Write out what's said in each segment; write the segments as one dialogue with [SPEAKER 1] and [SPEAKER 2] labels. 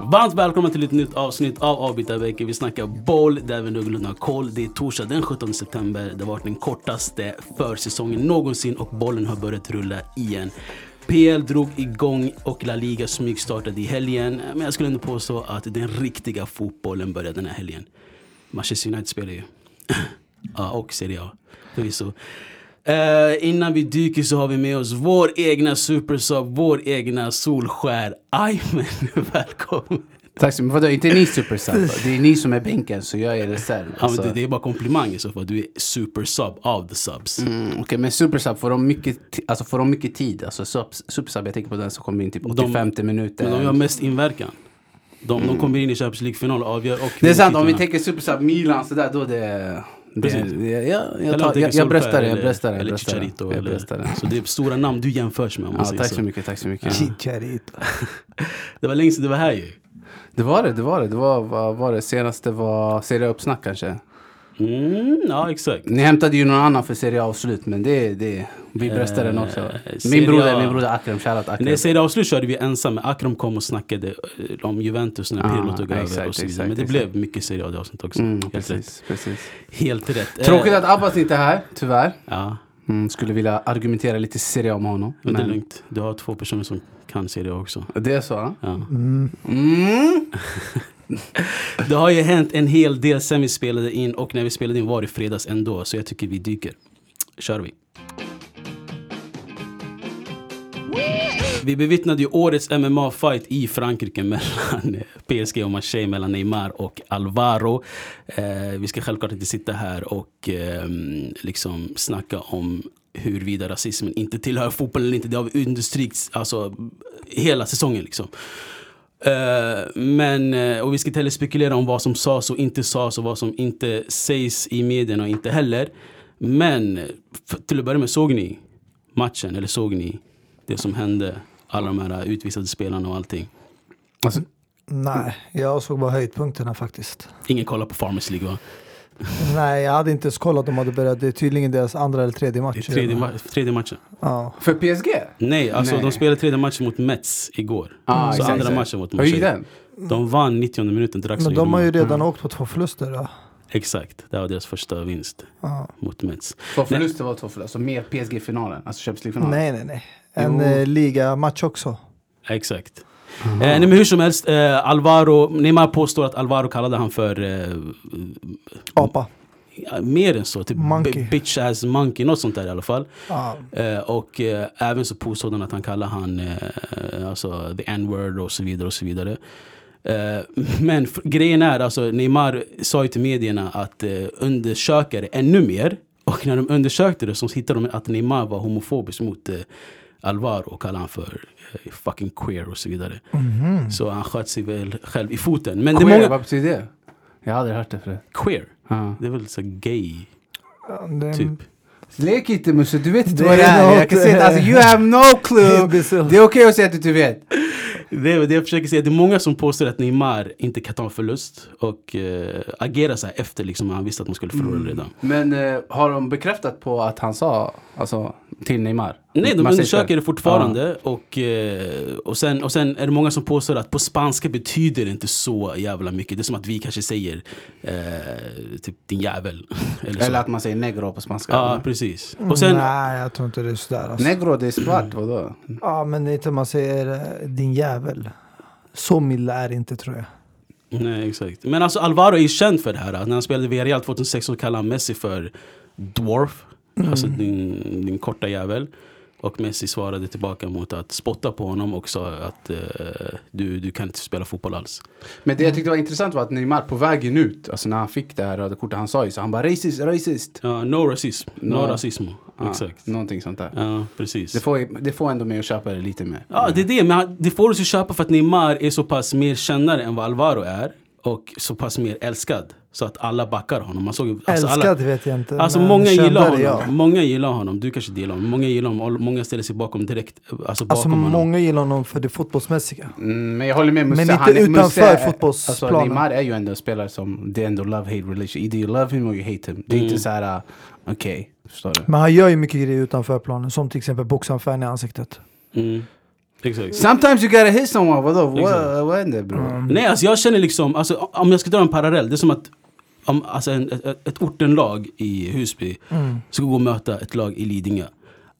[SPEAKER 1] Varmt välkommen till ett nytt avsnitt av Avbytarbänken. Vi snackar boll där vi någorlunda har koll. Det är torsdag den 17 september. Det har varit den kortaste försäsongen någonsin och bollen har börjat rulla igen. PL drog igång och La Liga smygstartade i helgen. Men jag skulle ändå påstå att den riktiga fotbollen började den här helgen. Manchester United spelar ju. ja, och Serie A förvisso. Eh, innan vi dyker så har vi med oss vår egna supersub, vår egna Solskär. Ajmen, välkommen!
[SPEAKER 2] Tack så mycket. Vadå, inte ni supersub? Det är ni som är bänken så jag är reserv.
[SPEAKER 1] Ja, men
[SPEAKER 2] Alltså,
[SPEAKER 1] det, det är bara komplimanger så för att du är supersub av the subs.
[SPEAKER 2] mm, Okej, men supersub, får de mycket, ti- alltså, får de mycket tid? Alltså subs- supersub, jag tänker på den som kommer in typ 85 minuter.
[SPEAKER 1] Men de har mest inverkan. De, de kommer in i Champions League-final och avgör och
[SPEAKER 2] det är sant, om vi
[SPEAKER 1] titlarna.
[SPEAKER 2] tänker supersub, Milan sådär, då det... det,
[SPEAKER 1] Precis.
[SPEAKER 2] det jag, jag,
[SPEAKER 1] Eller om
[SPEAKER 2] tar,
[SPEAKER 1] du
[SPEAKER 2] jag,
[SPEAKER 1] tänker
[SPEAKER 2] jag
[SPEAKER 1] Solskär
[SPEAKER 2] bröstar det, jag
[SPEAKER 1] eller-
[SPEAKER 2] bröstar det. jag
[SPEAKER 1] Eller
[SPEAKER 2] bröstar det.
[SPEAKER 1] Chicharito.
[SPEAKER 2] Jag
[SPEAKER 1] eller-
[SPEAKER 2] bröstar det.
[SPEAKER 1] Så det är stora namn du jämförs med om
[SPEAKER 2] Ja,
[SPEAKER 1] man säger
[SPEAKER 2] tack så
[SPEAKER 1] så.
[SPEAKER 2] mycket, tack så mycket.
[SPEAKER 3] Chicharito.
[SPEAKER 1] Det var länge sedan du var här ju.
[SPEAKER 2] Det var det, det var det. Det var, vad var det senaste var Serie A-uppsnack kanske.
[SPEAKER 1] Mm, ja, exakt.
[SPEAKER 2] Ni hämtade ju någon annan för Serie A-avslut, men det, det, vi bröstar den också.
[SPEAKER 1] Eh, Serie
[SPEAKER 2] Min
[SPEAKER 1] A.
[SPEAKER 2] broder, min broder Akrem, shoutout Akrem.
[SPEAKER 1] När Serie avslut körde vi ensam, men Akram kom och snackade eh, om Juventus när
[SPEAKER 2] Ah,
[SPEAKER 1] Pirlo tog över
[SPEAKER 2] exakt,
[SPEAKER 1] och så vidare.
[SPEAKER 2] exakt,
[SPEAKER 1] Men det
[SPEAKER 2] exakt.
[SPEAKER 1] blev mycket Serie A avsnitt också.
[SPEAKER 2] Mm,
[SPEAKER 1] Helt rätt.
[SPEAKER 2] precis, precis.
[SPEAKER 1] Helt rätt. Eh,
[SPEAKER 2] Tråkigt att Abbas inte är här, tyvärr.
[SPEAKER 1] Ja,
[SPEAKER 2] Mm, skulle vilja argumentera lite Serie A med honom.
[SPEAKER 1] men det är lugnt. Du har två personer som kan Serie A också.
[SPEAKER 2] det är så? ja.
[SPEAKER 1] Ja.
[SPEAKER 2] Mm.
[SPEAKER 1] Det har ju hänt en hel del sen vi spelade in och när vi spelade in var det fredags ändå. Så jag tycker vi dyker. Kör vi. Vi bevittnade ju årets MMA-fight i Frankrike mellan PSG och Marseille, mellan Neymar och Alvaro. Eh, vi ska självklart inte sitta här och eh, liksom snacka om huruvida rasismen inte tillhör fotbollen eller inte. Det har vi understrykts alltså, hela säsongen. Liksom. Eh, men, eh, och vi ska inte heller spekulera om vad som sades och inte sades och vad som inte sägs i medierna och inte heller. Men eh, f- till att börja med, såg ni matchen eller såg ni det som hände? Alla de här utvisade spelarna och allting.
[SPEAKER 2] Alltså,
[SPEAKER 3] Nej, jag såg bara höjdpunkterna faktiskt.
[SPEAKER 1] Ingen kollar på Farmers League va?
[SPEAKER 3] Nej, jag hade inte ens kollat om de hade börjat. Det är tydligen deras andra eller tredje
[SPEAKER 1] Det är
[SPEAKER 3] match.
[SPEAKER 1] tredje,
[SPEAKER 3] redan.
[SPEAKER 1] ma- Alltså, tredje matchen.
[SPEAKER 3] Ja.
[SPEAKER 2] för PSG?
[SPEAKER 1] Nej, alltså
[SPEAKER 2] Nej.
[SPEAKER 1] de spelade tredje matchen mot Mets igår.
[SPEAKER 2] Ah,
[SPEAKER 1] så
[SPEAKER 2] exakt,
[SPEAKER 1] andra
[SPEAKER 2] exakt.
[SPEAKER 1] matchen mot
[SPEAKER 2] Hur gick
[SPEAKER 1] Marseille.
[SPEAKER 2] den?
[SPEAKER 1] De vann 90 minuten till Axel
[SPEAKER 3] Men de har ju
[SPEAKER 1] gjorde mål.
[SPEAKER 3] redan åkt på två förluster. Då.
[SPEAKER 1] Exakt, det var deras första vinst
[SPEAKER 3] Ja.
[SPEAKER 1] mot Mets.
[SPEAKER 2] Två förluster var två förluster, alltså mer PSG-finalen, alltså Champions League-finalen.
[SPEAKER 3] Nej, nej, nej. En
[SPEAKER 2] Jo.
[SPEAKER 3] eh, ligamatch också.
[SPEAKER 1] Exakt. Eh, nej, men hur som helst, eh, Alvaro, Neymar påstår att Alvaro kallade han för eh,
[SPEAKER 3] Apa.
[SPEAKER 1] ja, mer än så, typ
[SPEAKER 3] Monkey.
[SPEAKER 1] bi- bitch ass monkey, något sånt där i alla fall.
[SPEAKER 3] Ja.
[SPEAKER 1] Eh, och eh, även så påstod han att han kallar han eh, alltså, the n-word och så vidare och så vidare. Eh, men f- grejen är, alltså, Neymar sa ju till medierna att eh, undersöka det ännu mer. Och när de undersökte det så hittade de att Neymar var homofobisk mot eh, Alvaro och kallade han för eh, fucking queer och så vidare. Så han sköt sig väl själv i foten. Men
[SPEAKER 2] Queer,
[SPEAKER 1] det är många...
[SPEAKER 2] Vad betyder det? Jag har aldrig hört det förut.
[SPEAKER 1] Queer?
[SPEAKER 2] Ja.
[SPEAKER 1] Det är väl så gay,
[SPEAKER 3] Ja, det-
[SPEAKER 1] typ.
[SPEAKER 2] Lek inte Musse, du vet inte
[SPEAKER 3] Det
[SPEAKER 2] vad det
[SPEAKER 3] är
[SPEAKER 2] är. Jag
[SPEAKER 3] något-
[SPEAKER 2] kan säga att alltså, you have no clue.
[SPEAKER 3] Det är så.
[SPEAKER 2] Det är okej att säga att du inte vet.
[SPEAKER 1] Det är det jag försöker säga. Det är många som påstår att Neymar inte kan ta en förlust och eh, agera så här efter liksom han visste att man skulle förlora redan.
[SPEAKER 2] Men eh, har de bekräftat på att han sa, alltså till Neymar?
[SPEAKER 1] Nej, de
[SPEAKER 2] Marseille
[SPEAKER 1] undersöker
[SPEAKER 2] själv?
[SPEAKER 1] det fortfarande. Och, eh, och, sen, och sen är det många som påstår att på spanska betyder det inte så jävla mycket. Det är som att vi kanske säger eh, typ din jävel. Eller så.
[SPEAKER 2] Eller att man säger negro på spanska. Mm.
[SPEAKER 1] Ja, precis. Och sen,
[SPEAKER 3] Nej, jag tror inte det är sådär. Alltså.
[SPEAKER 2] Negro, det är svart,
[SPEAKER 1] Mm.
[SPEAKER 2] vadå?
[SPEAKER 3] Ja, men inte om man säger eh, din jävel. Så illa är det inte tror jag.
[SPEAKER 1] Nej, exakt. Men alltså Alvaro är ju känd för det här. När han spelade i Villarreal 2006 så kallade han Messi för Dwarf.
[SPEAKER 2] Mm.
[SPEAKER 1] Alltså din, din korta jävel. Och Messi svarade tillbaka mot att spotta på honom och sa att eh, du, du kan inte spela fotboll alls.
[SPEAKER 2] Men
[SPEAKER 1] Mm.
[SPEAKER 2] det jag tyckte var intressant var att Neymar på vägen ut, alltså när han fick det här röda kortet, han sa ju så, han bara racist, racist.
[SPEAKER 1] Ja, no rasism, no,
[SPEAKER 2] No.
[SPEAKER 1] rasism.
[SPEAKER 2] Ja,
[SPEAKER 1] Exakt.
[SPEAKER 2] Någonting sånt där.
[SPEAKER 1] Ja, precis.
[SPEAKER 2] Det får, det får ändå mig att köpa det lite mer.
[SPEAKER 3] Mm.
[SPEAKER 1] Ja, det är det. Men han- det får oss ju köpa för att Neymar är så pass mer kännare än vad Alvaro är. och så pass mer älskad. Så att alla backar honom. Man såg, ju- alltså, alla-
[SPEAKER 3] Älskad vet jag inte.
[SPEAKER 1] Alltså
[SPEAKER 3] men
[SPEAKER 1] många
[SPEAKER 3] kändare,
[SPEAKER 1] gillar honom.
[SPEAKER 3] ja.
[SPEAKER 1] Många gillar honom. Du kanske inte gillar honom. Många gillar honom. Och Många ställer sig bakom direkt. Alltså bakom
[SPEAKER 3] Alltså
[SPEAKER 1] honom.
[SPEAKER 3] många gillar honom för det fotbollsmässiga.
[SPEAKER 2] Mm, men jag håller med Musse.
[SPEAKER 3] Men inte
[SPEAKER 2] han är-
[SPEAKER 3] utanför
[SPEAKER 2] Musse är-
[SPEAKER 3] fotbollsplanen.
[SPEAKER 2] Alltså, Neymar är ju ändå en spelare som, det är ändå love-hate relation. Either you love him or you hate him. Det är
[SPEAKER 1] Mm.
[SPEAKER 2] inte så här, uh, okej, förstår du?
[SPEAKER 3] Men han gör ju mycket grejer utanför planen. Som till exempel boxa en fan i ansiktet.
[SPEAKER 1] Mm. Exakt.
[SPEAKER 2] Sometimes you gotta hit someone, vadå? Vad
[SPEAKER 1] Exakt.
[SPEAKER 2] vad händer bror?
[SPEAKER 1] Nej, alltså jag känner liksom, alltså, om jag ska dra en parallell, det är som att om, alltså en, ett, ett ortenlag i Husby
[SPEAKER 2] Mm.
[SPEAKER 1] ska gå och möta ett lag i Lidingö.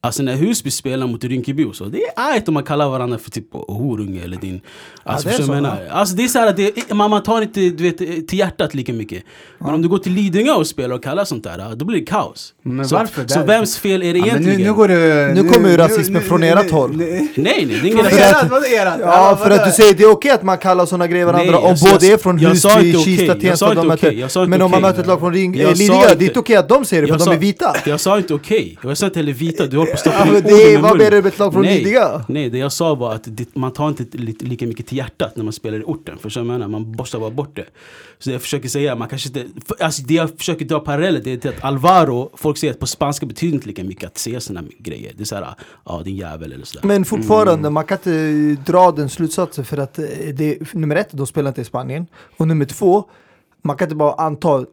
[SPEAKER 1] Alltså när Husby spelar mot Rinkeby och så, det är argt om man kallar varandra för typ horunge eller din... Alltså,
[SPEAKER 3] det är
[SPEAKER 1] förstår du vad jag
[SPEAKER 3] så,
[SPEAKER 1] menar? alltså det är så här att det, man, man tar inte du vet, till hjärtat lika mycket. Men om du går till Lidingö och spelar och kallar sånt där, då blir det kaos.
[SPEAKER 2] Men
[SPEAKER 1] så,
[SPEAKER 2] varför?
[SPEAKER 1] så
[SPEAKER 2] Där-
[SPEAKER 1] vems fel är det
[SPEAKER 2] Ja, men
[SPEAKER 1] egentligen?
[SPEAKER 2] nu, nu, går det,
[SPEAKER 3] Nu kommer ju rasismen från ert håll.
[SPEAKER 1] Nej, nej, det är ingen
[SPEAKER 2] Från
[SPEAKER 1] rasism.
[SPEAKER 2] erat? Vadå erat?
[SPEAKER 3] Ja, för att du säger det är okej att man kallar sådana grejer varandra
[SPEAKER 1] Nej,
[SPEAKER 3] om
[SPEAKER 1] jag-
[SPEAKER 3] båda
[SPEAKER 1] jag-
[SPEAKER 3] är från
[SPEAKER 1] jag sa
[SPEAKER 3] Husby,
[SPEAKER 1] inte okej.
[SPEAKER 3] Kista,
[SPEAKER 1] Jag sa
[SPEAKER 3] Tensta.
[SPEAKER 1] inte
[SPEAKER 3] de möter-
[SPEAKER 1] okej. Jag sa inte
[SPEAKER 3] Men om man
[SPEAKER 1] okej.
[SPEAKER 3] möter ett lag från Ring-
[SPEAKER 1] Jag
[SPEAKER 3] eh,
[SPEAKER 1] sa
[SPEAKER 3] Lidingö, det är
[SPEAKER 1] inte-
[SPEAKER 3] inte okej att de säger det för
[SPEAKER 1] Jag
[SPEAKER 3] de
[SPEAKER 1] sa-
[SPEAKER 3] är vita.
[SPEAKER 1] Jag sa inte okej. Jag sa inte heller vita. Du håller på att
[SPEAKER 3] Ja,
[SPEAKER 1] stoppa
[SPEAKER 3] men
[SPEAKER 1] in
[SPEAKER 3] det
[SPEAKER 1] orden
[SPEAKER 3] är-
[SPEAKER 1] i
[SPEAKER 3] vad
[SPEAKER 1] munnen.
[SPEAKER 3] menar du med ett lag från
[SPEAKER 1] nej,
[SPEAKER 3] Lidingö?
[SPEAKER 1] Nej, det jag sa var att det, man tar inte li, lika mycket till hjärtat när man spelar i orten. Förstår du vad jag menar? Man borstar bara bort det. Så det jag försöker säga, man kanske inte... För, alltså det jag försöker dra paralleller det är till att Alvaro, folk säger att på spanska betyder inte lika mycket att se sådana grejer. Det är såhär, ja din jävel eller sådär.
[SPEAKER 3] Men fortfarande, man kan inte dra den slutsatsen för att eh, det, för nummer ett, de spelar inte i Spanien. Och nummer två, man kan inte bara anta,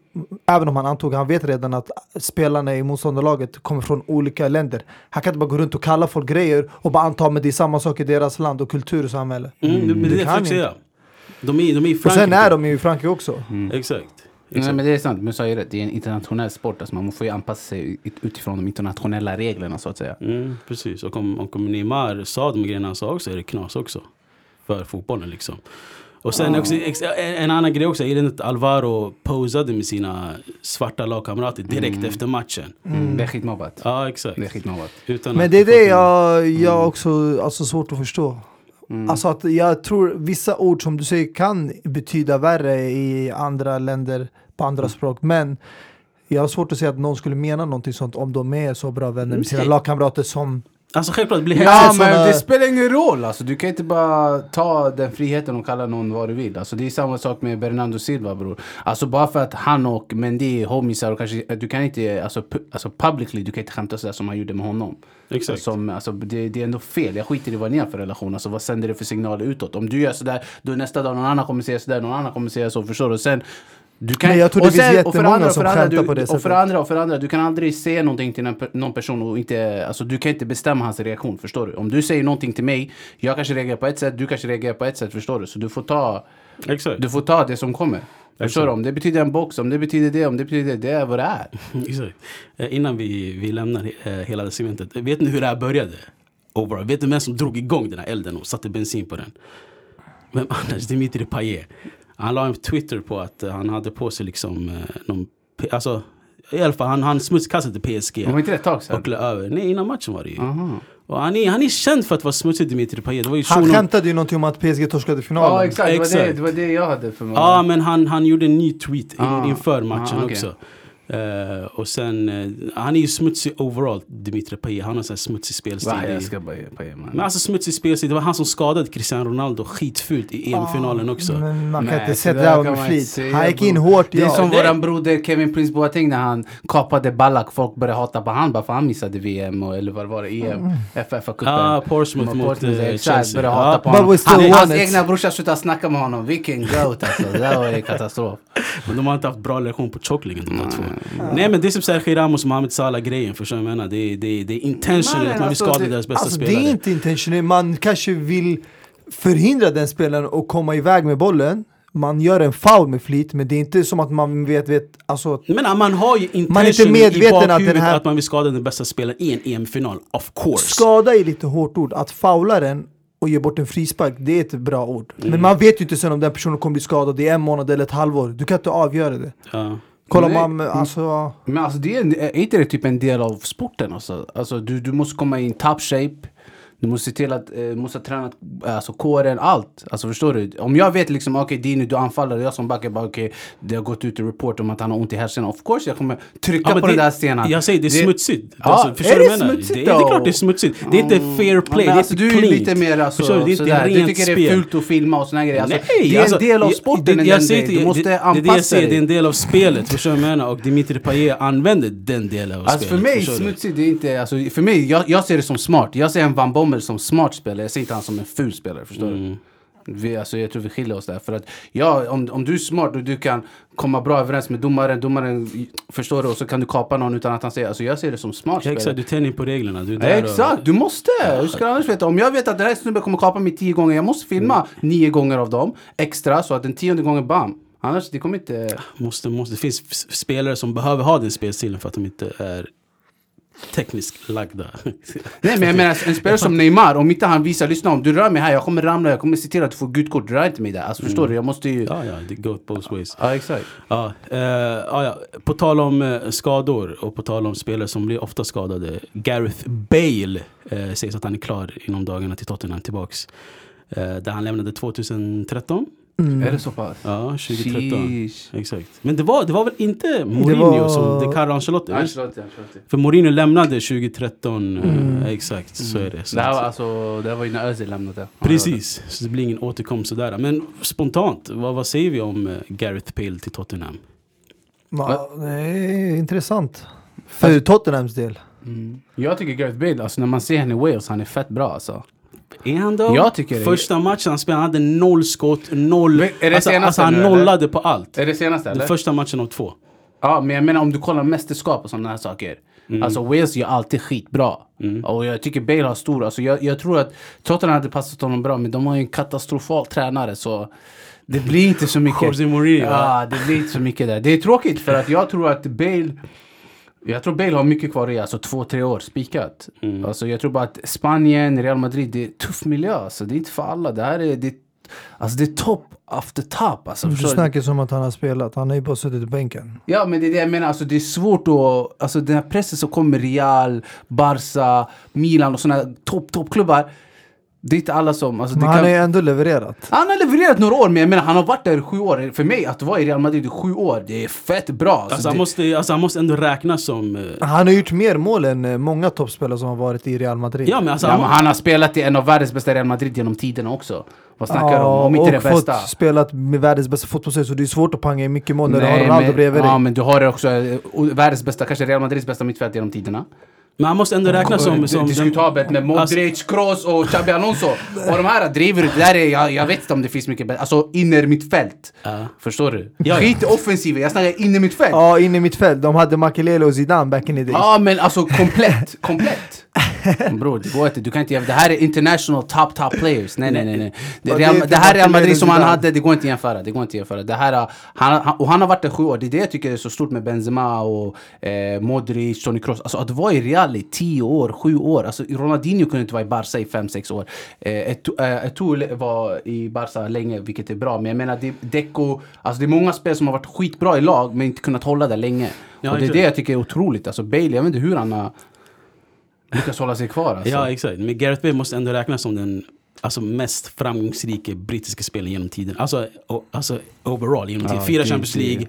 [SPEAKER 3] även om han antog, han vet redan att spelarna i motståndarlaget kommer från olika länder. Han kan inte bara gå runt och kalla folk grejer och bara anta att det är samma sak i deras land och kultur och samhälle.
[SPEAKER 1] Mm, men det är det
[SPEAKER 3] Det
[SPEAKER 1] jag
[SPEAKER 3] kan
[SPEAKER 1] försöker säga. De är, de är i Frankrike.
[SPEAKER 3] Och sen är de ju i Frankrike också.
[SPEAKER 1] Exakt.
[SPEAKER 2] Nej men det är sant, Musa har ju rätt. Det är en internationell sport. Alltså, man får ju anpassa sig ut- utifrån de internationella reglerna så att säga.
[SPEAKER 1] Mm, precis, och om, och om Neymar sa de grejerna han sa också är det knas också. För fotbollen liksom. Och sen också, ex, en, en annan grej också, jag gillar inte att Alvaro posade med sina svarta lagkamrater direkt
[SPEAKER 3] Mm.
[SPEAKER 1] efter matchen.
[SPEAKER 2] Det är skitmobbat.
[SPEAKER 1] Ja, exakt.
[SPEAKER 2] Det är skitmobbat.
[SPEAKER 1] Utan
[SPEAKER 3] Men
[SPEAKER 1] att-
[SPEAKER 3] det är det jag,
[SPEAKER 2] Mm.
[SPEAKER 3] jag också alltså, svårt att förstå. Alltså att jag tror vissa ord som du säger kan betyda värre i andra länder på andra
[SPEAKER 2] Mm.
[SPEAKER 3] språk. Men jag har svårt att säga att någon skulle mena någonting sånt om de är så bra vänner med sina
[SPEAKER 2] Mm.
[SPEAKER 1] Nej.
[SPEAKER 3] lagkamrater som...
[SPEAKER 1] Alltså självklart, blir
[SPEAKER 3] Ja,
[SPEAKER 1] hetsigt.
[SPEAKER 2] Ja
[SPEAKER 3] så
[SPEAKER 2] men
[SPEAKER 3] sådana-
[SPEAKER 2] det spelar ingen roll alltså. Du kan inte bara ta den friheten och kalla någon vad du vill. Alltså, det är samma sak med Bernardo Silva bror. Alltså bara för att han och Mendy är homisar och kanske, du kan inte, alltså, pu- alltså publicly, du kan inte skämta sådär som han gjorde med honom.
[SPEAKER 1] Exakt.
[SPEAKER 2] Som, alltså, det, det är ändå fel. Jag skiter i vad ni har för relation. Alltså, vad sänder det för signaler utåt? Om du gör sådär, då nästa dag någon annan kommer säga sådär, någon annan kommer säga så. Förstår du? Sen, du kan,
[SPEAKER 3] Men jag tror
[SPEAKER 2] och
[SPEAKER 3] det finns
[SPEAKER 2] sen- och för
[SPEAKER 3] jättemånga
[SPEAKER 2] andra- och för
[SPEAKER 3] som
[SPEAKER 2] andra,
[SPEAKER 3] skämtar
[SPEAKER 2] du-
[SPEAKER 3] på det
[SPEAKER 2] Och för
[SPEAKER 3] sättet.
[SPEAKER 2] andra och för andra, du kan aldrig säga någonting till en per- någon person och inte, alltså du kan inte bestämma hans reaktion, förstår du? Om du säger någonting till mig, jag kanske reagerar på ett sätt, du kanske reagerar på ett sätt, förstår du? Så du får ta,
[SPEAKER 1] Exakt.
[SPEAKER 2] du får ta det som kommer. Förstår du? Om det betyder en box, om det betyder det, om det betyder det, det är vad det är.
[SPEAKER 1] Exakt. Eh, Innan vi, vi lämnar eh, hela det segmentet. Vet ni hur det här började? Overall. Vet ni vem som drog igång den här elden och satte bensin på den? Vem annars? Dimitri Payet. Han la en Twitter på att eh, han hade på sig liksom eh, någon... P- Alltså, i alla fall han, han smutskastade PSG.
[SPEAKER 2] Det var inte det ett tag sedan?
[SPEAKER 1] Och la över. Nej, innan matchen var det ju.
[SPEAKER 2] Aha.
[SPEAKER 1] Och han, är, han är känd för att vara smutsig, Dimitri Payet. Det var ju
[SPEAKER 3] Han
[SPEAKER 1] shunon-
[SPEAKER 3] skämtade ju någonting om att PSG torskade finalen.
[SPEAKER 2] Ja exakt, det var det,
[SPEAKER 1] Exakt.
[SPEAKER 2] det var det jag hade för mig.
[SPEAKER 1] Ja, men han, han gjorde en ny tweet in,
[SPEAKER 2] Ah.
[SPEAKER 1] inför matchen
[SPEAKER 2] Ah, okej.
[SPEAKER 1] också. Eh, och sen, eh, han är ju smutsig overall, Dimitri Payet. Han har sån här smutsig spelstil.
[SPEAKER 2] Va, jag
[SPEAKER 1] Det-
[SPEAKER 2] ska bara ge på er man.
[SPEAKER 1] Men alltså smutsig spelstil, det var han som skadade Cristiano Ronaldo skitfult i EM-finalen
[SPEAKER 3] Ah,
[SPEAKER 1] också.
[SPEAKER 3] Men man kan
[SPEAKER 2] Nej,
[SPEAKER 3] inte
[SPEAKER 2] så
[SPEAKER 3] säga det
[SPEAKER 2] där
[SPEAKER 3] där
[SPEAKER 2] kan
[SPEAKER 3] med
[SPEAKER 2] man inte
[SPEAKER 3] flit.
[SPEAKER 2] säga,
[SPEAKER 3] Han gick
[SPEAKER 2] bro.
[SPEAKER 3] in hårt,
[SPEAKER 2] Det är
[SPEAKER 3] ja.
[SPEAKER 2] som
[SPEAKER 1] det-
[SPEAKER 2] våran broder Kevin Prince Boateng när han kapade Ballack. Folk började hata på han bara för han missade VM och, eller vad var E det? EM?
[SPEAKER 3] Mm.
[SPEAKER 2] FFA-cupen.
[SPEAKER 1] Ah, Portsmouth
[SPEAKER 2] Men
[SPEAKER 1] mot, eh,
[SPEAKER 2] exakt,
[SPEAKER 1] Chelsea.
[SPEAKER 2] Började hata
[SPEAKER 1] Ja.
[SPEAKER 2] på
[SPEAKER 3] But
[SPEAKER 2] honom.
[SPEAKER 3] we still
[SPEAKER 2] Han,
[SPEAKER 3] won
[SPEAKER 2] hans
[SPEAKER 3] it.
[SPEAKER 2] egna brorsa slutade snacka med honom. Vilken goat alltså. Det där var ju katastrof.
[SPEAKER 1] Men de har inte haft bra relation på chocklingen de där två. Nej men det är typ som Sergej Ramos och Mohamed Salah-grejen, förstår du vad jag menar? Det är, det är, det är intentional
[SPEAKER 2] Nej,
[SPEAKER 1] att man vill
[SPEAKER 2] alltså,
[SPEAKER 1] skada
[SPEAKER 2] det-
[SPEAKER 1] deras bästa
[SPEAKER 3] Alltså det
[SPEAKER 1] spelare.
[SPEAKER 3] är inte intentionellt, man kanske vill förhindra den spelaren att komma iväg med bollen. Man gör en foul med flit, men det är inte som att man vet, vet alltså att
[SPEAKER 1] Men man har ju
[SPEAKER 3] Man är inte
[SPEAKER 1] intention i
[SPEAKER 3] medveten att den
[SPEAKER 1] bakhuvudet att,
[SPEAKER 3] här-
[SPEAKER 1] man vill skada den bästa spelaren i en EM-final, of course.
[SPEAKER 3] skada är lite hårt ord. Att faula den och ge bort en frispark, det är ett bra ord.
[SPEAKER 1] Mm.
[SPEAKER 3] Men man vet ju inte sen om den personen kommer bli skadad i en månad eller ett halvår. Du kan inte avgöra det.
[SPEAKER 1] Ja.
[SPEAKER 3] Kolla
[SPEAKER 2] Nej.
[SPEAKER 3] man,
[SPEAKER 1] Mm.
[SPEAKER 3] alltså...
[SPEAKER 2] Men alltså det är, en- är inte det typ en del av sporten? Alltså, alltså du, du måste komma i en top shape. Du måste se till att eh, måste ha tränat alltså, kåren, allt. Alltså förstår du? Om jag vet liksom, okej Dini du anfaller och jag som back, jag bara okej, det har gått ut en report om att han har ont i hälsenan. Of course jag kommer trycka
[SPEAKER 1] Ja, men
[SPEAKER 2] på den där stenen.
[SPEAKER 1] Jag säger det är smutsigt.
[SPEAKER 2] Ja,
[SPEAKER 1] alltså,
[SPEAKER 2] är
[SPEAKER 1] förstår du
[SPEAKER 2] det
[SPEAKER 1] vad jag menar?
[SPEAKER 2] smutsigt
[SPEAKER 1] det, är- det är
[SPEAKER 2] då?
[SPEAKER 1] klart det är smutsigt. Det är inte fair play, det
[SPEAKER 2] Men
[SPEAKER 1] är
[SPEAKER 2] alltså,
[SPEAKER 1] inte
[SPEAKER 2] du är
[SPEAKER 1] cleant.
[SPEAKER 2] lite mer alltså,
[SPEAKER 1] Förstår du? Det är inte
[SPEAKER 2] sådär.
[SPEAKER 1] rent
[SPEAKER 2] Du tycker det är
[SPEAKER 1] spel.
[SPEAKER 2] fult att filma och såna grejer. Alltså,
[SPEAKER 1] Nej,
[SPEAKER 2] det är
[SPEAKER 1] alltså,
[SPEAKER 2] en del av
[SPEAKER 1] jag-
[SPEAKER 2] sporten.
[SPEAKER 1] det-
[SPEAKER 2] Det,
[SPEAKER 1] jag säger inte-
[SPEAKER 2] du måste
[SPEAKER 1] det,
[SPEAKER 2] anpassa
[SPEAKER 1] Det är det jag säger, det
[SPEAKER 2] dig.
[SPEAKER 1] är en del av spelet. Förstår du vad jag menar? Och Dimitri Payet använder den delen av
[SPEAKER 2] Alltså för
[SPEAKER 1] spelet.
[SPEAKER 2] mig,
[SPEAKER 1] förstår du?
[SPEAKER 2] smutsigt, det är inte... Alltså för mig, jag, jag ser det som smart. Jag ser en Van Bommel som smart spelare, jag ser inte han som en ful spelare. Förstår du? Vi, alltså jag tror vi skiljer oss där. För att ja, om, om du är smart och du kan komma bra överens med domaren, domaren i- förstår du och så kan du kapa någon utan att han säger... Alltså jag ser det som smart
[SPEAKER 1] Ja, Exakt,
[SPEAKER 2] spelare.
[SPEAKER 1] du tänjer på reglerna. Du är där och-
[SPEAKER 2] Exakt, du måste! Hur ska du annars veta? Om jag vet att den här snubben kommer kapa mig tio gånger, jag måste filma nio gånger av dem extra så att den tionde gången, bam! Annars, det kommer inte...
[SPEAKER 1] Måste, måste. Det finns f- spelare som behöver ha den spelstilen för att de inte är tekniskt lagda.
[SPEAKER 2] Nej men jag menar en spelare som Neymar, om inte han visar, lyssna om du rör mig här, jag kommer ramla, jag kommer se till att du får gult kort, rör inte mig där. Alltså förstår du, jag måste ju...
[SPEAKER 1] ja, ja, det går both ways.
[SPEAKER 2] Ja, exakt.
[SPEAKER 1] Ja, eh, ja, ja. På tal om eh, skador och på tal om spelare som blir ofta skadade. Gareth Bale eh, sägs att han är klar inom dagarna till Tottenham tillbaks. Eh, där han lämnade 2013.
[SPEAKER 2] Är det så pass?
[SPEAKER 1] Ja, 2013.
[SPEAKER 2] Sheesh.
[SPEAKER 1] Exakt. Men det var, det var väl inte Mourinho
[SPEAKER 3] var-
[SPEAKER 1] som det Carlo Ancelotti? visst?
[SPEAKER 2] Ancelotti, Ancelotti.
[SPEAKER 1] För Mourinho lämnade 2013, eh, exakt så är det. Så
[SPEAKER 2] Det här var
[SPEAKER 1] att-
[SPEAKER 2] alltså, det här var ju när Özil lämnade.
[SPEAKER 1] Precis, så det blir ingen återkomst sådär. Men spontant, vad, vad säger vi om eh, Gareth Bale till Tottenham?
[SPEAKER 3] Ja, det är intressant.
[SPEAKER 1] Alltså-
[SPEAKER 3] För Tottenhams del.
[SPEAKER 2] Mm. Jag tycker Gareth Bale, alltså när man ser henne i Wales, han är fett bra alltså.
[SPEAKER 1] Är han då?
[SPEAKER 2] Jag tycker det.
[SPEAKER 1] Första matchen han spelade, han hade noll skott, noll...
[SPEAKER 2] Men är det
[SPEAKER 1] alltså,
[SPEAKER 2] senaste
[SPEAKER 1] alltså han
[SPEAKER 2] nu, eller?
[SPEAKER 1] nollade på allt.
[SPEAKER 2] Är det senaste
[SPEAKER 1] Den
[SPEAKER 2] eller? Alltså,
[SPEAKER 1] första matchen av två.
[SPEAKER 2] Ja, men jag menar om du kollar mästerskap och sådana här saker.
[SPEAKER 1] Mm.
[SPEAKER 2] Alltså Wales gör alltid skitbra. Och jag tycker Bale har stor. Alltså, jag, jag tror att Tottenham hade passat honom bra, men de har ju en katastrofal tränare så det blir inte så mycket.
[SPEAKER 1] Jose Mourinho,
[SPEAKER 2] Ja, det blir inte så mycket där. Det är tråkigt för att jag tror att Bale jag tror Bale har mycket kvar i, alltså två, tre år spikat.
[SPEAKER 1] Mm.
[SPEAKER 2] Alltså jag tror bara att Spanien, Real Madrid, det är tuff miljö. Alltså, det är inte för alla. Det här är, det, alltså, det är top after top. Alltså,
[SPEAKER 3] Du
[SPEAKER 2] förstår du?
[SPEAKER 3] snackar som att han har spelat, han har ju bara suttit i bänken.
[SPEAKER 2] Ja, men det är det jag menar. Alltså, det är svårt att... Alltså, den här pressen som kommer med Real, Barca, Milan och sådana topp, toppklubbar. Det är inte alla som... Alltså, det
[SPEAKER 3] Men han
[SPEAKER 2] kan...
[SPEAKER 3] har ju ändå levererat.
[SPEAKER 2] Han har levererat några år, men jag menar, han har varit där i sju år. För mig, att vara i Real Madrid i sju år, det är fett bra. Alltså,
[SPEAKER 1] Alltså, han
[SPEAKER 2] det...
[SPEAKER 1] måste, alltså han måste ändå räknas som... eh,
[SPEAKER 3] Han har gjort mer mål än eh, många toppspelare som har varit i Real Madrid.
[SPEAKER 1] Ja men alltså...
[SPEAKER 2] Ja,
[SPEAKER 1] han-
[SPEAKER 2] men han har spelat i en av världens bästa Real Madrid genom tiderna också. Vad snackar du om? Om
[SPEAKER 3] och
[SPEAKER 2] inte det bästa.
[SPEAKER 3] fått spelat med världens bästa fotbollsspelare så det är svårt att panga i mycket mål när du har
[SPEAKER 2] Nej,
[SPEAKER 3] Ronaldo
[SPEAKER 2] men-
[SPEAKER 3] bredvid
[SPEAKER 2] Ja,
[SPEAKER 3] dig.
[SPEAKER 2] men du har också eh, världens bästa, kanske Real Madrids bästa mittfält genom tiderna.
[SPEAKER 1] men han måste ändå räknas
[SPEAKER 2] Alltså,
[SPEAKER 1] som... som Alltså-
[SPEAKER 2] Diskutabelt med Modric, Kroos och Xabi Alonso. Och de här driver det där är, jag, jag vet inte om det finns mycket bättre. Alltså innermittfält.
[SPEAKER 1] Ja.
[SPEAKER 2] Förstår du?
[SPEAKER 1] ja.
[SPEAKER 2] Skit i offensiven, jag snackar innermittfält. Ja.
[SPEAKER 3] Ja, in i mitt fält. De hade Makelele och Zidane back in the days.
[SPEAKER 2] men alltså komplett, komplett. Bror, det går inte. Du kan inte jämföra. Det här är international top, top players. Nej, nej, nej. nej. Det,
[SPEAKER 3] Ja,
[SPEAKER 2] är
[SPEAKER 3] det är
[SPEAKER 2] Real,
[SPEAKER 3] inte
[SPEAKER 2] det här Real
[SPEAKER 3] Martinelli
[SPEAKER 2] Madrid som han
[SPEAKER 3] Zidane.
[SPEAKER 2] hade, det går inte att jämföra. Det går inte att jämföra. Det här, har- han, han, och han har varit där sju år. Det är det jag tycker är så stort med Benzema och eh, Modric, Toni Kroos. Alltså att vara i Real i tio år, sju år. Alltså Ronaldinho kunde inte vara i Barca i fem, sex år. Eh, Eto- eh, Eto'o var i Barca länge, vilket är bra. Men jag menar, det, Deco, alltså det är många spel som har varit skitbra i lag, men inte kunnat hålla där länge.
[SPEAKER 1] Ja,
[SPEAKER 2] och det är
[SPEAKER 1] exakt.
[SPEAKER 2] det jag tycker är otroligt. Alltså Bale, jag vet inte hur han har lyckats hålla sig kvar. Alltså.
[SPEAKER 1] Ja exakt, men Gareth Bale måste ändå räknas som den alltså, mest framgångsrika brittiska spelaren genom tiden. Alltså, o- alltså overall genom tiden.
[SPEAKER 2] Ja,
[SPEAKER 1] Fyra
[SPEAKER 2] gud,
[SPEAKER 1] Champions
[SPEAKER 2] det är-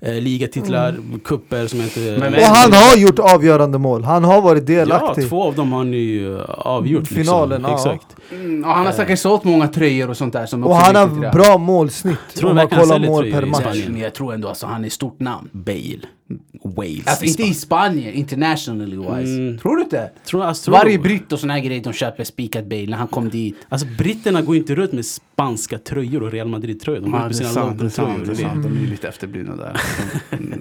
[SPEAKER 1] Leaga, eh, ligatitlar, kupper som jag inte...
[SPEAKER 2] Men-
[SPEAKER 3] Mm. Och han har gjort avgörande mål. Han har varit
[SPEAKER 1] Ja,
[SPEAKER 3] delaktig.
[SPEAKER 1] två av dem har ni ju eh, avgjort.
[SPEAKER 3] Finalen,
[SPEAKER 1] liksom.
[SPEAKER 3] ja.
[SPEAKER 1] Exakt.
[SPEAKER 2] Mm, och han har säkert sålt många tröjor och sånt där. Som
[SPEAKER 3] och
[SPEAKER 2] också
[SPEAKER 3] han
[SPEAKER 2] är viktigt i
[SPEAKER 3] har
[SPEAKER 2] Real.
[SPEAKER 3] bra målsnitt.
[SPEAKER 1] Tror
[SPEAKER 3] om
[SPEAKER 1] du
[SPEAKER 3] man
[SPEAKER 1] verkligen
[SPEAKER 3] kollar
[SPEAKER 1] han säljer
[SPEAKER 3] mål per
[SPEAKER 1] tröjor i
[SPEAKER 3] match.
[SPEAKER 1] Spanien?
[SPEAKER 2] Men jag tror ändå alltså han är stort namn.
[SPEAKER 1] Bale. Wales.
[SPEAKER 2] Alltså inte i Spanien, internationally wise.
[SPEAKER 1] Mm.
[SPEAKER 2] Tror du inte?
[SPEAKER 1] Tror, alltså, tror
[SPEAKER 2] Varje
[SPEAKER 1] du-
[SPEAKER 2] britt och sån här grej de köper spikat Bale när han kom dit.
[SPEAKER 1] Alltså britterna går ju inte runt med spanska tröjor och Real Madrid-tröjor. De går ut med sina London-tröjor. du vet.
[SPEAKER 2] De är lite efterblivna där. Mm,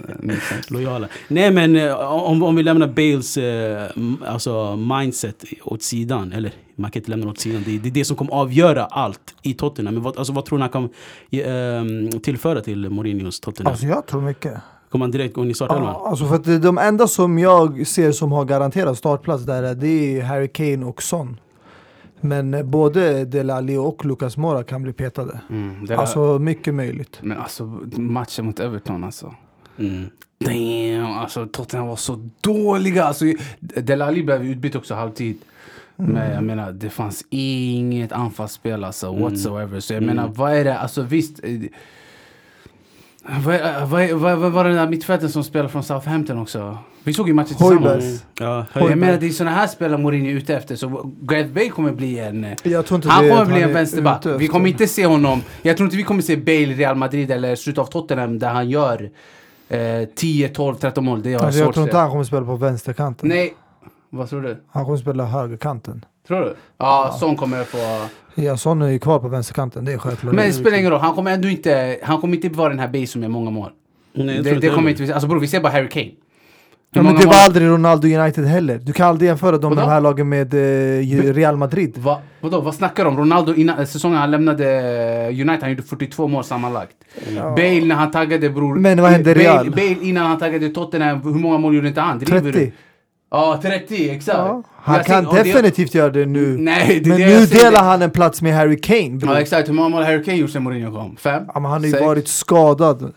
[SPEAKER 1] Lojala. Nej men eh, om, om vi lämnar Bales eh, m- alltså mindset åt sidan, eller man kan inte lämna det åt sidan, det, det är det som kommer avgöra allt i Tottenham. Men vad, alltså, vad tror ni han kan eh, tillföra till Mourinhos Tottenham?
[SPEAKER 3] Alltså jag tror mycket.
[SPEAKER 1] kommer han direkt gå in i startelvan?
[SPEAKER 3] Ja, alltså för att de enda som jag ser som har garanterad startplats där är- det är Harry Kane och Son. Men eh, både Delali och Lucas Moura kan bli petade.
[SPEAKER 2] Mm, det där-
[SPEAKER 3] Alltså mycket möjligt.
[SPEAKER 2] Men alltså matchen mot Everton alltså.
[SPEAKER 1] Mm.
[SPEAKER 2] Damn, alltså Tottenham var så dåliga. Alltså, Delali blev utbytt också halvtid. Men jag menar, det fanns inget anfallsspel alltså, whatsoever. Så jag menar, vad är det? Alltså visst. eh, Vad, är- vad, är- vad, vad var det där mittfältet som spelade från Southampton också? Vi såg ju matchen
[SPEAKER 3] Hojberg.
[SPEAKER 2] tillsammans.
[SPEAKER 1] Mm. Ja,
[SPEAKER 2] Jag
[SPEAKER 1] höjd.
[SPEAKER 2] menar, det är sådana här spelare Mourinho är ute efter. Så Gareth Bale kommer bli en... eh,
[SPEAKER 3] Jag tror inte
[SPEAKER 2] han
[SPEAKER 3] det är
[SPEAKER 2] kommer
[SPEAKER 3] att
[SPEAKER 2] bli en
[SPEAKER 3] är
[SPEAKER 2] vänsterback.
[SPEAKER 3] ute
[SPEAKER 2] Vi
[SPEAKER 3] efter-
[SPEAKER 2] kommer inte se honom. Jag tror inte vi kommer se Bale i Real Madrid eller slutet av Tottenham där han gör eh, 10, 12, 13 mål. Det har jag
[SPEAKER 3] Alltså,
[SPEAKER 2] svårt
[SPEAKER 3] jag tror
[SPEAKER 2] att
[SPEAKER 3] inte
[SPEAKER 2] se.
[SPEAKER 3] han kommer spela på vänsterkanten.
[SPEAKER 2] Nej. Vad tror du?
[SPEAKER 3] Han kommer spela högerkanten.
[SPEAKER 2] Tror du? Ja, Son kommer få...
[SPEAKER 3] Ja, Son är ju kvar på vänsterkanten, det är självklart.
[SPEAKER 2] Men det spelar ingen roll. Han kommer ändå inte... Han kommer inte vara den här Bale som gör många mål.
[SPEAKER 1] Nej, jag tror
[SPEAKER 2] det det kommer
[SPEAKER 1] heller.
[SPEAKER 2] inte vi se. Alltså bror, vi ser bara Harry Kane. Hur
[SPEAKER 3] ja, men
[SPEAKER 2] många
[SPEAKER 3] det
[SPEAKER 2] mål-
[SPEAKER 3] var aldrig Ronaldo United heller. Du kan aldrig jämföra de,
[SPEAKER 2] Vadå?
[SPEAKER 3] de här lagen med eh, Real Madrid.
[SPEAKER 2] Va, vadå, vad snackar du om? Ronaldo innan eh, säsongen han lämnade eh, United, han gjorde 42 mål sammanlagt. Bale när han taggade bror.
[SPEAKER 3] Men vad hände i
[SPEAKER 2] Bale,
[SPEAKER 3] Real?
[SPEAKER 2] Bale innan han taggade Tottenham, hur många mål gjorde inte han? Driver du?
[SPEAKER 3] 30.
[SPEAKER 2] Ja, 30 exakt.
[SPEAKER 3] Ja. Han
[SPEAKER 2] Jag
[SPEAKER 3] kan
[SPEAKER 2] ser- och det-
[SPEAKER 3] definitivt göra det nu.
[SPEAKER 2] Nej, det är
[SPEAKER 3] men
[SPEAKER 2] det
[SPEAKER 3] nu
[SPEAKER 2] jag säger.
[SPEAKER 3] delar han en plats med Harry Kane. bror.
[SPEAKER 2] Ja exakt, hur många mål har Harry Kane gjort sen Mourinho kom? Fem?
[SPEAKER 3] Ja, men han har ju
[SPEAKER 2] Sex?
[SPEAKER 3] varit skadad.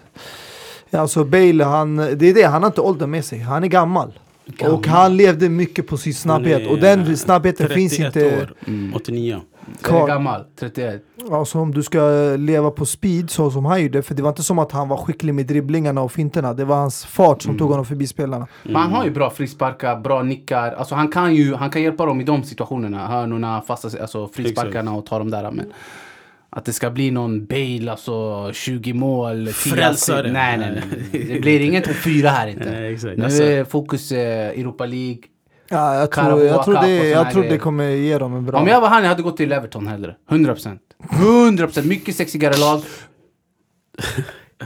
[SPEAKER 3] Ja, Alltså Bale, han, det är det, han har inte åldern med sig. Han är gammal.
[SPEAKER 2] Gammal.
[SPEAKER 3] Och han levde mycket på sin snabbhet.
[SPEAKER 1] Han är
[SPEAKER 3] Och den snabbheten
[SPEAKER 1] 31
[SPEAKER 3] finns inte
[SPEAKER 1] eh,
[SPEAKER 3] Mm.
[SPEAKER 1] År, 89.
[SPEAKER 2] Är det
[SPEAKER 3] kvar.
[SPEAKER 2] gammal? 31?
[SPEAKER 3] Alltså om du ska leva på speed så som han gjorde. För det var inte som att han var skicklig med dribblingarna och finterna. Det var hans fart som
[SPEAKER 1] Mm.
[SPEAKER 3] tog honom förbi spelarna.
[SPEAKER 2] Men han har ju bra frisparkar, bra nickar. Alltså han kan ju han kan hjälpa dem i de situationerna. Hörnorna, fasta, alltså frisparkarna och ta dem där. Men att det ska bli någon Bale, alltså 20 mål, 10
[SPEAKER 1] Frälsare.
[SPEAKER 2] assist. Nej, nej, nej. Det blir inget topp fyra här inte.
[SPEAKER 1] Nej, exakt.
[SPEAKER 2] Nu
[SPEAKER 1] Alltså-
[SPEAKER 2] är fokus eh, Europa League.
[SPEAKER 3] Ja, jag, tror,
[SPEAKER 2] Carabao
[SPEAKER 3] jag, tror
[SPEAKER 2] Cup och
[SPEAKER 3] det,
[SPEAKER 2] såna
[SPEAKER 3] jag
[SPEAKER 2] här
[SPEAKER 3] tror
[SPEAKER 2] grejer.
[SPEAKER 3] det kommer ge dem en bra...
[SPEAKER 2] Om jag var han, jag hade gått till Everton hellre. 100%. 100%. Mycket sexigare lag.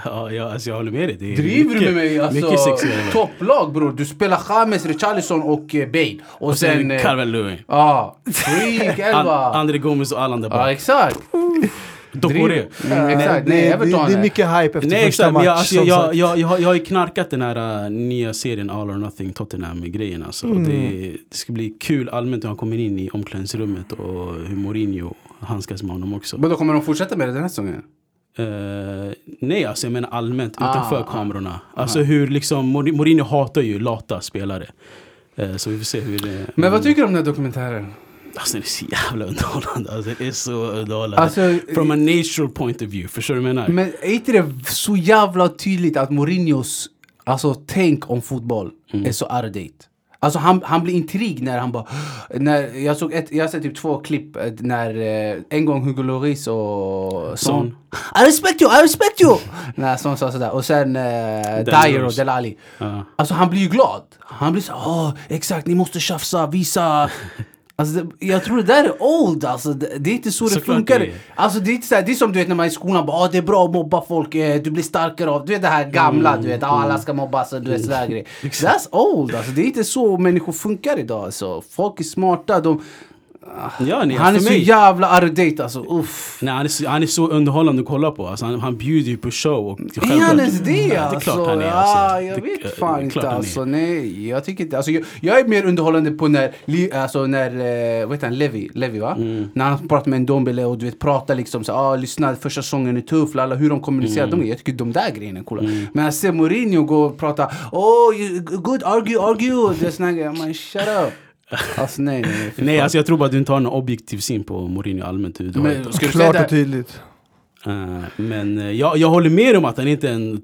[SPEAKER 1] Ja, jag, alltså, jag håller med dig. Det är
[SPEAKER 2] Driver du
[SPEAKER 1] mycket-
[SPEAKER 2] med mig?
[SPEAKER 1] mycket
[SPEAKER 2] Alltså,
[SPEAKER 1] sexigare.
[SPEAKER 2] topplag bror. Du spelar James, Richarlison och eh, Bale. Och,
[SPEAKER 1] Och sen
[SPEAKER 2] eh,
[SPEAKER 1] Calvert Lewin.
[SPEAKER 2] Ja, freak
[SPEAKER 1] An-
[SPEAKER 2] elva.
[SPEAKER 1] André Gomez och Allan där
[SPEAKER 2] Ja,
[SPEAKER 1] bak.
[SPEAKER 2] exakt.
[SPEAKER 1] Dokore.
[SPEAKER 2] Mm, exakt.
[SPEAKER 3] det,
[SPEAKER 2] Nej,
[SPEAKER 3] det,
[SPEAKER 2] Everton.
[SPEAKER 3] det är mycket hype efter
[SPEAKER 1] Nej
[SPEAKER 3] första
[SPEAKER 1] exakt, men
[SPEAKER 3] match.
[SPEAKER 1] jag, alltså,
[SPEAKER 3] som
[SPEAKER 1] jag,
[SPEAKER 3] sagt.
[SPEAKER 1] jag, jag, har- jag har ju knarkat den här äh, nya serien All or Nothing Tottenham-grejen alltså. Och
[SPEAKER 2] Mm.
[SPEAKER 1] Det, det ska bli kul allmänt hur han kommer in i omklädningsrummet och hur Mourinho handskas med honom också.
[SPEAKER 2] Men då kommer de fortsätta med det den här säsongen?
[SPEAKER 1] Eh, nej, alltså jag menar allmänt
[SPEAKER 2] Ah,
[SPEAKER 1] utanför
[SPEAKER 2] ah.
[SPEAKER 1] kamerorna. Alltså hur liksom, Mor- Mourinho hatar ju lata spelare. Eh, så vi får se hur det...
[SPEAKER 2] Men vad tycker du om den här dokumentären?
[SPEAKER 1] Alltså det är så jävla underhållande. Alltså, det är så underhållande.
[SPEAKER 2] Alltså,
[SPEAKER 1] From a natural point of view, förstår du vad jag menar?
[SPEAKER 2] men är inte det så jävla tydligt att Mourinhos alltså, tänk om fotboll
[SPEAKER 1] Mm.
[SPEAKER 2] är så outdated? Alltså han, han blir intrig när han bara... När, jag såg ett, jag har sett typ två klipp eh, när eh, en gång Hugo Lloris och Son.
[SPEAKER 1] Son.
[SPEAKER 2] I respect you, I respect you! när Son sa sådär. Och sen eh, Dyer och
[SPEAKER 1] Rose.
[SPEAKER 2] Delali.
[SPEAKER 1] Ja.
[SPEAKER 2] Alltså han blir ju glad. Han blir så åh exakt, ni måste tjafsa, visa. Alltså, det, jag tror det där är old alltså. Det, det är inte så det
[SPEAKER 1] Såklart
[SPEAKER 2] funkar.
[SPEAKER 1] det är.
[SPEAKER 2] Alltså det är inte så här, det är som du vet när man är i skolan bara ah, det är bra att mobba folk, eh, du blir starkare av Du vet det här gamla,
[SPEAKER 1] Mm,
[SPEAKER 2] du vet ah, alla ska mobbas och du vet sådär grejer. That's old alltså. Det är inte så människor funkar idag alltså. Folk är smarta, de...
[SPEAKER 1] Ja, nej,
[SPEAKER 2] Han är
[SPEAKER 1] för
[SPEAKER 2] så
[SPEAKER 1] mig-
[SPEAKER 2] jävla outdated alltså. Uff.
[SPEAKER 1] Nej, han, är så, han är så underhållande att kolla på. Alltså, han, han bjuder ju på show. Och
[SPEAKER 2] Är han ens
[SPEAKER 1] Ja,
[SPEAKER 2] det
[SPEAKER 1] är
[SPEAKER 2] alltså?
[SPEAKER 1] klart han är.
[SPEAKER 2] Ja,
[SPEAKER 1] Alltså.
[SPEAKER 2] jag
[SPEAKER 1] Det- det är
[SPEAKER 2] vet fan
[SPEAKER 1] klart
[SPEAKER 2] inte
[SPEAKER 1] han är.
[SPEAKER 2] alltså. Nej, jag tycker inte. Alltså, jag, jag är mer underhållande på när, Li- alltså när, eh, vad heter han, Levi, Levi va?
[SPEAKER 1] Mm.
[SPEAKER 2] När han pratar med en Dombele och du vet pratar liksom så ah, lyssna första säsongen är tuff, lalla, hur de kommunicerar.
[SPEAKER 1] Mm.
[SPEAKER 2] De, jag tycker de där grejerna är coola. Men att se Mourinho gå och prata, oh you, good argue, argue, det är såna grejer. Man shut up. Alltså nej, nej, nej. fy
[SPEAKER 1] Nej,
[SPEAKER 2] fan.
[SPEAKER 1] alltså jag tror bara att du inte har någon objektiv syn på Mourinho allmänt. Du, du har
[SPEAKER 2] Men
[SPEAKER 1] inte-
[SPEAKER 2] ska du säga
[SPEAKER 3] Klart
[SPEAKER 2] det här-
[SPEAKER 3] och tydligt.
[SPEAKER 1] Eh, men eh, jag, jag håller med om att han inte är en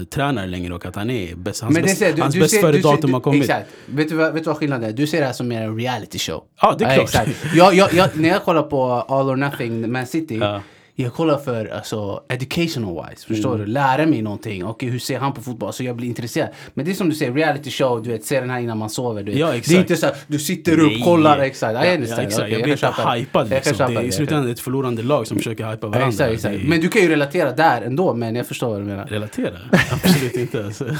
[SPEAKER 1] topptränare längre och att han är bäst. Hans,
[SPEAKER 2] Men det är
[SPEAKER 1] bäst,
[SPEAKER 2] så här, du-
[SPEAKER 1] hans
[SPEAKER 2] du
[SPEAKER 1] bäst
[SPEAKER 2] ser-
[SPEAKER 1] före
[SPEAKER 2] du ser-
[SPEAKER 1] datum
[SPEAKER 2] du-
[SPEAKER 1] har kommit.
[SPEAKER 2] Exakt. Vet du, vad- vet du vad skillnaden är? Du ser det här som mer en reality show.
[SPEAKER 1] Ja, det är klart.
[SPEAKER 2] jag, jag, jag, när jag kollar på All or Nothing Man City,
[SPEAKER 1] Ja.
[SPEAKER 2] jag kollar för alltså, educational wise. Förstår
[SPEAKER 1] Mm.
[SPEAKER 2] du? Lära mig någonting. Och hur ser han på fotboll? Så jag blir intresserad. Men det är som du säger, reality show, du vet, se den här innan man sover. Du vet.
[SPEAKER 1] Ja,
[SPEAKER 2] Det är
[SPEAKER 1] exakt.
[SPEAKER 2] inte så att du sitter upp,
[SPEAKER 1] Nej.
[SPEAKER 2] kollar. Exakt.
[SPEAKER 1] Ja,
[SPEAKER 2] I
[SPEAKER 1] ja,
[SPEAKER 2] understand.
[SPEAKER 1] exakt.
[SPEAKER 2] Okej,
[SPEAKER 1] jag blir
[SPEAKER 2] kan
[SPEAKER 1] inte
[SPEAKER 2] köpa det.
[SPEAKER 1] hypad.
[SPEAKER 2] Jag kan
[SPEAKER 1] Liksom.
[SPEAKER 2] köpa
[SPEAKER 1] Det är
[SPEAKER 2] det.
[SPEAKER 1] i slutändan ett förlorande lag som försöker hypa varandra.
[SPEAKER 2] Exakt, exakt.
[SPEAKER 1] Det är-
[SPEAKER 2] Men du kan ju relatera där ändå. Men jag förstår vad du menar.
[SPEAKER 1] relatera. Absolut inte. Alltså.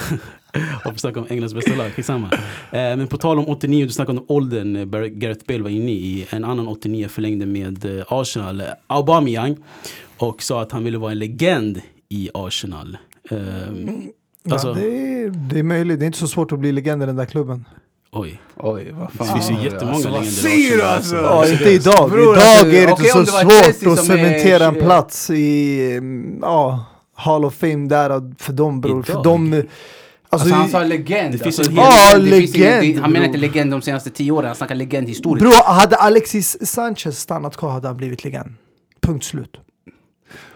[SPEAKER 1] Hoppas snacka om Englands bästa lag, skitsamma. Eh, men på tal om 89, du snackade om åldern eh, Bar- Gareth Bale var inne i. En annan 89 förlängde med eh, Arsenal, eh, Aubameyang. Och sa att han ville vara en legend i Arsenal. Eh, alltså,
[SPEAKER 3] Mm. Ja, det, är, det är möjligt, det är inte så svårt att bli legend i den där klubben.
[SPEAKER 1] oj.
[SPEAKER 2] Oj, vad fan.
[SPEAKER 1] Det finns ju jättemånga
[SPEAKER 2] alltså, vad
[SPEAKER 1] legender i
[SPEAKER 2] säger du
[SPEAKER 1] Arsenal,
[SPEAKER 2] alltså?
[SPEAKER 3] Ja, inte idag.
[SPEAKER 2] Bror,
[SPEAKER 3] idag
[SPEAKER 2] alltså,
[SPEAKER 3] är det
[SPEAKER 2] okej,
[SPEAKER 3] inte
[SPEAKER 2] om
[SPEAKER 3] så
[SPEAKER 2] det var Chelsea
[SPEAKER 3] svårt att
[SPEAKER 2] som är
[SPEAKER 3] cementera en
[SPEAKER 2] 21.
[SPEAKER 3] plats i mm, ja, Hall of Fame där för dem bror. För
[SPEAKER 1] Idag?
[SPEAKER 3] dem,
[SPEAKER 2] Alltså, han sa
[SPEAKER 3] ju-
[SPEAKER 2] legend.
[SPEAKER 1] Det finns
[SPEAKER 2] alltså,
[SPEAKER 1] en
[SPEAKER 2] helt-
[SPEAKER 3] hel-
[SPEAKER 2] det
[SPEAKER 3] Ah,
[SPEAKER 2] finns ingen-
[SPEAKER 3] legend,
[SPEAKER 2] det- Han menar
[SPEAKER 1] bror.
[SPEAKER 2] inte legend de senaste tio åren, han snackar legend historiskt.
[SPEAKER 3] Bro, hade Alexis Sanchez stannat kvar hade han blivit legend. Punkt slut.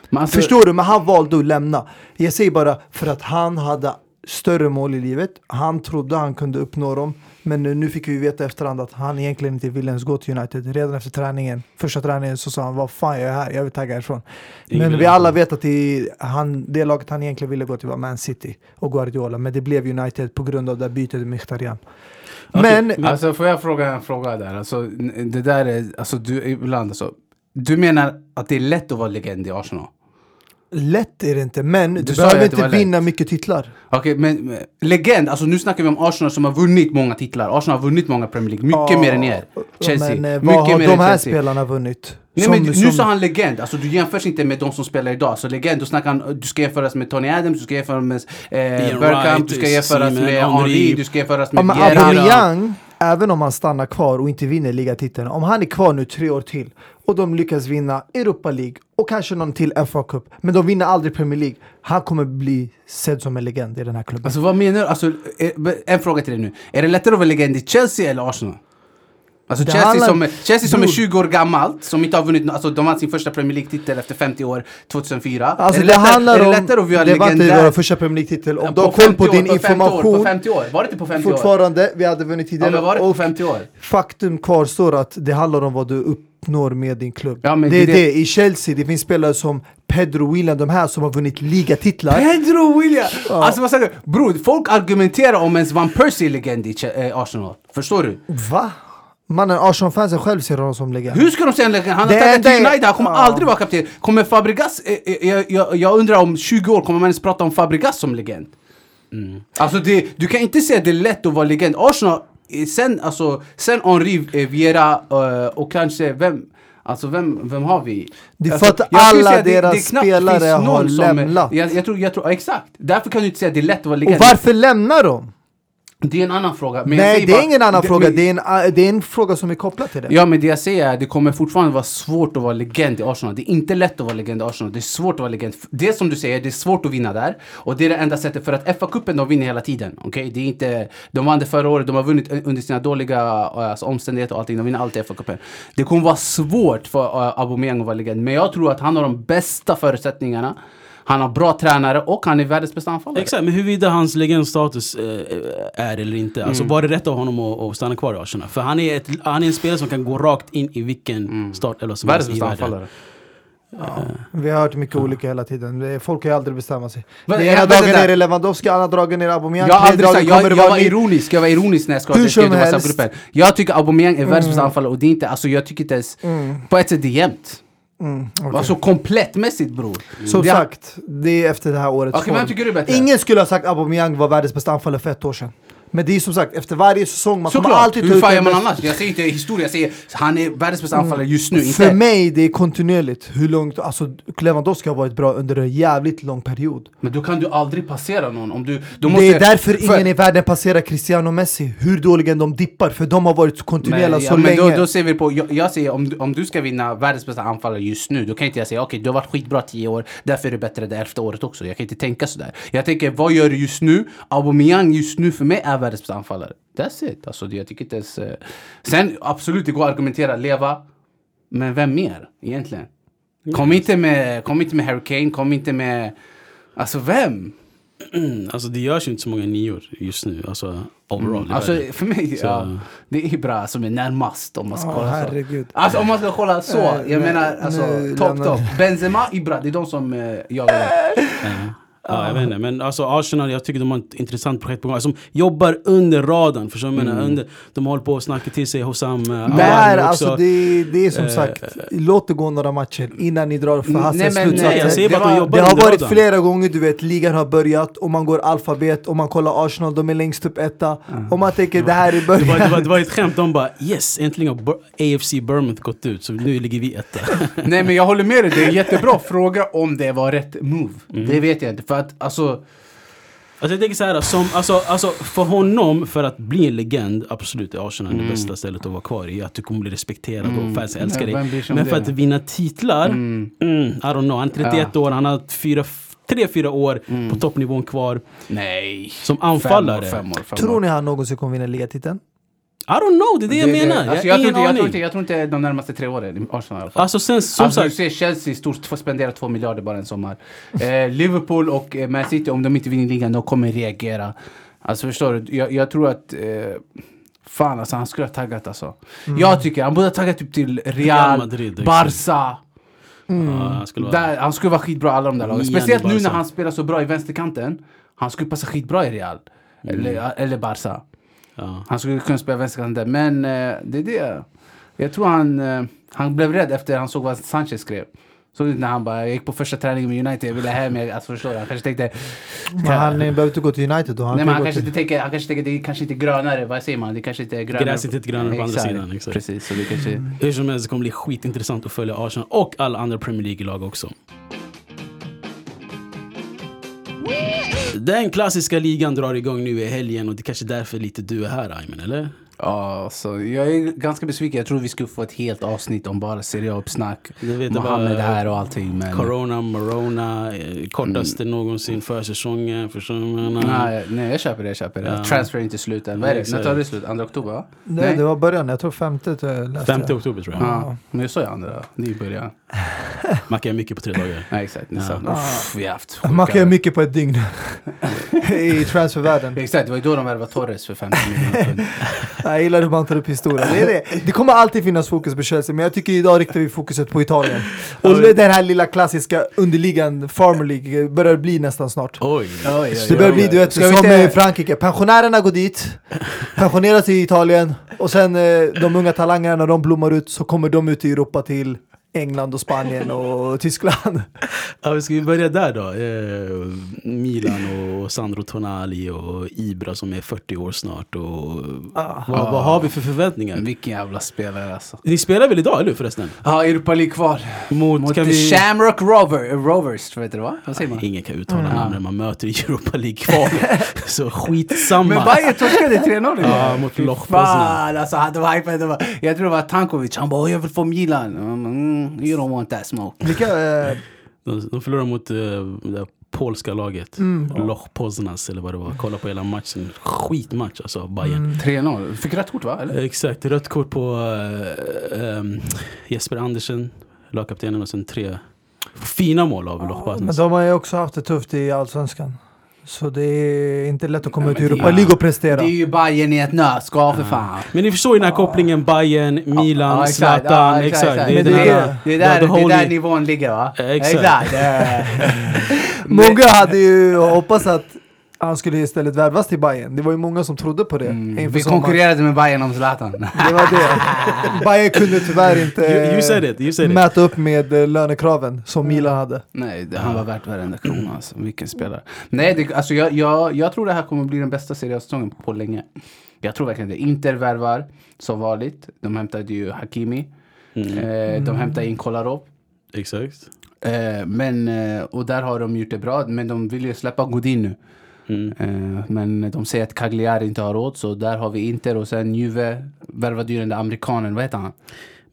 [SPEAKER 2] Men alltså,
[SPEAKER 3] Förstår du? Men han valde att lämna. Jag säger bara för att han hade större mål i livet. Han trodde han kunde uppnå dem. Men nu fick vi veta efterhand att han egentligen inte ville ens gå till United. Redan efter träningen, första träningen så sa han vad fan jag är här, jag vill tagga härifrån.
[SPEAKER 1] Ingen
[SPEAKER 3] Men
[SPEAKER 1] vill
[SPEAKER 3] vi
[SPEAKER 1] ha
[SPEAKER 3] alla vet att det, han, det laget han egentligen ville gå till var Man City och Guardiola. Men det blev United på grund av det där bytet med Mkhitaryan. Men
[SPEAKER 2] Alltså får jag fråga en fråga där? Alltså, n- det där är, alltså du, ibland alltså. Du menar att det är lätt att vara legend i Arsenal?
[SPEAKER 3] lätt är det inte. Men du,
[SPEAKER 2] Du sa ju
[SPEAKER 3] behöver
[SPEAKER 2] att det
[SPEAKER 3] inte
[SPEAKER 2] var lätt.
[SPEAKER 3] vinna mycket titlar.
[SPEAKER 2] Okej, men men legend, alltså nu snackar vi om Arsenal som har vunnit många titlar. Arsenal har vunnit många Premier League, mycket
[SPEAKER 3] Ja,
[SPEAKER 2] mer än er. Chelsea,
[SPEAKER 3] Men eh,
[SPEAKER 2] mycket
[SPEAKER 3] vad har
[SPEAKER 2] mer
[SPEAKER 3] de
[SPEAKER 2] än
[SPEAKER 3] här
[SPEAKER 2] Chelsea.
[SPEAKER 3] spelarna vunnit?
[SPEAKER 2] Nej,
[SPEAKER 3] Som- liksom-
[SPEAKER 2] men nu
[SPEAKER 3] som-
[SPEAKER 2] sa han legend, alltså du jämförs inte med de som spelar idag. Så legend, då snackar han, du ska jämföras med Tony Adams, du ska jämföras med eh,
[SPEAKER 1] Ian
[SPEAKER 2] Bergkamp,
[SPEAKER 1] Wright,
[SPEAKER 2] du ska jämföras
[SPEAKER 1] Simon,
[SPEAKER 2] med
[SPEAKER 1] Henry.
[SPEAKER 2] Henry, du ska jämföras
[SPEAKER 3] Ja,
[SPEAKER 2] med
[SPEAKER 3] men
[SPEAKER 2] Vieira.
[SPEAKER 3] Aubameyang, även om han stannar kvar och inte vinner ligatiteln, om han är kvar nu tre år till och de lyckas vinna Europa League och kanske någon till FA Cup, men de vinner aldrig Premier League. Han kommer bli sedd som en legend i den här klubben.
[SPEAKER 2] Alltså vad menar du? Alltså, eh, en fråga till dig nu. Är det lättare att vara legend i Chelsea eller Arsenal? Alltså
[SPEAKER 3] Det
[SPEAKER 2] Chelsea,
[SPEAKER 3] handlar-
[SPEAKER 2] som, är- Chelsea som är
[SPEAKER 3] Bror.
[SPEAKER 2] 20 år gammalt, som inte har vunnit, nå- alltså de vann sin första Premier League-titel efter 50 år 2004.
[SPEAKER 3] Alltså,
[SPEAKER 2] är,
[SPEAKER 3] det,
[SPEAKER 2] det lättare,
[SPEAKER 3] handlar
[SPEAKER 2] är det
[SPEAKER 3] om...
[SPEAKER 2] lättare att vara
[SPEAKER 3] det var
[SPEAKER 2] legend
[SPEAKER 3] inte vår
[SPEAKER 2] där?
[SPEAKER 3] första Premier League-titel. Om
[SPEAKER 2] Ja,
[SPEAKER 3] du har koll
[SPEAKER 2] 50
[SPEAKER 3] på
[SPEAKER 2] år,
[SPEAKER 3] din
[SPEAKER 2] 50 år,
[SPEAKER 3] information
[SPEAKER 2] På 50 år, var det inte på 50 år?
[SPEAKER 3] fortfarande, vi hade vunnit
[SPEAKER 2] Ja,
[SPEAKER 3] tidigare.
[SPEAKER 2] men var det på
[SPEAKER 3] och
[SPEAKER 2] 50 år?
[SPEAKER 3] faktum kvarstår att det handlar om vad du uppnår med din klubb.
[SPEAKER 2] Ja,
[SPEAKER 3] det
[SPEAKER 2] men
[SPEAKER 3] är det,
[SPEAKER 2] det-
[SPEAKER 3] I Chelsea, det finns spelare som Pedro William, de här som har vunnit ligatitlar.
[SPEAKER 2] Pedro William! Alltså vad säger du? Bror, folk argumenterar om ens Van Persie är legend i Che- eh, Arsenal. Förstår du?
[SPEAKER 3] Va? Mannen, Arsenal-fansen själv ser honom som legend.
[SPEAKER 2] Hur ska de säga en legend? Han har
[SPEAKER 3] Det
[SPEAKER 2] tagit till
[SPEAKER 3] enda är-
[SPEAKER 2] United, han kommer
[SPEAKER 3] Ja.
[SPEAKER 2] aldrig vara kapten. Kommer Fabregas... eh, eh, Jag, jag, jag undrar om 20 år, kommer man ens prata om Fabregas som legend? Alltså det, du kan inte säga att det är lätt att vara legend. Arsenal, eh, sen, alltså, sen Henri, eh, Vieira eh, och kanske vem... Alltså vem, vem har vi?
[SPEAKER 3] Det är
[SPEAKER 2] alltså,
[SPEAKER 3] för att
[SPEAKER 2] jag skulle
[SPEAKER 3] alla
[SPEAKER 2] säga att
[SPEAKER 3] deras
[SPEAKER 2] knappt
[SPEAKER 3] spelare
[SPEAKER 2] finns någon
[SPEAKER 3] har
[SPEAKER 2] som, eh,
[SPEAKER 3] lämnat.
[SPEAKER 2] Jag, jag tror, jag tror, ja, exakt. Därför kan du inte säga att det är lätt att vara
[SPEAKER 3] Och
[SPEAKER 2] legend.
[SPEAKER 3] varför lämnar de?
[SPEAKER 2] Det är en annan fråga. Men jag
[SPEAKER 3] Nej,
[SPEAKER 2] säger
[SPEAKER 3] det är
[SPEAKER 2] bara-
[SPEAKER 3] ingen annan
[SPEAKER 2] det-
[SPEAKER 3] fråga.
[SPEAKER 2] men-
[SPEAKER 3] Det är, en, a- det är en fråga som är kopplad till det.
[SPEAKER 2] Ja men det jag säger är att det kommer fortfarande vara svårt att vara legend i Arsenal. Det är inte lätt att vara legend i Arsenal. Det är svårt att vara legend. Det som du säger, det är svårt att vinna där. Och det är det enda sättet för att FA-cupen de vinner hela tiden. Okej, det är inte... De vann det förra året, de har vunnit under sina dåliga eh, alltså, omständigheter och allting. De vinner alltid FA-cupen. Det kommer vara svårt för uh, Aubameyang att vara legend. Men jag tror att han har de bästa förutsättningarna. Han har bra tränare och han är världens bästa anfallare.
[SPEAKER 1] Exakt, men huruvida hans legendstatus eh, är eller inte. Alltså var det rätt av honom att, att stanna kvar i Arsenal? För han är, ett, han är en spelare som kan gå rakt in i vilken start eller som
[SPEAKER 2] Världens
[SPEAKER 1] helst i
[SPEAKER 2] bästa
[SPEAKER 1] världen.
[SPEAKER 2] anfallare.
[SPEAKER 3] Ja, vi har hört mycket olika hela tiden. Det- Folk kan ju aldrig bestämma sig.
[SPEAKER 2] Men-
[SPEAKER 3] Det
[SPEAKER 2] jag
[SPEAKER 3] ena
[SPEAKER 2] vet det
[SPEAKER 3] dagen
[SPEAKER 2] där.
[SPEAKER 3] är det Lewandowski, andra dagen är det Aubameyang,
[SPEAKER 2] Jag, har
[SPEAKER 3] tredje
[SPEAKER 2] aldrig
[SPEAKER 3] dagen
[SPEAKER 2] sagt, jag,
[SPEAKER 3] kommer
[SPEAKER 2] jag
[SPEAKER 3] det vara
[SPEAKER 2] var
[SPEAKER 3] ny...
[SPEAKER 2] ironisk, jag var ironisk när jag skrev
[SPEAKER 3] Hur
[SPEAKER 2] det skrev
[SPEAKER 3] som
[SPEAKER 2] till
[SPEAKER 3] helst. Mm.
[SPEAKER 2] WhatsApp-gruppen. Jag tycker Aubameyang är världens bästa anfallare och det är inte, alltså jag tycker inte ens, på ett sätt det är jämnt.
[SPEAKER 3] Mm, okej.
[SPEAKER 2] Alltså komplettmässigt bror.
[SPEAKER 3] Som
[SPEAKER 2] Det-
[SPEAKER 3] sagt, det är efter det här årets
[SPEAKER 2] Okej, vem tycker du är bättre?
[SPEAKER 3] Ingen skulle ha sagt Aubameyang var världens bästa anfallare för ett år sedan. Men det är som sagt, efter varje säsong, man kommer
[SPEAKER 2] Såklart,
[SPEAKER 3] alltid ta
[SPEAKER 2] hur
[SPEAKER 3] ut
[SPEAKER 2] fan
[SPEAKER 3] den
[SPEAKER 2] gör man
[SPEAKER 3] bästa-
[SPEAKER 2] annars? Jag säger inte historia, jag säger han är världens bästa anfallare just nu,
[SPEAKER 3] För
[SPEAKER 2] inte...
[SPEAKER 3] mig det är kontinuerligt hur långt, alltså Lewandowski har varit bra under en jävligt lång period.
[SPEAKER 2] Men då kan du aldrig passera någon om du... Då
[SPEAKER 3] det är därför ingen i världen passerar Cristiano Messi, hur dåligen de dippar, för de har varit kontinuerliga
[SPEAKER 2] men,
[SPEAKER 3] så
[SPEAKER 2] ja, men
[SPEAKER 3] länge.
[SPEAKER 2] då, då ser vi på, jag, jag säger om, du- om du ska vinna världens bästa anfallare just nu, då kan inte jag säga okej du har varit skitbra tio år, därför är du bättre det elfte året också. Jag kan inte tänka sådär. Jag tänker, vad gör du just nu? Aubameyang just nu för mig är världens bästa anfallare. That's it. Alltså, det- jag tycker inte ens... eh. Sen absolut, det går att argumentera, leva. Men vem mer egentligen? Kom inte med, kom inte med Harry Kane, kom inte med... Alltså vem?
[SPEAKER 1] Mm, alltså det görs ju inte så många nior just nu, alltså overall. i
[SPEAKER 2] Alltså
[SPEAKER 1] världen.
[SPEAKER 2] för mig,
[SPEAKER 1] Så-
[SPEAKER 2] ja, det är bra som är närmast om man ska
[SPEAKER 3] Ja,
[SPEAKER 2] kolla så.
[SPEAKER 3] herregud.
[SPEAKER 2] Alltså om man ska kolla så,
[SPEAKER 3] Eh,
[SPEAKER 2] jag
[SPEAKER 3] nej,
[SPEAKER 2] menar alltså
[SPEAKER 3] nu
[SPEAKER 2] topp
[SPEAKER 3] lämnar
[SPEAKER 2] topp. Benzema, Ibra, det är de som eh, jag vill ha.
[SPEAKER 1] Ja, jag vet inte. Men alltså Arsenal, jag tycker de har ett intressant projekt på gång. Alltså, de jobbar under radarn, förstår du vad jag menar? Under, de håller på att snacka till sig Hossam eh, Awar
[SPEAKER 3] Nej,
[SPEAKER 1] nu
[SPEAKER 3] alltså
[SPEAKER 1] också.
[SPEAKER 3] det, det är som sagt, låt det gå några matcher innan ni drar för
[SPEAKER 2] Nej,
[SPEAKER 3] hastiga
[SPEAKER 2] men-
[SPEAKER 3] slutsatser.
[SPEAKER 1] Nej, jag ser
[SPEAKER 2] det
[SPEAKER 1] bara att de
[SPEAKER 2] var-
[SPEAKER 1] jobbar
[SPEAKER 3] Det har
[SPEAKER 1] under
[SPEAKER 3] varit
[SPEAKER 1] radarn.
[SPEAKER 3] flera gånger, du vet, ligan har börjat och man går alfabet och man kollar Arsenal, de är längst upp etta. Och man tänker det här är
[SPEAKER 1] Det var,
[SPEAKER 3] början.
[SPEAKER 1] det, var, det var ett skämt, de bara yes, äntligen har Bur- AFC Bournemouth gått ut så nu ligger vi etta.
[SPEAKER 2] Nej men jag håller med dig, det är en jättebra fråga om det var rätt move.
[SPEAKER 1] Mm.
[SPEAKER 2] Det vet jag inte för att alltså,
[SPEAKER 1] Alltså jag tänker så här, som, alltså, alltså, för honom, för att bli en legend, absolut är Arsenal
[SPEAKER 2] Mm.
[SPEAKER 1] det bästa stället att vara kvar i. Att du kommer bli respekterad och fansen älskar
[SPEAKER 2] Men Mm. vem bryr
[SPEAKER 1] dig.
[SPEAKER 2] sig om
[SPEAKER 1] Men för
[SPEAKER 2] det?
[SPEAKER 1] mm, att vinna titlar, mm. I don't know. Han är 31 år, han har fyra, tre, fyra år på toppnivån kvar
[SPEAKER 2] Nej.
[SPEAKER 1] som anfallare.
[SPEAKER 2] Fem år, fem år, fem
[SPEAKER 3] Tror
[SPEAKER 2] år.
[SPEAKER 3] ni han någonsin kommer vinna ligatiteln?
[SPEAKER 1] I don't know, det är det jag menar.
[SPEAKER 2] Alltså,
[SPEAKER 1] jag
[SPEAKER 2] jag,
[SPEAKER 1] har ingen
[SPEAKER 2] tror inte, jag, tror
[SPEAKER 1] aning.
[SPEAKER 2] inte, jag tror inte de närmaste tre åren i Arsenal i alla fall.
[SPEAKER 1] Alltså sen som
[SPEAKER 2] alltså,
[SPEAKER 1] sagt,
[SPEAKER 2] du ser Chelsea stort t- spendera två miljarder bara en sommar. Eh, Liverpool och eh, Man City, om de inte vinner ligan, de kommer reagera. Alltså förstår du? Jag, jag tror att... Eh, fan alltså, han skulle ha taggat alltså. Jag tycker han borde ha taggat typ till Real,
[SPEAKER 1] Mm. Real Madrid, exakt.
[SPEAKER 2] Barca.
[SPEAKER 1] ja, han skulle vara-
[SPEAKER 2] mm. Där, han skulle vara skitbra i alla de där lagen.
[SPEAKER 1] Nian i
[SPEAKER 2] Speciellt nu
[SPEAKER 1] Barca.
[SPEAKER 2] när han spelar så bra i vänsterkanten. Han skulle passa skitbra i Real.
[SPEAKER 1] Mm.
[SPEAKER 2] Eller, eller Barca.
[SPEAKER 1] ja.
[SPEAKER 2] Han skulle kunna spela vänsterkant där, men eh, det är det. Jag tror han, eh, han blev rädd efter han såg vad Sanchez skrev. Såg du inte när han bara, jag gick på första träningen med United, jag ville hem, jag alltså, förstår du? Han kanske tänkte,
[SPEAKER 3] Men han eh, behöver inte gå till United då. Han
[SPEAKER 2] nej
[SPEAKER 3] kan
[SPEAKER 2] men han
[SPEAKER 3] gå
[SPEAKER 2] kanske
[SPEAKER 3] till-
[SPEAKER 2] inte tänker, han kanske tänker, det är kanske inte grönare, vad säger man? Det kanske inte är grönare.
[SPEAKER 1] Gräset är inte grönare på andra
[SPEAKER 2] Exakt.
[SPEAKER 1] sidan, exakt.
[SPEAKER 2] Precis, så det kanske...
[SPEAKER 1] Hur som helst, det kommer bli skitintressant att följa Arsenal och alla andra Premier League-lag också. Den klassiska ligan drar igång nu i helgen och det är kanske därför lite du är här Ayman, eller?
[SPEAKER 2] Ja, så jag är ganska besviken. Jag tror vi skulle få ett helt avsnitt om bara Serie A-uppsnack.
[SPEAKER 1] Du vet, det
[SPEAKER 2] Mohammed
[SPEAKER 1] bara-
[SPEAKER 2] här och allting. Men...
[SPEAKER 1] Corona, Morona, eh, kortaste någonsin försäsongen, förstår du vad jag menar?
[SPEAKER 2] Nej, nej, jag köper det, jag köper det.
[SPEAKER 1] Ja.
[SPEAKER 2] Transfer är inte slut än. Vad är det? När
[SPEAKER 1] Exakt.
[SPEAKER 2] tar det slut? 2 oktober? va?
[SPEAKER 3] Nej, det var början. Jag tror femte tror jag läste.
[SPEAKER 1] 5 oktober tror jag.
[SPEAKER 2] Ja, men jag sa ju andra. Ni börjar.
[SPEAKER 1] Mackan är mycket på tre dagar.
[SPEAKER 2] Nej, exakt. Ni sa, uff, vi har haft sjuka-
[SPEAKER 3] Man kan göra mycket på ett dygn. I transfervärlden.
[SPEAKER 2] Exakt, det var ju då de värvade Torres för 50 miljoner pund.
[SPEAKER 3] Jag gillar hur man tar upp historien. Det, är det. det kommer alltid finnas fokus på Chelsea, men jag tycker idag riktar vi fokuset på Italien. Och
[SPEAKER 2] Alltså-
[SPEAKER 3] den här lilla klassiska underligan, Farmer League, börjar bli nästan snart.
[SPEAKER 1] Oj!
[SPEAKER 3] Det börjar bli, du vet,
[SPEAKER 2] Ska vi
[SPEAKER 3] som
[SPEAKER 2] se-
[SPEAKER 3] i Frankrike. Pensionärerna går dit, pensioneras i Italien och sen eh, de unga talangerna, när de blommar ut så kommer de ut i Europa till England och Spanien och Tyskland.
[SPEAKER 1] Ja, men ska vi börja där då? Eh, Milan och Sandro Tonali och Ibra som är 40 år snart. Och vad, vad har vi för förväntningar?
[SPEAKER 2] Vilken jävla spelare alltså.
[SPEAKER 1] Ni spelar väl idag, eller hur förresten?
[SPEAKER 2] Ja, Europa League-kval.
[SPEAKER 1] Mot,
[SPEAKER 2] Mot
[SPEAKER 1] kan vi...
[SPEAKER 2] Shamrock Rover, Rovers, vet du vad? Vad säger man?
[SPEAKER 1] Ingen kan uttala
[SPEAKER 2] Mm.
[SPEAKER 1] namn när man möter i Europa League-kval. så skitsamma.
[SPEAKER 2] Men Bayern torskade 3-0 igår.
[SPEAKER 1] Ja, mot
[SPEAKER 2] Fy
[SPEAKER 1] Loch
[SPEAKER 2] Fan alltså, han var hypad. Det var- Jag tror det var Tankovic, han bara "Åh, jag vill få Milan. Mm, you don't want that smoke.
[SPEAKER 3] Vilka, eh,
[SPEAKER 1] De, de förlorade mot eh, det där polska laget.
[SPEAKER 2] Mm.
[SPEAKER 1] Loch Poznas eller vad det var. Kolla på hela matchen. Skitmatch alltså av Bayern.
[SPEAKER 2] Mm.
[SPEAKER 1] Eh,
[SPEAKER 2] 3-0. Fick rött kort va? Eller?
[SPEAKER 1] Exakt, rött kort på eh, ehm, Jesper Andersen, lagkaptenen och sen tre fina mål av Loch
[SPEAKER 3] men
[SPEAKER 2] Mm.
[SPEAKER 1] Poznas.
[SPEAKER 3] de har ju också haft det tufft i Allsvenskan. Så det är inte lätt att komma ut i
[SPEAKER 2] men det-
[SPEAKER 3] Europa League och prestera.
[SPEAKER 2] Det är ju Bayern i ett nötskal för fan.
[SPEAKER 1] Men ni förstår ju den här kopplingen Bayern, Milan,
[SPEAKER 2] Ja, exakt.
[SPEAKER 1] Zlatan.
[SPEAKER 2] Ja,
[SPEAKER 1] exakt, Det är
[SPEAKER 3] Men
[SPEAKER 1] den
[SPEAKER 2] det,
[SPEAKER 3] det
[SPEAKER 1] här-
[SPEAKER 2] är,
[SPEAKER 3] är-
[SPEAKER 2] det, är
[SPEAKER 1] the-
[SPEAKER 2] där,
[SPEAKER 1] the
[SPEAKER 2] det är där
[SPEAKER 1] holy-
[SPEAKER 2] nivån ligger va?
[SPEAKER 1] Exakt.
[SPEAKER 2] eh.
[SPEAKER 3] Många hade ju hoppats att han skulle istället värvas till Bayern. Det var ju många som trodde på det.
[SPEAKER 1] Mm.
[SPEAKER 3] inför
[SPEAKER 2] Vi
[SPEAKER 3] sommaren.
[SPEAKER 2] konkurrerade med Bayern om Zlatan.
[SPEAKER 3] Det var det. Bayern kunde tyvärr inte
[SPEAKER 1] You, you said it, you said it. Mm.
[SPEAKER 3] mäta upp med eh, lönekraven som Milan hade.
[SPEAKER 2] Nej, det- han var värt varenda krona alltså. Vilken spelare. Nej, det, alltså jag, jag, jag tror det här kommer bli den bästa seriesäsongen på länge. Jag tror verkligen det. Inter värvar som vanligt. De hämtade ju Hakimi.
[SPEAKER 1] Mm.
[SPEAKER 2] Eh,
[SPEAKER 3] Mm.
[SPEAKER 2] de hämtade in Kolarov.
[SPEAKER 1] Exakt.
[SPEAKER 2] Eh, men, eh, och där har de gjort det bra, men de vill ju släppa Godin nu.
[SPEAKER 1] Mm.
[SPEAKER 2] Eh, men de säger att Cagliari inte har råd, så där har vi Inter och sen Juve värvade ju den där amerikanen, vad heter han?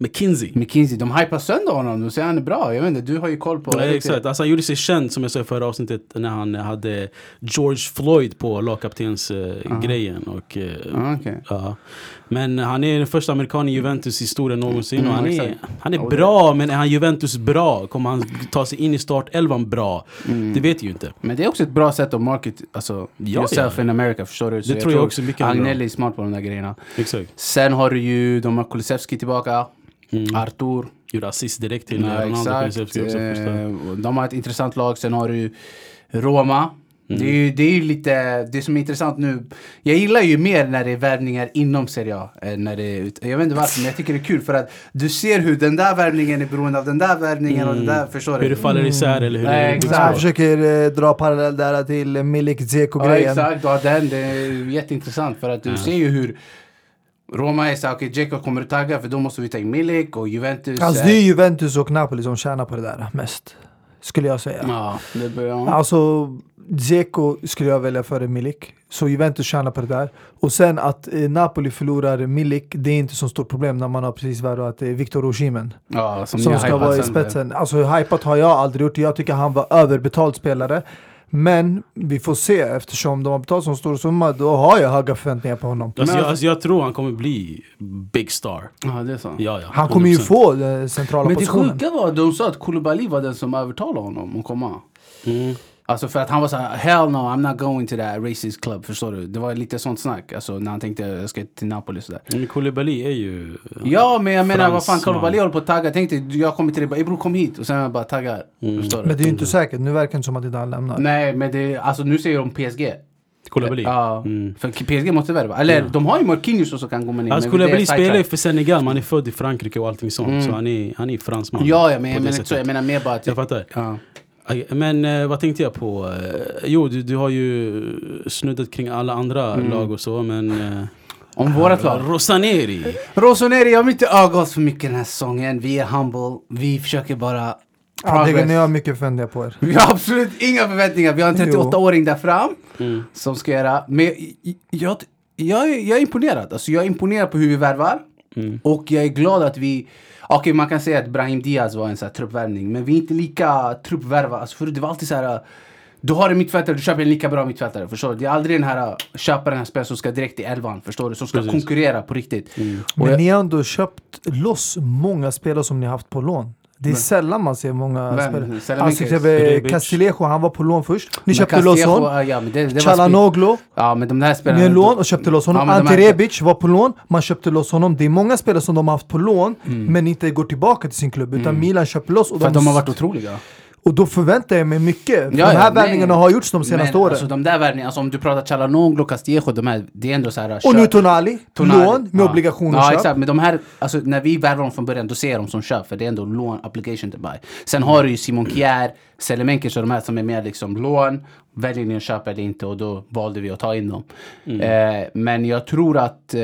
[SPEAKER 1] McKinsey.
[SPEAKER 2] McKinsey. De hypar sönder honom, de säger han är bra. Jag vet inte, du har ju koll på...
[SPEAKER 1] Nej, exakt. Alltså, han gjorde sig känd, som jag sa i förra avsnittet, när han hade George Floyd på lagkaptensgrejen. Uh,
[SPEAKER 2] Ah, okej.
[SPEAKER 1] ja. Men han är den första amerikanen i Juventus historia någonsin.
[SPEAKER 2] Mm,
[SPEAKER 1] och han, är,
[SPEAKER 2] exakt.
[SPEAKER 1] han är
[SPEAKER 2] Och
[SPEAKER 1] bra, men är han Juventus bra? Kommer han ta sig in i startelvan bra?
[SPEAKER 2] Mm.
[SPEAKER 1] Det vet ju inte.
[SPEAKER 2] Men det är också ett bra sätt att market alltså,
[SPEAKER 1] Ja,
[SPEAKER 2] yourself
[SPEAKER 1] ja.
[SPEAKER 2] in America, förstår du? Så
[SPEAKER 1] Det tror jag också mycket är bra.
[SPEAKER 2] Agnelli är smart på de där grejerna.
[SPEAKER 1] Exakt.
[SPEAKER 2] Sen har du ju, de har Kulusevski tillbaka,
[SPEAKER 1] Mm.
[SPEAKER 2] Artur.
[SPEAKER 1] Gjorde assist direkt till eh,
[SPEAKER 2] Ja,
[SPEAKER 1] Ronaldo.
[SPEAKER 2] exakt.
[SPEAKER 1] Kulusevski också, första.
[SPEAKER 2] Eh, De har ett intressant lag. Sen har du Roma.
[SPEAKER 1] Mm.
[SPEAKER 2] Det är ju det är ju lite, det som är intressant nu. Jag gillar ju mer när det är värvningar inom Serie A. än När det är, ut- jag vet inte varför, men jag tycker det är kul för att du ser hur den där värvningen är beroende av den där värvningen och den där. Förstår
[SPEAKER 1] Mm. Hur det
[SPEAKER 2] du?
[SPEAKER 1] faller isär eller hur
[SPEAKER 2] mm. Nej,
[SPEAKER 1] det
[SPEAKER 2] exakt.
[SPEAKER 3] Så han försöker eh, dra parallell där till Milik
[SPEAKER 2] Ja,
[SPEAKER 3] Zeko-grejen.
[SPEAKER 2] exakt. Ja, den, det är ju jätteintressant för att du ser ju hur Roma är såhär, okej, Dzeko kommer att tagga för då måste vi ta in Milik och Juventus.
[SPEAKER 3] Alltså
[SPEAKER 2] eh,
[SPEAKER 3] det är Juventus och Napoli som tjänar på det där mest. skulle jag säga.
[SPEAKER 2] Ja, det börjar...
[SPEAKER 3] Alltså, Dzeko skulle jag välja före Milik. Så Juventus tjänar på det där. Och sen att eh, Napoli förlorar Milik, det är inte så stort problem när man har precis värvat eh, Victor Osimhen.
[SPEAKER 2] Ja, som,
[SPEAKER 3] Som
[SPEAKER 2] ni
[SPEAKER 3] ska
[SPEAKER 2] hypat
[SPEAKER 3] vara i
[SPEAKER 2] sönder.
[SPEAKER 3] spetsen. Alltså hypat har jag aldrig gjort. Jag tycker han var överbetald spelare. Men vi får se eftersom de har betalat så stor summa. Då har jag höga förväntningar på honom.
[SPEAKER 1] Alltså,
[SPEAKER 2] Men-
[SPEAKER 1] jag, alltså, jag tror han kommer bli big star.
[SPEAKER 2] Ja, det är sant.
[SPEAKER 1] Ja, ja,
[SPEAKER 3] Han kommer ju
[SPEAKER 1] 100%.
[SPEAKER 3] få den centrala
[SPEAKER 2] Men det
[SPEAKER 3] positionen.
[SPEAKER 2] sjuka var att de sa att Koulibaly var den som övertalade honom att komma.
[SPEAKER 1] Mm.
[SPEAKER 2] Alltså för att han var så här, hell no I'm not going to that racist club, förstår du? Det var lite sånt snack, alltså när han tänkte jag ska till Napoli och sådär.
[SPEAKER 1] Men Koulibaly är ju...
[SPEAKER 2] Ja men jag menar vad fan
[SPEAKER 1] Mm. Fransman.
[SPEAKER 2] Koulibaly håller på att tagga, tänkte jag kommer till dig bara "Ey, bror kom hit och sen jag bara taggar.
[SPEAKER 1] Mm.
[SPEAKER 2] Förstår du?
[SPEAKER 3] Men det är ju inte säkert. Nu verkar det inte som att inte han lämnar.
[SPEAKER 2] Nej men det, alltså nu säger de PSG.
[SPEAKER 1] Koulibaly.
[SPEAKER 2] Ja,
[SPEAKER 1] Mm.
[SPEAKER 2] för PSG måste värva. Eller de har ju Marquinhos som kan komma in.
[SPEAKER 1] Alltså
[SPEAKER 2] men det är
[SPEAKER 1] Koulibaly
[SPEAKER 2] sidetrack.
[SPEAKER 1] spelar ju för Senegal, men han är född i Frankrike och allting sånt.
[SPEAKER 2] Mm.
[SPEAKER 1] Så han är, han är fransman.
[SPEAKER 2] Ja, ja men
[SPEAKER 1] på det
[SPEAKER 2] jag menar inte
[SPEAKER 1] sättet.
[SPEAKER 2] så, jag menar mer bara att...
[SPEAKER 1] Jag fattar.
[SPEAKER 2] Ja.
[SPEAKER 1] Aj, Men eh, vad tänkte jag på? Eh, jo, du, du har ju snuddat kring alla andra
[SPEAKER 3] Mm.
[SPEAKER 1] lag och så, men... Eh,
[SPEAKER 2] Om vårat lag.
[SPEAKER 1] Rosaneri!
[SPEAKER 2] Rossoneri, jag vill inte öga oss för mycket den här säsongen. Vi är humble. Vi försöker bara
[SPEAKER 3] Ja, det, ni
[SPEAKER 2] progress.
[SPEAKER 3] har mycket förväntningar på er.
[SPEAKER 2] Vi har absolut inga förväntningar. Vi har en
[SPEAKER 3] Jo.
[SPEAKER 2] 38-åring där fram
[SPEAKER 1] Mm.
[SPEAKER 2] som ska göra. Men jag, jag, jag, är- jag är imponerad. Alltså, jag är imponerad på hur vi värvar.
[SPEAKER 1] Mm.
[SPEAKER 2] Och jag är glad att vi... Okej, man kan säga att Brahim Diaz var en så här, truppvärvning. Men vi är inte lika truppvärva. Alltså, förut det var alltid så här... Du har en mittfältare, du köper en lika bra mittfältare. Förstår du? Det är aldrig den här, köpa den här spelaren som ska direkt i elvan. Förstår du? Som ska
[SPEAKER 1] Precis. Mm.
[SPEAKER 2] konkurrera på riktigt.
[SPEAKER 3] Men
[SPEAKER 2] Och jag-
[SPEAKER 3] ni har ändå köpt loss många spelare som ni har haft på lån. Det är sällan man ser många
[SPEAKER 2] Vem?
[SPEAKER 3] spelare.
[SPEAKER 2] Sällan
[SPEAKER 3] Alltså
[SPEAKER 2] mycket.
[SPEAKER 1] Rebic.
[SPEAKER 3] typ Castillejo, han var på lån först. Ni
[SPEAKER 2] Men
[SPEAKER 3] köpte loss
[SPEAKER 2] Castillejo,
[SPEAKER 3] honom.
[SPEAKER 2] Ja, men det, det var spel-
[SPEAKER 3] Chalanoglu,
[SPEAKER 2] Ja, men de där spelarna...
[SPEAKER 3] ni har lån och köpte loss honom.
[SPEAKER 2] Ja, men de
[SPEAKER 3] Ante
[SPEAKER 2] här-
[SPEAKER 3] Rebic var på lån, man köpte loss honom. Det är många spelare som de har haft på lån, men inte går tillbaka till sin klubb. Utan Milan köper loss och,
[SPEAKER 2] Mm. För att
[SPEAKER 3] de,
[SPEAKER 2] de har varit otroliga.
[SPEAKER 3] och då förväntar jag mig mycket. För
[SPEAKER 2] Ja,
[SPEAKER 3] de
[SPEAKER 2] ja,
[SPEAKER 3] här
[SPEAKER 2] nej.
[SPEAKER 3] värvningarna har gjorts de senaste
[SPEAKER 2] men,
[SPEAKER 3] åren.
[SPEAKER 2] Alltså, de där värvningarna, alltså, om du pratar Chalanoglu, Castillejo, de här, det är ändå så här...
[SPEAKER 3] och nu
[SPEAKER 2] köp-
[SPEAKER 3] Tonali,
[SPEAKER 2] Tonali.
[SPEAKER 3] lån med
[SPEAKER 2] Ja.
[SPEAKER 3] obligationer
[SPEAKER 2] Ja,
[SPEAKER 3] köp.
[SPEAKER 2] exakt. Men de här, alltså, när vi värvar dem från början, då ser jag dem som köp. För det är ändå lån, application to buy. Sen har du ju Simon Kjär, Selemenkis och de här som är mer liksom lån. Väljer ni att köpa eller inte? Och då valde vi att ta in dem. Eh, men jag tror att eh,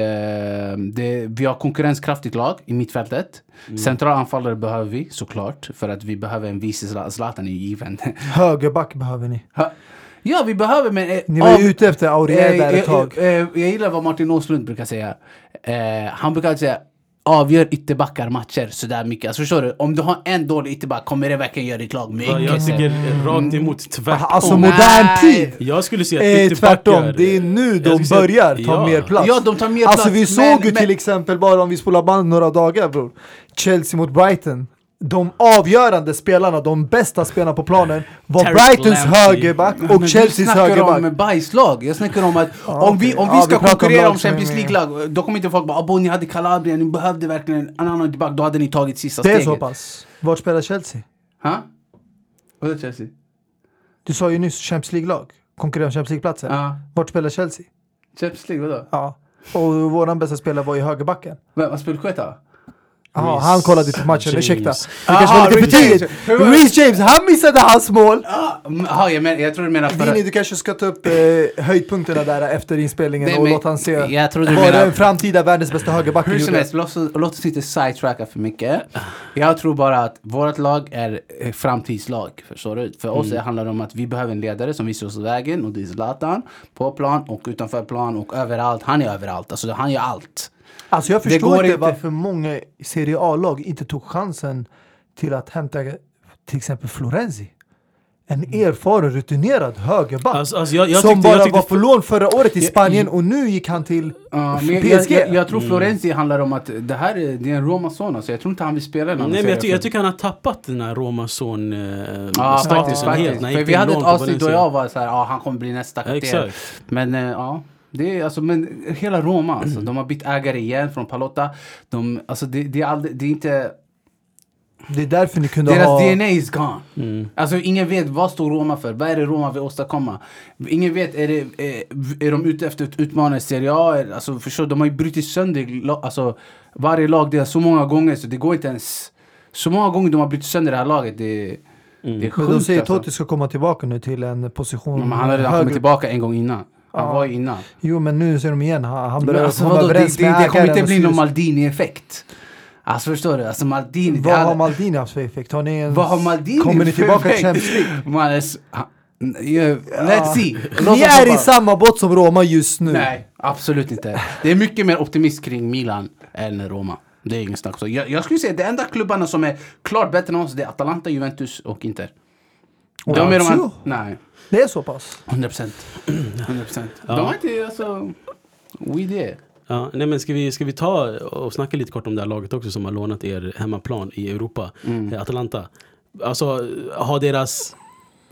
[SPEAKER 2] det, vi har konkurrenskraftigt lag i mittfältet. Centrala anfallare behöver vi såklart. För att vi behöver en vice Zla- Zlatan är ju given.
[SPEAKER 3] Högerback behöver ni.
[SPEAKER 2] ja, vi behöver men... eh,
[SPEAKER 3] Ni var ju
[SPEAKER 2] av-
[SPEAKER 3] ute efter Aurier där ett tag.
[SPEAKER 2] eh, eh, jag gillar vad Martin Åslund brukar säga. Eh, han brukar alltid säga avgör ytterbackar matcher sådär mycket. Alltså förstår du? Om du har en dålig ytterback kommer det verkligen göra ditt lag
[SPEAKER 1] Ja,
[SPEAKER 2] mycket
[SPEAKER 1] jag
[SPEAKER 2] sämre.
[SPEAKER 1] tycker rakt emot, tvärtom.
[SPEAKER 3] Alltså
[SPEAKER 2] Oh,
[SPEAKER 3] modern
[SPEAKER 2] nej.
[SPEAKER 3] tid!
[SPEAKER 1] jag skulle säga att
[SPEAKER 3] Eh,
[SPEAKER 1] ytterbackar-
[SPEAKER 3] tvärtom, det är nu
[SPEAKER 1] Jag
[SPEAKER 3] de
[SPEAKER 1] skulle säga-
[SPEAKER 3] börjar ta
[SPEAKER 1] ja.
[SPEAKER 3] mer plats.
[SPEAKER 2] Ja, de tar mer
[SPEAKER 3] alltså
[SPEAKER 2] plats,
[SPEAKER 3] vi
[SPEAKER 2] men-
[SPEAKER 3] såg ju
[SPEAKER 2] men-
[SPEAKER 3] till exempel, bara om vi spolar band några dagar bror. Chelsea mot Brighton. De avgörande spelarna, de bästa spelarna på planen var
[SPEAKER 1] Terrence
[SPEAKER 3] Brightons
[SPEAKER 1] Lamptey.
[SPEAKER 3] högerback
[SPEAKER 2] Men
[SPEAKER 3] och Chelseas
[SPEAKER 2] Du snackar
[SPEAKER 3] högerback.
[SPEAKER 2] om bajslag. Jag snackar om att om vi, om
[SPEAKER 3] okej.
[SPEAKER 2] vi
[SPEAKER 3] Ja,
[SPEAKER 2] ska
[SPEAKER 3] vi pratar om
[SPEAKER 2] konkurrera
[SPEAKER 3] lag
[SPEAKER 2] om
[SPEAKER 3] som är
[SPEAKER 2] Champions
[SPEAKER 3] med.
[SPEAKER 2] League-lag, då kommer inte folk bara “Abo, ni hade Calabria, ni behövde verkligen en annan ytterback, då hade ni tagit sista
[SPEAKER 3] Det är
[SPEAKER 2] steget”.
[SPEAKER 3] så pass. Vart spelar Chelsea?
[SPEAKER 2] Ha? Vadå Chelsea?
[SPEAKER 3] Du sa ju nyss Champions League-lag. Konkurrerar om Champions League-platser.
[SPEAKER 2] Ja.
[SPEAKER 3] Vart spelar Chelsea?
[SPEAKER 2] Champions League, vadå?
[SPEAKER 3] Ja. Och våran bästa spelare var ju högerbacken.
[SPEAKER 2] Vem, vad spelar Quetta?
[SPEAKER 3] Jaha,
[SPEAKER 1] Reece
[SPEAKER 3] han kollade på matchen,
[SPEAKER 1] James.
[SPEAKER 3] ursäkta. Det
[SPEAKER 2] Aha,
[SPEAKER 3] kanske var lite för
[SPEAKER 2] Reece James.
[SPEAKER 3] tidigt.
[SPEAKER 2] Hur var det?
[SPEAKER 3] Reece James, han missade hans mål!
[SPEAKER 2] Ja, Mm, jag, men, jag tror du menar förra...
[SPEAKER 3] Vini, du kanske ska ta upp eh, höjdpunkterna där efter inspelningen
[SPEAKER 2] Nej,
[SPEAKER 3] och
[SPEAKER 2] men
[SPEAKER 3] låta han se
[SPEAKER 2] jag trodde du
[SPEAKER 3] vad
[SPEAKER 2] menade-
[SPEAKER 3] den framtida världens bästa högerback
[SPEAKER 2] Hur som
[SPEAKER 3] gjorde.
[SPEAKER 2] helst, låt oss- låt oss inte sidetracka för mycket. Jag tror bara att vårt lag är eh, framtidslag. Förstår du? För oss handlar det om att vi behöver en ledare som visar oss vägen och det är Zlatan. På plan och utanför plan och överallt. Han är överallt. Alltså han gör allt.
[SPEAKER 3] Alltså jag
[SPEAKER 2] Det
[SPEAKER 3] förstår
[SPEAKER 2] går
[SPEAKER 3] inte
[SPEAKER 2] inte.
[SPEAKER 3] varför många Serie A-lag inte tog chansen till att hämta till exempel Florenzi. En
[SPEAKER 2] Mm.
[SPEAKER 3] erfaren, rutinerad högerback.
[SPEAKER 1] Alltså, alltså, jag, jag
[SPEAKER 3] som
[SPEAKER 1] tyckte,
[SPEAKER 3] bara
[SPEAKER 1] jag tyckte
[SPEAKER 3] var på lån förra året i Spanien och nu gick han till
[SPEAKER 2] Ja, men jag, jag,
[SPEAKER 3] PSG.
[SPEAKER 2] jag, jag tror Florenzi handlar om att det här är, det är en Roma son. Alltså jag tror inte han vill spela i någon
[SPEAKER 1] Nej men
[SPEAKER 2] serie
[SPEAKER 1] jag, ty- jag
[SPEAKER 2] för-
[SPEAKER 1] tycker han har tappat den här Romason eh,
[SPEAKER 2] Ja, faktiskt.
[SPEAKER 1] statusen
[SPEAKER 2] faktiskt.
[SPEAKER 1] helt. när han
[SPEAKER 2] För
[SPEAKER 1] gick
[SPEAKER 2] vi
[SPEAKER 1] till
[SPEAKER 2] hade ett
[SPEAKER 1] lån på
[SPEAKER 2] avsnitt då
[SPEAKER 1] Valencia.
[SPEAKER 2] jag var så här, ja han kommer bli nästa
[SPEAKER 1] Ja,
[SPEAKER 2] kapten.
[SPEAKER 1] exakt.
[SPEAKER 2] Men eh, ja, det är alltså, men hela Roma alltså, de har bytt ägare igen från Palotta. De, alltså det, det är aldrig, det är inte,
[SPEAKER 3] Det är därför ni kunde
[SPEAKER 2] deras
[SPEAKER 3] ha...
[SPEAKER 2] DNA is gone.
[SPEAKER 1] Mm.
[SPEAKER 2] Alltså ingen vet vad står Roma för, vad är det Roma vill åstadkomma? Ingen vet, är, det, eh, är, är de ute efter att utmana Serie A? Är- Alltså förstår du, de har ju brutit sönder la- alltså, varje lag det är så många gånger så det går inte ens. Så många gånger de har brutit sönder det här laget, det,
[SPEAKER 1] Mm.
[SPEAKER 2] det är
[SPEAKER 3] Men
[SPEAKER 2] sjukt
[SPEAKER 3] de säger att
[SPEAKER 2] alltså.
[SPEAKER 3] Totti ska komma tillbaka nu till en position
[SPEAKER 2] Ja, men han har redan
[SPEAKER 3] högre
[SPEAKER 2] kommit tillbaka en gång innan. Han
[SPEAKER 3] Ja.
[SPEAKER 2] var ju innan.
[SPEAKER 3] Jo men nu ser de igen, han, han
[SPEAKER 2] Men
[SPEAKER 3] börjar
[SPEAKER 2] alltså,
[SPEAKER 3] komma
[SPEAKER 2] vadå, det,
[SPEAKER 3] överens
[SPEAKER 2] det,
[SPEAKER 3] med
[SPEAKER 2] det kommer
[SPEAKER 3] ägaren
[SPEAKER 2] inte
[SPEAKER 3] och
[SPEAKER 2] bli någon
[SPEAKER 3] styrelsen.
[SPEAKER 2] Maldini-effekt. Alltså förstår du? Alltså Maldini. det
[SPEAKER 3] Vad
[SPEAKER 2] hade-
[SPEAKER 3] har Maldini haft för effekt? Har ni ens...
[SPEAKER 2] Vad har Maldini
[SPEAKER 3] Kommer ni
[SPEAKER 2] för
[SPEAKER 3] tillbaka till
[SPEAKER 2] effekt?
[SPEAKER 3] Champions League?
[SPEAKER 2] Man är s- ha- yeah, Let's
[SPEAKER 3] Ja.
[SPEAKER 2] see. Låt
[SPEAKER 3] Ni
[SPEAKER 2] oss
[SPEAKER 3] är i
[SPEAKER 2] hoppa.
[SPEAKER 3] samma båt som Roma just nu.
[SPEAKER 2] Nej, absolut inte. Det är mycket mer optimism kring Milan än Roma. Det är ingen snack så. Jag, jag skulle säga de enda klubbarna som är klart bättre än oss det är Atalanta, Juventus och Inter.
[SPEAKER 3] Och
[SPEAKER 2] de är de
[SPEAKER 3] Lazio?
[SPEAKER 2] an- Nej,
[SPEAKER 3] Det är så pass.
[SPEAKER 2] 100 procent. 100 procent. De har inte alltså... We there.
[SPEAKER 1] Ja, nej men ska, vi, ska vi ta och snacka lite kort om det här laget också som har lånat er hemmaplan i Europa,
[SPEAKER 2] Mm.
[SPEAKER 1] eh, Atalanta. Alltså har deras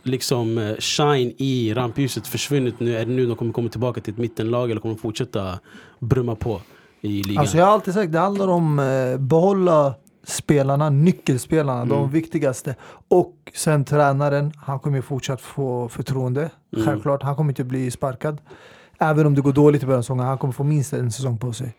[SPEAKER 1] liksom eh, shine i rampljuset försvunnit nu? Är det nu de kommer komma tillbaka till ett mittenlag eller kommer de fortsätta brumma på i ligan?
[SPEAKER 3] Alltså jag har alltid sagt det handlar om eh, behålla spelarna, nyckelspelarna,
[SPEAKER 1] Mm.
[SPEAKER 3] de viktigaste. Och sen tränaren, han kommer ju fortsatt få förtroende.
[SPEAKER 1] Mm.
[SPEAKER 3] Självklart, han kommer inte bli sparkad. Även om det går dåligt i början av säsongen, han kommer få minst en säsong på sig.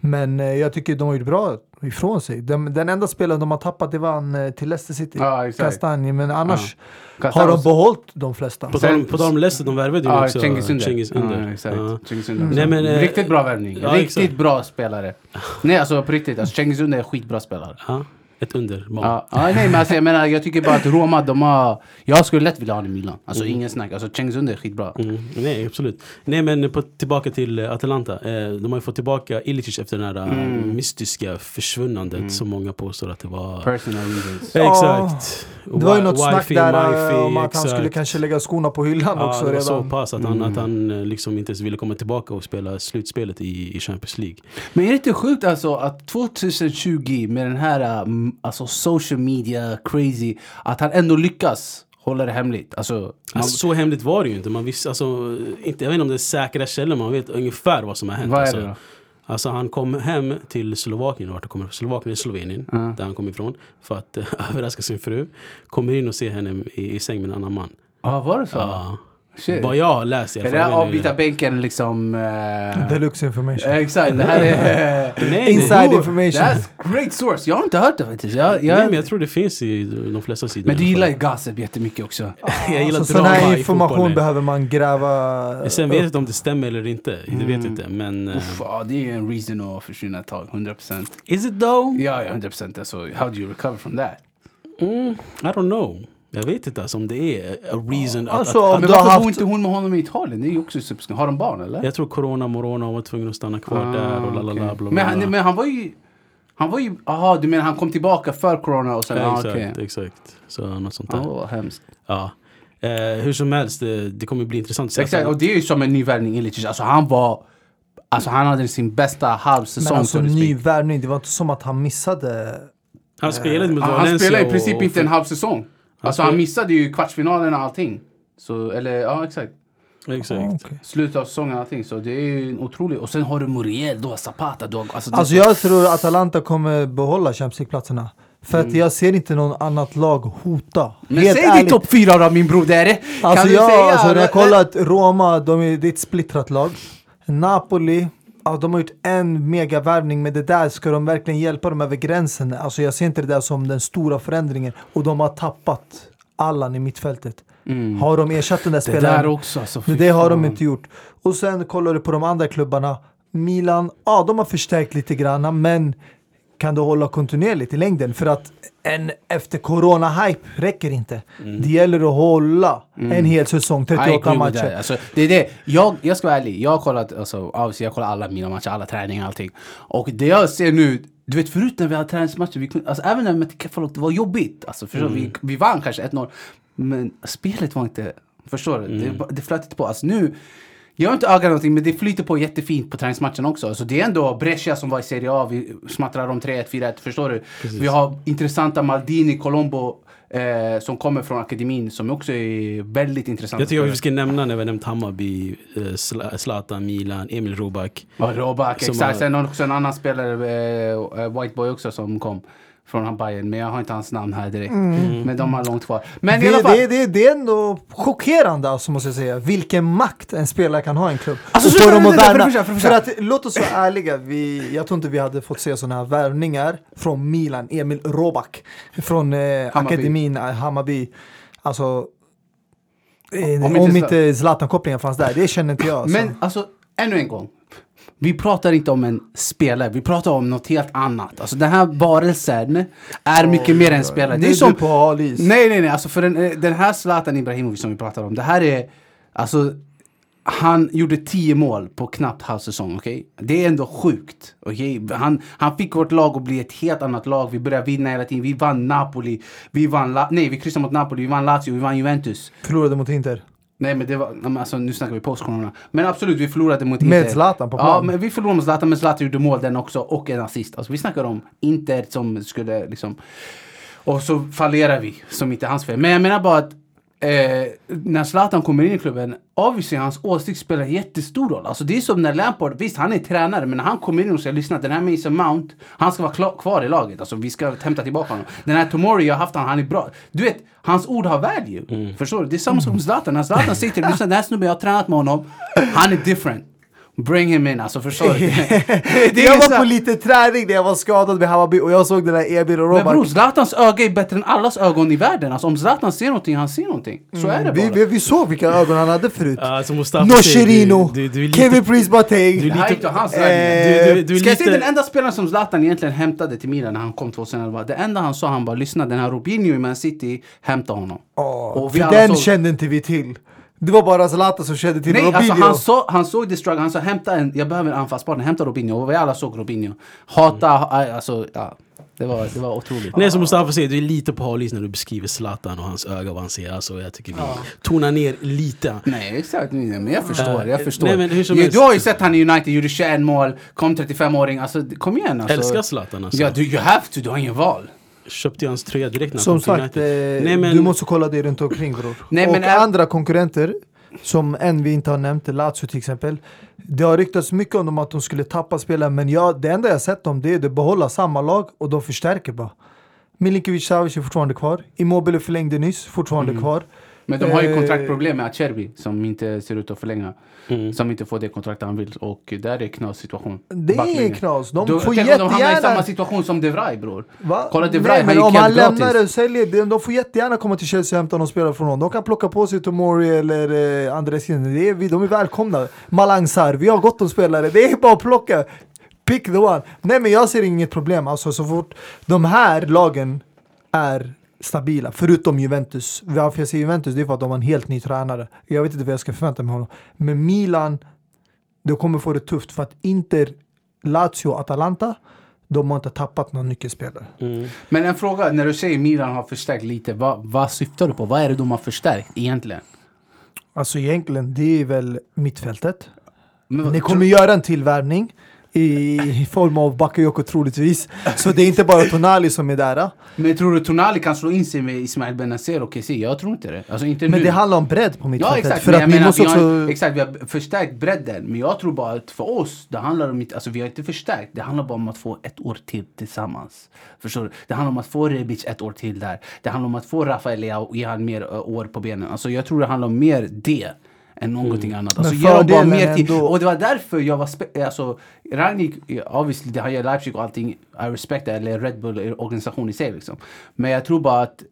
[SPEAKER 3] Men eh, jag tycker de har gjort bra ifrån sig. Den, den enda spelaren de har tappat det var han eh, till Leicester City,
[SPEAKER 2] Ja, exakt.
[SPEAKER 3] Castagne. Men annars har
[SPEAKER 2] Castagne-
[SPEAKER 3] de behållit de flesta.
[SPEAKER 1] på, tal om, på tal om Leicester, de värvade ju
[SPEAKER 2] Ja,
[SPEAKER 1] också
[SPEAKER 2] Cengiz Under.
[SPEAKER 1] Cengiz Under.
[SPEAKER 2] Ja, exakt.
[SPEAKER 1] Ja.
[SPEAKER 2] Cengiz Under.
[SPEAKER 1] Nej, men, eh,
[SPEAKER 2] riktigt bra värvning.
[SPEAKER 1] ja,
[SPEAKER 2] riktigt
[SPEAKER 1] exakt.
[SPEAKER 2] bra spelare. Nej, alltså på riktigt. Alltså, Cengiz Under är skitbra spelare.
[SPEAKER 1] Ja, ett underbarn.
[SPEAKER 2] Ja, ja, nej, men alltså, jag menar, jag tycker bara att Roma, de har... Jag skulle lätt vilja ha honom i Milan. Alltså ingen snack. Alltså Cengiz Under är skitbra.
[SPEAKER 1] Mm, nej, absolut. Nej, men på, tillbaka till eh, Atalanta. Eh, de har ju fått tillbaka Ilicic efter det här eh,
[SPEAKER 3] Mm.
[SPEAKER 1] mystiska försvunnandet som många påstår att det var.
[SPEAKER 2] Personal reasons.
[SPEAKER 1] Ja,
[SPEAKER 3] Ja,
[SPEAKER 1] Exakt.
[SPEAKER 3] Det var ju något
[SPEAKER 1] Wi-
[SPEAKER 3] snack
[SPEAKER 1] wifi,
[SPEAKER 3] där
[SPEAKER 1] wifi,
[SPEAKER 3] eh, om att han
[SPEAKER 1] exakt.
[SPEAKER 3] skulle kanske lägga skorna på hyllan
[SPEAKER 1] Ja,
[SPEAKER 3] också
[SPEAKER 1] det var
[SPEAKER 3] redan. Mm.
[SPEAKER 1] så pass att han, att han eh, liksom inte ens ville komma tillbaka och spela slutspelet i, i Champions League.
[SPEAKER 2] Men är det inte sjukt alltså att 2020 med den här äh, m- alltså, social media crazy, att han ändå lyckas hålla det hemligt? Alltså, man,
[SPEAKER 1] Alltså, så hemligt var det ju inte. Man visste, alltså, inte. Jag vet inte om det är säkra källor, man vet ungefär vad som har hänt.
[SPEAKER 2] vad är
[SPEAKER 1] alltså.
[SPEAKER 2] det då?
[SPEAKER 1] Alltså han kom hem till Slovakien, vart han kommer Slovakien är Slovenien,
[SPEAKER 2] Ja.
[SPEAKER 1] där han kom ifrån. För att eh, överraska sin fru. Kommer in och ser henne i, i säng med en annan man.
[SPEAKER 2] Ja, var det så?
[SPEAKER 1] Ja.
[SPEAKER 2] Shit.
[SPEAKER 1] Vad jag har läst i alla
[SPEAKER 2] Är
[SPEAKER 1] fall.
[SPEAKER 2] det här
[SPEAKER 1] Jag vet inte.
[SPEAKER 2] avbyta bänken liksom... eh,
[SPEAKER 3] Deluxe information.
[SPEAKER 2] Exakt, det här är...
[SPEAKER 1] Nej,
[SPEAKER 3] Inside
[SPEAKER 1] nej,
[SPEAKER 3] information.
[SPEAKER 2] That's great source! Jag har inte hört det faktiskt. Jag,
[SPEAKER 1] nej,
[SPEAKER 2] jag,
[SPEAKER 1] men jag tror det finns i de flesta sidor.
[SPEAKER 2] men du
[SPEAKER 1] i alla
[SPEAKER 2] gillar
[SPEAKER 1] fall.
[SPEAKER 2] ju gossip jättemycket också.
[SPEAKER 1] jag gillar
[SPEAKER 3] Alltså, sån här
[SPEAKER 1] drama i
[SPEAKER 3] information
[SPEAKER 1] fotbollen.
[SPEAKER 3] behöver man gräva
[SPEAKER 1] Sen vet
[SPEAKER 3] upp.
[SPEAKER 1] jag inte om det stämmer eller inte. Det
[SPEAKER 2] Mm.
[SPEAKER 1] vet jag inte. Men, eh,
[SPEAKER 2] Uff, ja, det är ju en reason att försvinna ett tag, 100%.
[SPEAKER 1] is it though?
[SPEAKER 2] Ja, ja, 100%. Alltså, how do you recover from that?
[SPEAKER 1] Mm, I don't know. Jag vet inte alltså, om det är a reason. att-
[SPEAKER 3] Alltså,
[SPEAKER 1] att,
[SPEAKER 3] om
[SPEAKER 1] att,
[SPEAKER 2] Men
[SPEAKER 3] du har
[SPEAKER 2] varför
[SPEAKER 3] haft-
[SPEAKER 2] bor inte hon med honom i Italien? Det är ju också subskri- Har de barn eller?
[SPEAKER 1] jag tror corona, morona, hon var tvungen att stanna kvar
[SPEAKER 2] Ah,
[SPEAKER 1] där och lalala.
[SPEAKER 2] okej.
[SPEAKER 1] bla, bla,
[SPEAKER 2] Men,
[SPEAKER 1] bla.
[SPEAKER 2] han, men han var ju... Han var ju... Jaha, du menar han kom tillbaka för corona och sen...
[SPEAKER 1] Ja,
[SPEAKER 2] Ja,
[SPEAKER 1] exakt,
[SPEAKER 2] ah, okej.
[SPEAKER 1] exakt. Så något sånt där.
[SPEAKER 2] Ja, vad hemskt.
[SPEAKER 1] Ja. Eh, hur som helst, det, det kommer bli intressant att se.
[SPEAKER 3] Alltså-
[SPEAKER 2] Exakt, och det är ju som en ny värvning Ilicic. Alltså han var... Alltså han hade sin bästa halvsäsong.
[SPEAKER 3] Men alltså
[SPEAKER 2] så to speak.
[SPEAKER 3] ny värvning, det var inte som att han missade.
[SPEAKER 1] han spelade mot
[SPEAKER 2] Ja,
[SPEAKER 1] Valencia.
[SPEAKER 2] Ah, han spelade i princip
[SPEAKER 1] och,
[SPEAKER 2] inte en halv säsong. Alltså
[SPEAKER 1] spel-
[SPEAKER 2] han missade ju kvartsfinalen och allting. Så, eller ja, exakt.
[SPEAKER 1] Exakt.
[SPEAKER 3] Ah, okej.
[SPEAKER 2] Slutet av säsongen och allting. Så det är ju en otrolig... Och sen har du Muriel, du har Zapata, du har... Alltså, det-
[SPEAKER 3] Alltså jag tror Atalanta kommer behålla Champions League-platserna. För att jag ser inte någon annat lag hota.
[SPEAKER 2] men säg ditt topp fyra då min broder!
[SPEAKER 3] Alltså
[SPEAKER 2] kan du
[SPEAKER 3] jag,
[SPEAKER 2] säga?
[SPEAKER 3] alltså, när jag kollat Roma, de är, det är ett splittrat lag. Napoli, ja, de har gjort en megavärvning, men det där ska de verkligen hjälpa dem över gränsen. Alltså jag ser inte det där som den stora förändringen. Och de har tappat Allan i mittfältet. Har de ersatt den där
[SPEAKER 2] Mm. Det
[SPEAKER 3] spelaren?
[SPEAKER 2] där också alltså. fy
[SPEAKER 3] Men det har
[SPEAKER 2] fan.
[SPEAKER 3] de inte gjort. Och sen kollar du på de andra klubbarna. Milan, ja de har förstärkt lite grann men kan du hålla kontinuerligt i längden? För att en efter corona-hype räcker inte. Det gäller att hålla en hel säsong,
[SPEAKER 2] I agree
[SPEAKER 3] 38
[SPEAKER 2] with that.
[SPEAKER 3] matcher.
[SPEAKER 2] Alltså, det är det. Jag, jag ska vara ärlig, jag har kollat, alltså, obviously, jag kollar alla mina matcher, alla träningar, allting. Och det jag ser nu, du vet förut när vi hade träningsmatcher, vi kunde, alltså, även när vi mötte Kefalok, det var jobbigt. Alltså, förstår, du?
[SPEAKER 1] Mm.
[SPEAKER 2] vi, vi vann kanske 1-0, men spelet var inte, förstår du?
[SPEAKER 1] Mm.
[SPEAKER 2] Det, det flöt inte på. Alltså, nu, jag har inte ögat någonting, men det flyter på jättefint på träningsmatchen också. Så det är ändå Brescia som var i Serie A, vi smattrar om 3-1, 4-1, förstår du? Vi har intressanta Maldini, Colombo, eh, som kommer från akademin, som också är väldigt intressanta.
[SPEAKER 1] Jag tycker
[SPEAKER 2] spelare.
[SPEAKER 1] vi ska nämna när vi har nämnt Hammarby, eh, Zla- Zlatan, Milan, Emil Robak.
[SPEAKER 2] Ja, Robak,
[SPEAKER 1] Som
[SPEAKER 2] exakt.
[SPEAKER 1] har-
[SPEAKER 2] Sen har också en annan spelare, eh, eh, White Boy också, som kom från han Bayern. Men jag har inte hans namn här direkt. Men de har långt kvar. Men i alla
[SPEAKER 3] Mm. Det,
[SPEAKER 2] fall.
[SPEAKER 3] det, det, det är ändå chockerande alltså, måste jag säga. Vilken makt en spelare kan ha i en klubb.
[SPEAKER 2] Alltså,
[SPEAKER 3] och få
[SPEAKER 2] sluta,
[SPEAKER 3] dem att
[SPEAKER 2] sluta,
[SPEAKER 3] värna.
[SPEAKER 2] för det första, för det
[SPEAKER 3] För att låt oss vara ärliga, vi, jag tror inte vi hade fått se sådana här värvningar från Milan, Emil Robak från eh,
[SPEAKER 2] Hammarby.
[SPEAKER 3] akademin eh, Hammarby. Alltså, eh,
[SPEAKER 2] Om
[SPEAKER 3] om,
[SPEAKER 2] inte
[SPEAKER 3] inte Zlatan-kopplingen fanns där, det känner inte jag. Alltså.
[SPEAKER 2] Men alltså, ännu en gång. Vi pratar inte om en spelare, vi pratar om något helt annat. Alltså den här varelsen är mycket mer än spelare.
[SPEAKER 3] Det är som på hal is.
[SPEAKER 2] Nej, nej, nej. Alltså för den, den här Zlatan Ibrahimovic som vi pratar om, det här är... Alltså, han gjorde 10 mål på knappt halv säsong, okej? Det är ändå sjukt. okej? Han, han fick vårt lag att bli ett helt annat lag. Vi började vinna hela tiden. Vi vann Napoli. Vi vann... La- nej, vi kryssade mot Napoli. Vi vann Lazio. Vi vann Juventus.
[SPEAKER 3] Förlorade mot Inter.
[SPEAKER 2] Nej men det var, nej, men alltså, nu snackar vi postcorona. Men absolut, vi förlorade mot Inter.
[SPEAKER 3] Med Zlatan på plan.
[SPEAKER 2] Ja, men vi förlorade mot Zlatan, men Zlatan gjorde mål den också och en assist. Alltså vi snackar om Inter som skulle liksom... Och så fallerar vi, som inte är hans fel. Men jag menar bara att eh, när Zlatan kommer in i klubben, obviously hans åsikt spelar jättestor roll. Alltså det är som när Lampard, visst han är tränare, men när han kommer in och säger lyssna, den här Mason Mount, han ska vara kla- kvar i laget. Alltså vi ska hämta tillbaka honom. Den här Tomori, jag har haft han, han är bra. Du vet, hans ord har value.
[SPEAKER 3] Mm.
[SPEAKER 2] Förstår du? Det är samma sak med Zlatan. När Zlatan säger till dig, lyssna den här snubben, jag har tränat med honom, han är different. Bring him in, alltså förstår du? Det är
[SPEAKER 3] jag
[SPEAKER 2] så
[SPEAKER 3] var
[SPEAKER 2] här-
[SPEAKER 3] på lite träning när jag var skadad med Hammarby och jag såg den där Emil och
[SPEAKER 2] men bror,
[SPEAKER 3] Robert.
[SPEAKER 2] Zlatans öga är bättre än allas ögon i världen. Alltså om Zlatan ser någonting, han ser någonting. Så är det bara.
[SPEAKER 3] Mm. Vi, vi, vi såg vilka ögon han hade förut.
[SPEAKER 1] Alltså Mustafa
[SPEAKER 3] Nocherino,
[SPEAKER 1] du, du, du är lite-
[SPEAKER 3] Kevin Prince
[SPEAKER 1] du
[SPEAKER 3] Boateng.
[SPEAKER 2] det här är
[SPEAKER 1] lite-
[SPEAKER 2] inte hans
[SPEAKER 1] eh,
[SPEAKER 2] värld.
[SPEAKER 1] du- du- du är
[SPEAKER 2] Ska jag säga
[SPEAKER 1] lite-
[SPEAKER 2] den enda spelaren som Zlatan egentligen hämtade till Milan när han kom 2011? Det enda han sa, han bara lyssna den här Robinho i Man City, hämta honom.
[SPEAKER 3] Ja,
[SPEAKER 2] Och vi
[SPEAKER 3] för
[SPEAKER 2] alla
[SPEAKER 3] den
[SPEAKER 2] såg-
[SPEAKER 3] kände inte vi till. Det var bara Zlatan som kände till
[SPEAKER 2] Nej, alltså
[SPEAKER 3] Robinho.
[SPEAKER 2] han, så, han såg det struggle, han sa hämta en, jag behöver en anfallspartner, hämta Robinho. Och vi alla såg Robinho. Hata, ha- alltså ja. Det var, det var otroligt.
[SPEAKER 1] Nej som Mustafa säger, du är lite på halis när du beskriver Zlatan och hans öga och vad han ser. Alltså jag tycker vi
[SPEAKER 2] Ah.
[SPEAKER 1] tonar ner lite.
[SPEAKER 2] Nej exakt, Nej, men jag förstår.
[SPEAKER 1] Eh,
[SPEAKER 2] Jag förstår.
[SPEAKER 1] nej, men hur som
[SPEAKER 2] du,
[SPEAKER 1] helst.
[SPEAKER 2] du har ju sett han i United, gjorde 21 mål, kom 35-åring. Alltså d- kom igen alltså.
[SPEAKER 1] Älskar Zlatan alltså.
[SPEAKER 2] Ja, du, you have to, du har ingen val.
[SPEAKER 1] Köpte ju hans tröja direkt när han
[SPEAKER 3] Som
[SPEAKER 1] kom till
[SPEAKER 3] sagt, eh,
[SPEAKER 1] United. Nej, men,
[SPEAKER 3] du måste kolla dig runt omkring bror.
[SPEAKER 2] Nej,
[SPEAKER 3] och
[SPEAKER 2] men är-
[SPEAKER 3] andra konkurrenter, som en vi inte har nämnt, Lazio till exempel. Det har ryktats mycket om dem att de skulle tappa spelare, men jag, det enda jag sett dem det är att de behåller samma lag och de förstärker bara. Milinkovic Savic är fortfarande kvar. Immobile förlängde nyss, fortfarande kvar.
[SPEAKER 2] Men de har ju
[SPEAKER 3] Eh,
[SPEAKER 2] kontraktproblem med Acerbi som inte ser ut att förlänga.
[SPEAKER 1] Mm.
[SPEAKER 2] Som inte får det kontrakt han vill. Och där är knas situation.
[SPEAKER 3] Det är
[SPEAKER 2] Backlinjen.
[SPEAKER 3] knas. De
[SPEAKER 2] Då-
[SPEAKER 3] får
[SPEAKER 2] tänk om de hamnar i
[SPEAKER 3] jättegärna...
[SPEAKER 2] samma situation som De Vrij bror.
[SPEAKER 3] Va?
[SPEAKER 2] Kolla De Vrij,
[SPEAKER 3] Nej,
[SPEAKER 2] han
[SPEAKER 3] men
[SPEAKER 2] gick
[SPEAKER 3] om han
[SPEAKER 2] helt
[SPEAKER 3] lämnar
[SPEAKER 2] gratis.
[SPEAKER 3] och säljer, de, de får jättegärna komma till Chelsea och hämta någon spelare från dem. De kan plocka på sig Tomori eller eh, Andres Jensen. Det är, vi- De är välkomna. Malang Sarr, vi har gott om spelare. Det är bara att plocka. Pick the one. Nej men jag ser inget problem. Alltså så fort de här lagen är stabila, förutom Juventus. Varför jag säger Juventus, det är för att de har en helt ny tränare. Jag vet inte vad jag ska förvänta mig av honom. Men Milan, de kommer få det tufft för att Inter, Lazio och Atalanta, de har inte tappat någon nyckelspelare.
[SPEAKER 1] mm.
[SPEAKER 2] Men en fråga, när du säger Milan har förstärkt lite. Vad, vad syftar du på? Vad är det de har förstärkt egentligen?
[SPEAKER 3] Alltså egentligen, det är väl mittfältet.
[SPEAKER 2] Men vad-
[SPEAKER 3] Ni kommer göra en tillvärvning i, i form av Bakayoko troligtvis. Så det är inte bara Tonali som är där. ah.
[SPEAKER 2] Men tror du Tonali kan slå in sig med Ismail Benazer och Kessie? Jag tror inte det. Alltså inte nu.
[SPEAKER 3] Men det handlar om bredd på
[SPEAKER 2] Ja
[SPEAKER 3] mittfältet.
[SPEAKER 2] exakt,
[SPEAKER 3] för
[SPEAKER 2] men
[SPEAKER 3] att
[SPEAKER 2] jag
[SPEAKER 3] vi
[SPEAKER 2] menar
[SPEAKER 3] måste
[SPEAKER 2] vi har,
[SPEAKER 3] också...
[SPEAKER 2] exakt, vi har förstärkt bredden. Men jag tror bara att för oss, det handlar om inte, alltså vi har inte förstärkt. Det handlar bara om att få ett år till tillsammans. Förstår du? Det handlar om att få Rebic ett år till där. Det handlar om att få Rafael Leao och ge han mer ö, år på benen. Alltså jag tror det handlar om mer det än någonting annat. Alltså,
[SPEAKER 3] Mm. Men
[SPEAKER 2] ge dem bara
[SPEAKER 3] fördelen
[SPEAKER 2] mer tid.
[SPEAKER 3] ändå-
[SPEAKER 2] Och det var därför jag var... Spe- alltså, Rangnick, eh, obviously, det har ju Leipzig och allting. I respect that, eller Red Bull eh, organisation i sig liksom. Men jag tror bara att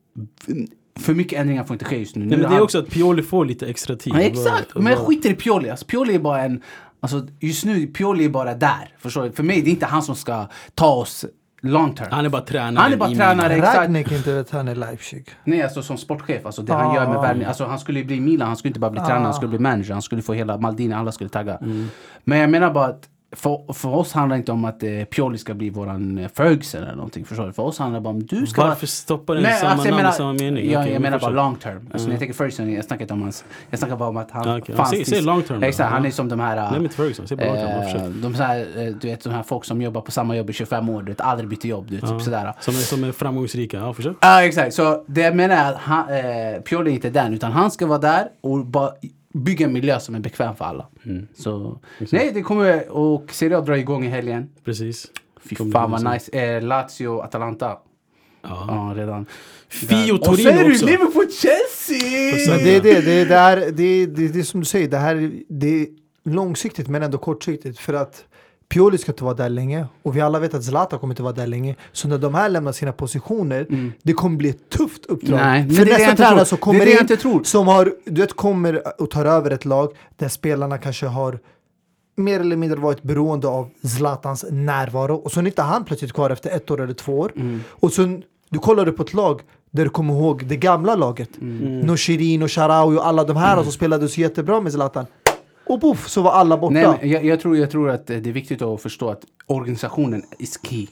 [SPEAKER 2] för mycket ändringar får inte ske just nu. nu
[SPEAKER 1] Nej, men det
[SPEAKER 2] handlar-
[SPEAKER 1] är också att Pioli får lite extra tid.
[SPEAKER 2] Ja, exakt, men jag skiter i Pioli. Alltså, Pioli är bara en... Alltså, just nu, Pioli är bara där. Förstår du? För mig, det är inte han som ska ta oss long term.
[SPEAKER 1] Han är bara tränare.
[SPEAKER 2] Han är bara
[SPEAKER 1] i
[SPEAKER 2] tränare,
[SPEAKER 1] Milan.
[SPEAKER 2] exakt.
[SPEAKER 3] Ragnik inte vet han är Leipzig.
[SPEAKER 2] Nej, alltså som sportchef. Alltså det han gör med
[SPEAKER 3] Ah.
[SPEAKER 2] värvning. Alltså han skulle ju bli Milan, han skulle inte bara bli
[SPEAKER 1] Ah.
[SPEAKER 2] tränare, han skulle bli manager. Han skulle få hela Maldini, alla skulle tagga.
[SPEAKER 1] Mm.
[SPEAKER 2] Men jag menar bara att för, för oss handlar det inte om att eh, Pioli ska bli våran eh, Ferguson eller någonting. Förstår du? För oss handlar det bara om du ska...
[SPEAKER 1] Varför stoppar den samma
[SPEAKER 2] alltså, jag
[SPEAKER 1] namn
[SPEAKER 2] menar-
[SPEAKER 1] och samma mening?
[SPEAKER 2] Ja,
[SPEAKER 1] Okej,
[SPEAKER 2] jag
[SPEAKER 1] vi
[SPEAKER 2] menar bara
[SPEAKER 1] förstår.
[SPEAKER 2] long term. Alltså, När jag tänker Ferguson, jag snackar inte om hans... Jag snackar bara om att han
[SPEAKER 1] Ja, okej. Ja, säg-
[SPEAKER 2] tills-
[SPEAKER 1] säg long term då.
[SPEAKER 2] Exakt, han
[SPEAKER 1] Ja.
[SPEAKER 2] är som de här... eh,
[SPEAKER 1] Nej men Ferguson, säg bara vad han
[SPEAKER 2] Eh,
[SPEAKER 1] försöker.
[SPEAKER 2] de så här, eh, du vet, de här folk som jobbar på samma jobb i 25 år, du vet, aldrig byter jobb, du vet, typ sådär.
[SPEAKER 1] Som är, som är framgångsrika, ja försök.
[SPEAKER 2] Ja, exakt. Så det jag menar är att han, eh, Pioli är inte den, utan han ska vara där och bara bygga en miljö som är bekväm för alla.
[SPEAKER 1] Mm.
[SPEAKER 2] Mm. Så, nej, det kommer, och Serie A drar igång i helgen.
[SPEAKER 1] Precis.
[SPEAKER 2] Fy
[SPEAKER 1] Kommer
[SPEAKER 2] fan
[SPEAKER 1] bli
[SPEAKER 2] vad
[SPEAKER 1] så.
[SPEAKER 2] nice. Eh, Lazio, Atalanta.
[SPEAKER 1] Ja.
[SPEAKER 2] Ja, redan.
[SPEAKER 1] Fio
[SPEAKER 2] Där. Och så är
[SPEAKER 1] Torino
[SPEAKER 2] det
[SPEAKER 1] också.
[SPEAKER 2] Liverpool-Chelsea!
[SPEAKER 3] Men det är det, det är det, här, det, är, det, är det som du säger, det här är- det är långsiktigt men ändå kortsiktigt. För att Pioli ska inte vara där länge och vi alla vet att Zlatan kommer inte vara där länge. Så när de här lämnar sina positioner, det kommer bli ett tufft uppdrag.
[SPEAKER 2] Mm. Nej, men
[SPEAKER 3] För
[SPEAKER 2] det är det jag
[SPEAKER 3] nästa
[SPEAKER 2] inte tror.
[SPEAKER 3] tränare som
[SPEAKER 2] Det är det jag
[SPEAKER 3] kommer
[SPEAKER 2] inte tror.
[SPEAKER 3] in, som har, du vet, kommer och tar över ett lag där spelarna kanske har mer eller mindre varit beroende av Zlatans närvaro. Och sen är inte han plötsligt kvar efter ett år eller två år. Och sen, du kollar på ett lag där du kommer ihåg det gamla laget. Mm. Shirin och Sharawi och alla de här som spelade så jättebra med Zlatan. Och poff så var alla borta.
[SPEAKER 2] Nej, men jag, jag, tror, jag tror att eh, det är viktigt att förstå att organisationen is key.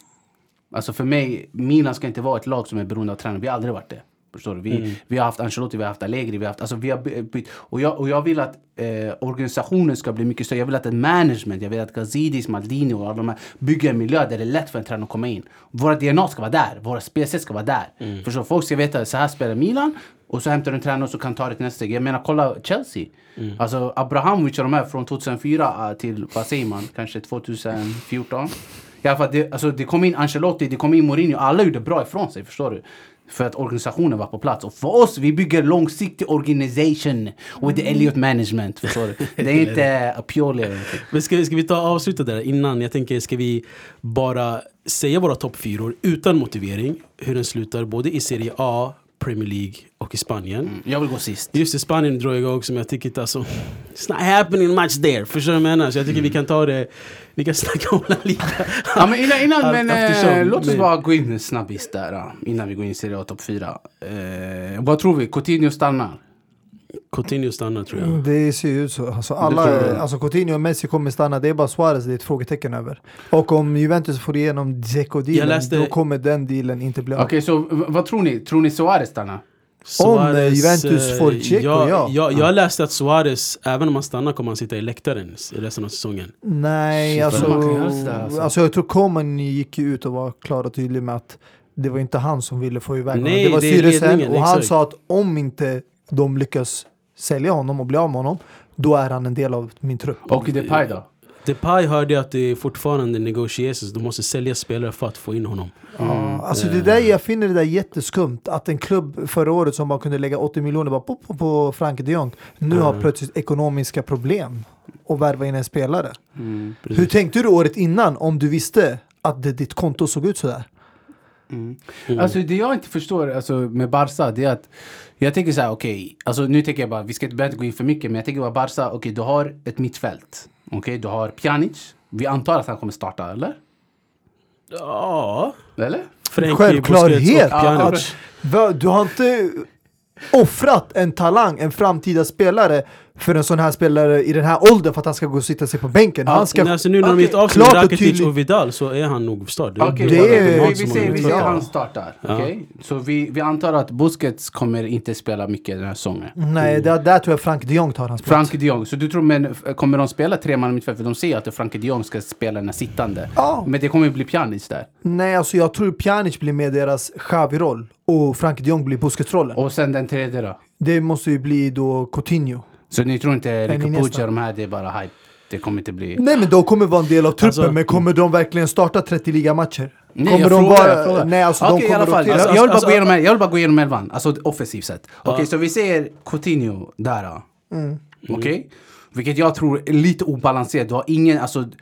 [SPEAKER 2] Alltså för mig, Milan ska inte vara ett lag som är beroende av tränare. Vi har aldrig varit det. Förstår du? Vi, vi har haft Ancelotti, vi har haft Allegri, vi har haft... Alltså vi har by- bytt. Och jag, och jag vill att eh, organisationen ska bli mycket större. Jag vill att ett management, jag vill att Gazidis, Maldini och alla de här bygger en miljö där det är lätt för en tränare att komma in. Våra DNA ska vara där, våra spelsätt ska vara där. Förstår du? Folk ska veta, så här spelar Milan. Och så hämtar du en tränare som kan ta det till nästa steg. Jag menar kolla Chelsea. Alltså Abrahamovic och de här från 2004 eh, till, vad säger man, kanske 2014. I alla fall, det, alltså, det kom in Ancelotti, det kom in Mourinho. Alla gjorde bra ifrån sig, förstår du? För att organisationen var på plats. Och för oss, vi bygger långsiktig organisation with the Elliot management. Förstår du? Det är inte eh, purely... eller någonting.
[SPEAKER 1] Men ska, vi- ska vi ta avsluta där innan? Jag tänker, ska vi bara säga våra toppfyror utan motivering? Hur den slutar både i Serie A, Premier League och i Spanien.
[SPEAKER 2] Jag vill gå sist.
[SPEAKER 1] Just i Spanien drog jag igång som jag tycker inte alltså, It's not happening much there. Förstår du vad jag menar? Så jag tycker vi kan ta det, vi kan snacka om La Liga.
[SPEAKER 2] Ja, men innan, innan, men,
[SPEAKER 1] Allt
[SPEAKER 2] eh,
[SPEAKER 1] eftersom.
[SPEAKER 2] låt oss
[SPEAKER 1] Men-
[SPEAKER 2] bara gå in snabbis där. ja, Innan vi går in i Serie A topp 4. Eh, vad tror vi? Coutinho stannar?
[SPEAKER 1] Coutinho stannar tror jag.
[SPEAKER 3] Mm, Det ser ju ut så. Alltså, alla, alltså Coutinho och Messi kommer stanna. Det är bara Suarez det är ett frågetecken över. Och om Juventus får igenom
[SPEAKER 1] Jag
[SPEAKER 3] Dzeko-dealen,
[SPEAKER 1] läste-
[SPEAKER 3] då kommer den dealen inte bli
[SPEAKER 2] Okej,
[SPEAKER 3] av.
[SPEAKER 2] så v- vad tror ni? Tror ni Suarez stannar?
[SPEAKER 1] Suarez,
[SPEAKER 3] eh, Juventus
[SPEAKER 1] eh,
[SPEAKER 3] får Dzeko,
[SPEAKER 1] jag,
[SPEAKER 3] ja.
[SPEAKER 1] Jag, jag läste att Suarez, även om han stannar kommer han sitta i läktaren s- resten av säsongen.
[SPEAKER 3] Nej,
[SPEAKER 1] Shit, vad
[SPEAKER 3] alltså,
[SPEAKER 2] man kan göra sådär, alltså.
[SPEAKER 3] alltså jag tror Coman gick ju ut och var klar och tydlig med att det var inte han som ville få iväg honom.
[SPEAKER 1] Nej,
[SPEAKER 3] det var
[SPEAKER 1] det är
[SPEAKER 3] styrelsen
[SPEAKER 1] ledningen,
[SPEAKER 3] och han
[SPEAKER 1] exakt.
[SPEAKER 3] sa att om inte de lyckas sälja honom och bli av med honom, då är han en del av min trupp.
[SPEAKER 2] Och Depay då?
[SPEAKER 1] Depay hörde jag att det är fortfarande negotiations, de måste sälja spelare för att få in honom. Mm.
[SPEAKER 3] Ja, Alltså det där, jag finner det där jätteskumt. Att en klubb förra året som bara kunde lägga 80 miljoner bara på, på, på Frank de Jong nu har plötsligt ekonomiska problem och värva in en spelare.
[SPEAKER 1] Mm,
[SPEAKER 3] Hur tänkte du året innan om du visste att det, ditt konto såg ut sådär? Mm.
[SPEAKER 2] Alltså det jag inte förstår alltså, med Barca, det är att jag tänker så här, okej, alltså nu tänker jag bara, vi ska inte behöva gå in för mycket, men jag tänker bara Barca, okej du har ett mittfält, okej du har Pjanic, vi antar att han kommer starta, eller?
[SPEAKER 1] Ja,
[SPEAKER 2] Eller?
[SPEAKER 1] Frenkie, Busquets
[SPEAKER 3] Självklarhet!
[SPEAKER 1] och Pjanic.
[SPEAKER 3] Att, va, du har inte offrat en talang, en framtida spelare för en sån här spelare i den här åldern för att han ska gå och sitta sig på bänken. Han ska...
[SPEAKER 1] Nej, alltså nu när de gett av sig
[SPEAKER 3] klart och
[SPEAKER 1] Rakitic
[SPEAKER 3] tydligt.
[SPEAKER 1] och Vidal så är han nog störd.
[SPEAKER 2] Okej,
[SPEAKER 3] Det
[SPEAKER 2] vi-
[SPEAKER 3] är-
[SPEAKER 2] vi, vi, säger, vi säger
[SPEAKER 3] Ja.
[SPEAKER 2] han startar, okej? Så vi, vi antar att Busquets kommer inte spela mycket den här säsongen.
[SPEAKER 3] Nej,
[SPEAKER 1] Mm.
[SPEAKER 3] där, där tror jag Frank de Jong tar hans plats.
[SPEAKER 2] Frank de Jong, så du tror, men f- kommer de spela tre man i mittfält? För de säger att Frank de Jong ska spela den här sittande.
[SPEAKER 3] Ja.
[SPEAKER 2] Men det kommer ju bli Pjanic där.
[SPEAKER 3] Nej, alltså jag tror Pjanic blir med deras Xavi-roll och Frank de Jong blir Busquets-rollen.
[SPEAKER 2] Och sen den tredje då?
[SPEAKER 3] Det måste ju bli då Coutinho.
[SPEAKER 2] Så ni tror inte
[SPEAKER 3] ni
[SPEAKER 2] Rico
[SPEAKER 3] nästa?
[SPEAKER 2] Pucci och de här, det är bara hype? Det kommer inte bli...
[SPEAKER 3] Nej, men de kommer vara en del av truppen,
[SPEAKER 1] Alltså-
[SPEAKER 3] men kommer de verkligen starta 30 ligamatcher?
[SPEAKER 2] Nej,
[SPEAKER 3] kommer
[SPEAKER 2] jag
[SPEAKER 3] de
[SPEAKER 2] frågar, jag frågar.
[SPEAKER 3] Nej, alltså
[SPEAKER 2] Okej,
[SPEAKER 3] de
[SPEAKER 2] i alla
[SPEAKER 3] kommer
[SPEAKER 2] fall.
[SPEAKER 3] rotera.
[SPEAKER 2] Alltså,
[SPEAKER 1] Alltså,
[SPEAKER 2] jag, vill bara
[SPEAKER 1] alltså,
[SPEAKER 2] gå igenom, el- jag vill bara gå igenom elvan, alltså offensivt sett. Okej, så vi säger Coutinho där. ja.
[SPEAKER 3] Mm.
[SPEAKER 2] Okej? Vilket jag tror är lite obalanserat. Du har ingen, alltså...
[SPEAKER 3] Det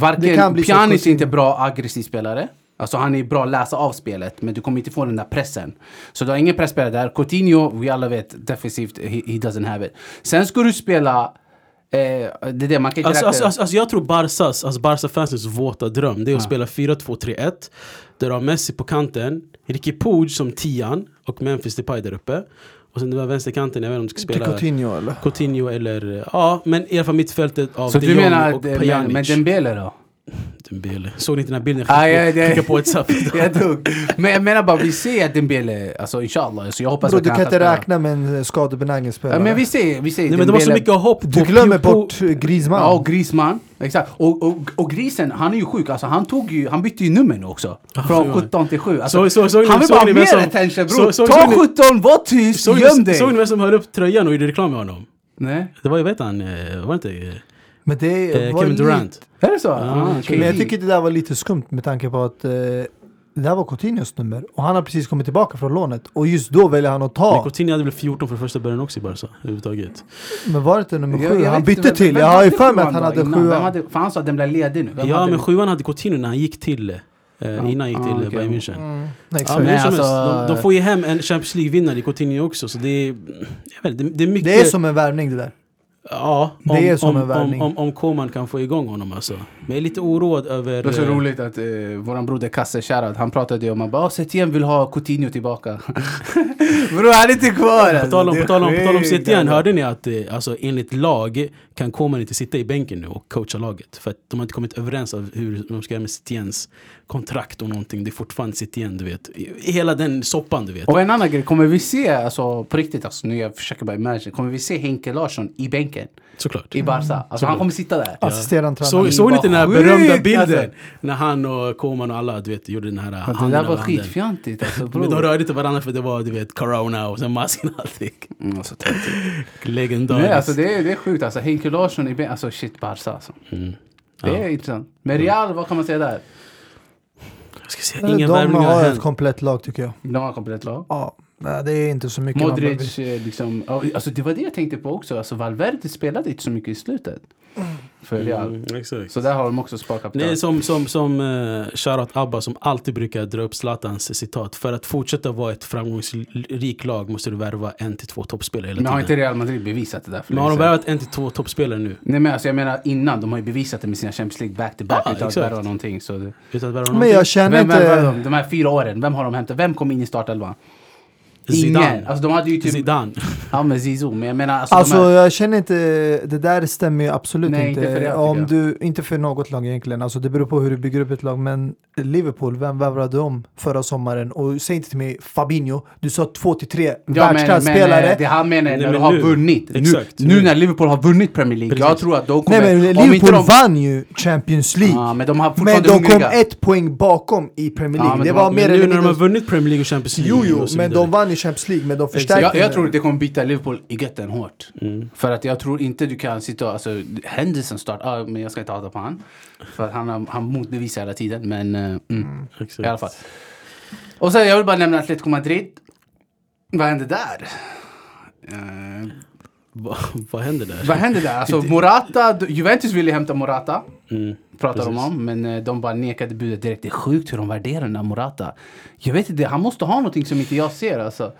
[SPEAKER 3] kan bli
[SPEAKER 2] Varken
[SPEAKER 3] så,
[SPEAKER 2] Pjanic är
[SPEAKER 3] Coutinho.
[SPEAKER 2] inte bra aggressiv spelare. Alltså han är bra att läsa av spelet, men du kommer inte få den där pressen. Så du har ingen pressspelare där. Coutinho, vi alla vet, defensivt, he, he doesn't have it. Sen ska du spela... Eh, det är det, man kan inte
[SPEAKER 1] Alltså,
[SPEAKER 2] räkna-
[SPEAKER 1] alltså, alltså, alltså jag tror Barcas, alltså Barca-fansens våta dröm, det är att spela 4-2-3-1. Där du har Messi på kanten, Ricky Pooch som tian och Memphis Depay där uppe. Och sen den där vänsterkanten, jag vet inte om du ska
[SPEAKER 3] Till
[SPEAKER 1] spela
[SPEAKER 3] Coutinho eller?
[SPEAKER 1] Coutinho eller, ja men i alla fall mittfältet av
[SPEAKER 2] Så
[SPEAKER 1] de
[SPEAKER 2] du
[SPEAKER 1] Jong
[SPEAKER 2] menar...
[SPEAKER 1] och
[SPEAKER 2] att- eh, Men, men
[SPEAKER 1] Pjanic.
[SPEAKER 2] Dembele då?
[SPEAKER 1] Dembele. Såg ni inte den här bilden?
[SPEAKER 2] Ah, ja,
[SPEAKER 1] jag
[SPEAKER 2] det-
[SPEAKER 1] skickade på- skickade på ett saft.
[SPEAKER 2] Jag dog. Men jag menar bara, vi ser att Dembele, alltså inshallah, så jag hoppas
[SPEAKER 3] Bro,
[SPEAKER 2] att
[SPEAKER 3] du
[SPEAKER 2] han
[SPEAKER 3] kan inte
[SPEAKER 2] spela.
[SPEAKER 3] räkna med en eh, skadebenägen
[SPEAKER 2] Ja,
[SPEAKER 3] spelare.
[SPEAKER 2] men vi ser, vi ser
[SPEAKER 1] Nej men det var så
[SPEAKER 2] Dembele.
[SPEAKER 1] mycket hopp på
[SPEAKER 3] Du glömmer
[SPEAKER 1] på-
[SPEAKER 3] bort eh, Griezmann.
[SPEAKER 2] Ja, och Grisman. Exakt. Och, och, och grisen, han är ju sjuk. Alltså, han, tog ju, han bytte ju nummer nu också. Från
[SPEAKER 1] ja.
[SPEAKER 2] 17 till 7.
[SPEAKER 1] Så-
[SPEAKER 2] Alltså,
[SPEAKER 1] så- såg ni-
[SPEAKER 2] han vill
[SPEAKER 1] såg
[SPEAKER 2] bara
[SPEAKER 1] ni
[SPEAKER 2] ha
[SPEAKER 1] vem
[SPEAKER 2] mer
[SPEAKER 1] som-
[SPEAKER 2] attention bror.
[SPEAKER 1] så- såg-
[SPEAKER 2] Ta
[SPEAKER 1] såg ni-
[SPEAKER 2] 17, var tyst,
[SPEAKER 1] Såg
[SPEAKER 2] göm
[SPEAKER 1] ni,
[SPEAKER 2] dig!
[SPEAKER 1] såg ni vem som höll upp tröjan och gjorde reklam med honom?
[SPEAKER 2] Nej.
[SPEAKER 1] Det var ju, vet han, eh, var det inte
[SPEAKER 3] Men det
[SPEAKER 1] eh,
[SPEAKER 3] var
[SPEAKER 1] Kevin
[SPEAKER 3] lite-
[SPEAKER 1] Durant?
[SPEAKER 2] Är det så? Ah,
[SPEAKER 1] jag tror-
[SPEAKER 2] okej.
[SPEAKER 3] Men jag tycker det där var lite skumt med tanke på att eh, det där var Coutinhos nummer och han har precis kommit tillbaka från lånet och just då väljer han att
[SPEAKER 1] Men
[SPEAKER 3] ta.
[SPEAKER 1] Coutinho hade väl 14 från första början också i Barca överhuvudtaget.
[SPEAKER 3] Men var det inte nummer
[SPEAKER 2] Jag-
[SPEAKER 3] sju?
[SPEAKER 2] jag
[SPEAKER 3] Han
[SPEAKER 2] vet inte,
[SPEAKER 3] bytte
[SPEAKER 2] vem-
[SPEAKER 3] till.
[SPEAKER 2] vem
[SPEAKER 3] Jag har ju
[SPEAKER 2] hade
[SPEAKER 3] för mig att
[SPEAKER 2] sjuan
[SPEAKER 3] han
[SPEAKER 2] då
[SPEAKER 3] hade
[SPEAKER 2] innan? Vem
[SPEAKER 3] sjuan.
[SPEAKER 2] hade- För han sa att den blev ledig nu. Vem
[SPEAKER 1] ja
[SPEAKER 2] hade
[SPEAKER 1] men
[SPEAKER 2] den?
[SPEAKER 1] sjuan hade Coutinho när han gick till, eh, innan han gick till
[SPEAKER 2] Ah,
[SPEAKER 1] eh,
[SPEAKER 2] okej.
[SPEAKER 1] Bayern München.
[SPEAKER 3] Nej,
[SPEAKER 1] Ja,
[SPEAKER 3] Mm. exakt.
[SPEAKER 1] men
[SPEAKER 2] Nej,
[SPEAKER 1] hur som helst,
[SPEAKER 2] alltså-
[SPEAKER 1] de, de får ju hem en Champions League-vinnare i Coutinho också så det är, jag vet, inte, det, det är mycket.
[SPEAKER 3] Det är som en värvning det där.
[SPEAKER 1] Ja, om,
[SPEAKER 3] Det är som
[SPEAKER 1] om,
[SPEAKER 3] en värvning.
[SPEAKER 1] Om, om, om Koman kan få igång honom alltså. Men jag är lite oroad över...
[SPEAKER 2] Det var så
[SPEAKER 1] eh,
[SPEAKER 2] roligt att eh, våran broder Kasse, shoutout, han pratade ju om att bara, "Ah, Setien vill ha Coutinho tillbaka. Bror han är inte kvar! alltså.
[SPEAKER 1] På tal om, på tal om, på tal om Setien, hörde ni att eh, alltså, enligt lag kan Koman inte sitta i bänken nu och coacha laget? För att de har inte kommit överens om hur de ska göra med Setiens kontrakt och någonting. Det är fortfarande Setien, du vet. I- i Hela den soppan, du vet.
[SPEAKER 2] Och en annan grej, kommer vi se, alltså på riktigt, alltså, nu jag försöker bara imagine, kommer vi se Henke Larsson i bänken
[SPEAKER 1] Såklart.
[SPEAKER 2] i Barca? Alltså han kommer sitta där.
[SPEAKER 3] Assisterande tränare.
[SPEAKER 1] Så, såg ni inte den här
[SPEAKER 2] Vad sjukt,
[SPEAKER 1] berömda bilden?
[SPEAKER 2] alltså.
[SPEAKER 1] När han och Koman och alla, du vet, gjorde den här
[SPEAKER 2] Det
[SPEAKER 1] handen
[SPEAKER 2] där var
[SPEAKER 1] över handen.
[SPEAKER 2] skitfjantigt alltså
[SPEAKER 1] Men de
[SPEAKER 2] bror.
[SPEAKER 1] rörde inte varandra för det var, du vet, corona och sen masken och allting.
[SPEAKER 2] Mm, alltså, töntigt.
[SPEAKER 1] Legendariskt.
[SPEAKER 2] Nej, alltså det, är, det är sjukt alltså. Henke Larsson i bänken, alltså shit Barca alltså.
[SPEAKER 1] Mm.
[SPEAKER 2] Det är intressant. Men Real, vad kan man säga där?
[SPEAKER 1] Jag ska säga,
[SPEAKER 3] De
[SPEAKER 1] inga värvningar har
[SPEAKER 3] har ett
[SPEAKER 1] hänt.
[SPEAKER 3] komplett lag tycker jag.
[SPEAKER 2] De har komplett lag.
[SPEAKER 3] Ja, nej, det är inte så mycket man behöver-
[SPEAKER 2] Modric, eh, liksom, ja, alltså det var det jag tänkte på också. Alltså Valverde spelade inte så mycket i slutet. För Real.
[SPEAKER 1] Mm, exakt.
[SPEAKER 2] Så där har de också sparkat
[SPEAKER 1] Det är
[SPEAKER 2] där.
[SPEAKER 1] som, som, som eh, shoutout Abba som alltid brukar dra upp Zlatans citat. För att fortsätta vara ett framgångsrikt lag måste du värva en till två toppspelare hela
[SPEAKER 2] Men har
[SPEAKER 1] tiden.
[SPEAKER 2] inte Real Madrid bevisat det där för
[SPEAKER 1] Men har de
[SPEAKER 2] länge sedan?
[SPEAKER 1] värvat en till två toppspelare nu?
[SPEAKER 2] Nej men alltså jag menar innan, de har ju bevisat det med sina Champions League back-to-back
[SPEAKER 1] Ja,
[SPEAKER 2] utan att
[SPEAKER 1] exakt.
[SPEAKER 2] värva någonting. Så det...
[SPEAKER 1] Utan att värva
[SPEAKER 3] Men jag känner
[SPEAKER 2] Vem värvade
[SPEAKER 3] inte...
[SPEAKER 2] de? De här fyra åren, vem har de hämtat? Vem kom in i startelvan? Ingen!
[SPEAKER 1] Zidane.
[SPEAKER 2] Alltså de hade ju typ...
[SPEAKER 1] Zidane.
[SPEAKER 2] Ja men Zizou, men jag menar alltså,
[SPEAKER 3] Alltså
[SPEAKER 2] de här...
[SPEAKER 3] jag känner inte, det där stämmer ju absolut
[SPEAKER 2] Nej,
[SPEAKER 3] inte.
[SPEAKER 2] inte för det,
[SPEAKER 3] Om
[SPEAKER 2] tycker
[SPEAKER 3] du, inte för något lag egentligen, alltså det beror på hur du bygger upp ett lag. Men Liverpool, vem värvade om förra sommaren? Och säg inte till mig Fabinho, du sa två till tre
[SPEAKER 2] Ja, men, men
[SPEAKER 3] världsklassspelare.
[SPEAKER 2] eh, det han menar är
[SPEAKER 1] Nej,
[SPEAKER 2] när
[SPEAKER 1] men
[SPEAKER 2] du har
[SPEAKER 1] nu.
[SPEAKER 2] vunnit. Nu,
[SPEAKER 1] Exakt.
[SPEAKER 2] nu när Liverpool har vunnit Premier League, jag
[SPEAKER 1] Precis.
[SPEAKER 2] tror att de kommer...
[SPEAKER 3] Nej men
[SPEAKER 2] om inte
[SPEAKER 3] Liverpool
[SPEAKER 2] de-
[SPEAKER 3] vann ju Champions League.
[SPEAKER 2] Ja, men de har
[SPEAKER 3] men
[SPEAKER 2] fortfarande
[SPEAKER 3] de kom
[SPEAKER 2] hungriga.
[SPEAKER 3] ett poäng bakom i Premier
[SPEAKER 2] Ja,
[SPEAKER 3] League.
[SPEAKER 2] men
[SPEAKER 3] det
[SPEAKER 2] de-
[SPEAKER 3] var
[SPEAKER 1] Men
[SPEAKER 3] mer
[SPEAKER 1] nu
[SPEAKER 3] eller
[SPEAKER 1] när de har
[SPEAKER 3] mindre...
[SPEAKER 1] vunnit Premier League och Champions League.
[SPEAKER 3] Jo, jo,
[SPEAKER 1] och så
[SPEAKER 3] men
[SPEAKER 1] vidare.
[SPEAKER 3] de vann ju Champions League, men de förstärkte
[SPEAKER 2] Jag, jag
[SPEAKER 3] det.
[SPEAKER 2] tror att det kommer bita Liverpool i götten hårt.
[SPEAKER 1] Mm.
[SPEAKER 2] För att jag tror inte du kan sitta och... Alltså, Henderson start... Ah, men jag ska inte hata på han. För att han, har- han motbevisar hela tiden. Men eh, mm,
[SPEAKER 1] Exakt.
[SPEAKER 2] i alla fall. Och sen jag vill bara nämna Atletico Madrid. Vad hände där? Eh,
[SPEAKER 1] Va, vad händer där?
[SPEAKER 2] vad hände där? Alltså Morata, Juventus ville hämta Morata.
[SPEAKER 1] Mm.
[SPEAKER 2] Pratar de
[SPEAKER 1] Precis.
[SPEAKER 2] om, men eh, de bara nekade budet direkt. Det är sjukt hur de värderar den där Morata. Jag vet inte, han måste ha någonting som inte jag ser alltså.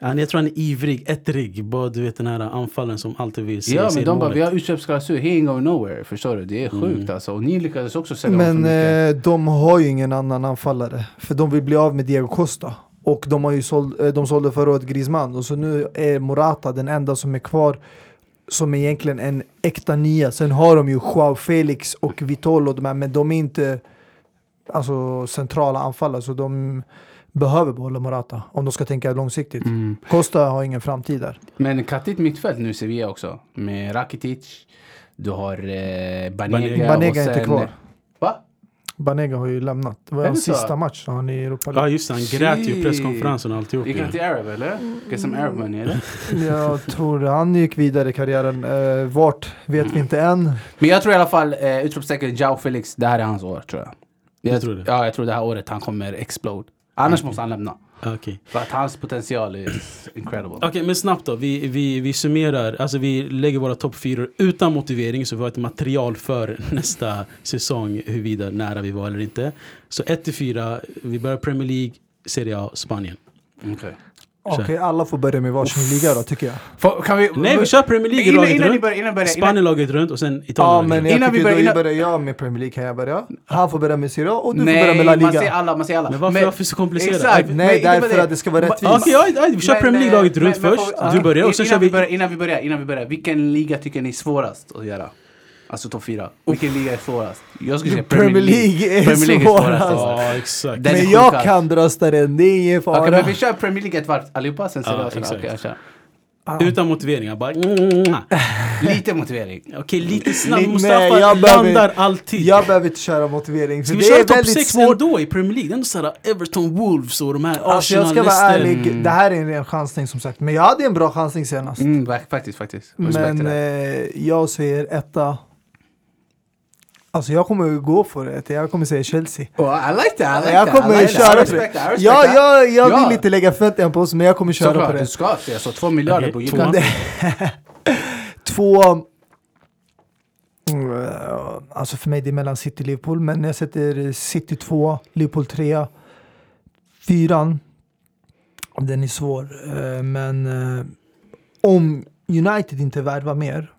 [SPEAKER 1] Han, jag tror han är ivrig, ettrig. Bara du vet den här anfallen som alltid vill se
[SPEAKER 2] Ja
[SPEAKER 1] se
[SPEAKER 2] men de bara,
[SPEAKER 1] målet. Mm.
[SPEAKER 2] vi har utköpsklausul, he ain't going nowhere. Förstår du? Det är sjukt alltså. Och ni lyckades också sälja honom
[SPEAKER 3] Men
[SPEAKER 2] för mycket.
[SPEAKER 3] eh, de har ju ingen annan anfallare, för de vill bli av med Diego Costa. Och de, har ju såld, eh, de sålde förra året Griezmann, och så nu är Morata den enda som är kvar som är egentligen en äkta nia. Sen har de ju Joao Felix och Vitolo, och de här, men de är inte alltså, centrala anfallare, så de behöver behålla Morata om de ska tänka långsiktigt.
[SPEAKER 2] Mm.
[SPEAKER 3] Costa har ingen framtid där.
[SPEAKER 2] Men kattigt mittfält nu Sevilla också. Med Rakitic, du har eh, Banega,
[SPEAKER 1] Banega.
[SPEAKER 2] och
[SPEAKER 3] Banega är
[SPEAKER 2] sen...
[SPEAKER 3] inte kvar.
[SPEAKER 2] Va?
[SPEAKER 3] Banega har ju lämnat. Det var
[SPEAKER 2] Är
[SPEAKER 3] hans
[SPEAKER 2] det så?
[SPEAKER 3] sista match han i Europa
[SPEAKER 1] Ja
[SPEAKER 3] League.
[SPEAKER 1] just det, han grät ju i
[SPEAKER 2] Shit.
[SPEAKER 1] presskonferensen och alltihop.
[SPEAKER 2] Gick
[SPEAKER 1] ju.
[SPEAKER 2] han till Arab eller? Get some Arab money eller?
[SPEAKER 3] Jag tror han gick vidare i karriären. Eh, vart vet vi inte än.
[SPEAKER 2] Men jag tror i alla fall, eh, utropstecken, Jao Felix, det här är hans år tror jag.
[SPEAKER 1] Du
[SPEAKER 2] jag
[SPEAKER 1] tror det? Mm.
[SPEAKER 2] Ja, jag tror det här året han kommer explode. Annars måste han lämna.
[SPEAKER 1] Okej.
[SPEAKER 2] För att hans potential är incredible.
[SPEAKER 1] Okej, men snabbt då. Vi, vi, vi summerar, alltså vi lägger våra topp fyra utan motivering så vi har ett material för nästa säsong huruvida nära vi var eller inte. Så 1 till 4, vi börjar Premier League, Serie A, Spanien.
[SPEAKER 2] Okej.
[SPEAKER 3] Okej, alla får börja med varsin liga då tycker jag.
[SPEAKER 2] Får- Kan vi...
[SPEAKER 1] Nej, vi kör Premier League
[SPEAKER 2] Innan,
[SPEAKER 1] laget
[SPEAKER 2] innan ni
[SPEAKER 1] runt,
[SPEAKER 2] börjar, innan ni börjar. Innan,
[SPEAKER 1] Spanien laget runt och sen Italien
[SPEAKER 3] Ja,
[SPEAKER 1] laget
[SPEAKER 3] men
[SPEAKER 1] runt.
[SPEAKER 3] jag
[SPEAKER 2] Innan vi
[SPEAKER 3] tycker
[SPEAKER 2] börjar-
[SPEAKER 3] då
[SPEAKER 2] innan-
[SPEAKER 3] börjar jag med Premier League. Kan jag börja? Han får börja med Serie A och du får börja med La
[SPEAKER 2] Nej, man ser
[SPEAKER 3] Liga.
[SPEAKER 2] alla, man ser alla.
[SPEAKER 1] Men varför- varför så komplicerat?
[SPEAKER 2] Exakt.
[SPEAKER 1] Nej,
[SPEAKER 3] Nej,
[SPEAKER 2] men
[SPEAKER 3] därför
[SPEAKER 2] innebär
[SPEAKER 3] att det ska vara
[SPEAKER 1] Okej,
[SPEAKER 3] rättvist.
[SPEAKER 1] ja, ja, vi kör
[SPEAKER 2] Men,
[SPEAKER 1] Premier League laget
[SPEAKER 2] eh,
[SPEAKER 1] runt
[SPEAKER 2] men- men
[SPEAKER 1] först.
[SPEAKER 2] får-
[SPEAKER 1] Du börjar och sen
[SPEAKER 2] innan
[SPEAKER 1] kör vi...
[SPEAKER 2] börjar, innan vi börjar, innan vi börjar. Vilken liga tycker ni är svårast att göra? Alltså topp fyra. Vilken liga är svårast? Jag skulle säga
[SPEAKER 3] Oh. Premier League är svårast.
[SPEAKER 2] ja.
[SPEAKER 1] Ja, exakt.
[SPEAKER 2] Den är
[SPEAKER 3] Men
[SPEAKER 2] sjuk
[SPEAKER 3] jag
[SPEAKER 2] här.
[SPEAKER 3] kan brösta den, det är ingen
[SPEAKER 2] Okej,
[SPEAKER 3] fara.
[SPEAKER 2] men vi kör Premier League ett varv allihopa, sen ser
[SPEAKER 1] Ja,
[SPEAKER 2] vi vad som händer.
[SPEAKER 1] exakt.
[SPEAKER 2] Okej, jag kör.
[SPEAKER 1] Utan motiveringar, bara... Okej,
[SPEAKER 2] Lite motivering.
[SPEAKER 1] lite snabbt.
[SPEAKER 3] Nej,
[SPEAKER 1] Mustafa
[SPEAKER 3] jag behöver-
[SPEAKER 1] landar alltid.
[SPEAKER 3] Jag behöver inte köra motivering, för
[SPEAKER 1] Ska vi
[SPEAKER 3] det är
[SPEAKER 1] köra topp
[SPEAKER 3] väldigt
[SPEAKER 1] 6
[SPEAKER 3] svårt.
[SPEAKER 1] ändå i Premier League? Det är ändå såhär Everton Wolves och de här
[SPEAKER 3] Alltså jag
[SPEAKER 1] Arsenal,
[SPEAKER 3] ska vara
[SPEAKER 1] Leicester.
[SPEAKER 3] ärlig, det här är en ren chansning som sagt. Men jag hade en bra chansning senast.
[SPEAKER 2] Mm, va- faktiskt, faktiskt. Respekt till
[SPEAKER 3] Men
[SPEAKER 2] det.
[SPEAKER 3] eh, jag säger etta. Alltså jag kommer att gå för det. Jag kommer säga Chelsea.
[SPEAKER 2] Oh, I like that! I like
[SPEAKER 3] jag
[SPEAKER 2] that,
[SPEAKER 3] kommer
[SPEAKER 2] I like that. I
[SPEAKER 3] köra på
[SPEAKER 2] respect that, I
[SPEAKER 3] det.
[SPEAKER 2] respect
[SPEAKER 3] Ja,
[SPEAKER 2] that.
[SPEAKER 3] jag, jag
[SPEAKER 2] Ja.
[SPEAKER 3] vill inte lägga förväntningar på oss, men jag kommer köra på
[SPEAKER 2] Såklart,
[SPEAKER 3] det.
[SPEAKER 2] du ska se. Alltså två miljarder
[SPEAKER 1] Okej,
[SPEAKER 2] bror.
[SPEAKER 1] tvåan.
[SPEAKER 3] Två... Mm, eh, Alltså för mig det är mellan City och Liverpool, men jag sätter City 2, Liverpool 3, 4. Den är svår, eh, men eh, om United inte värvar mer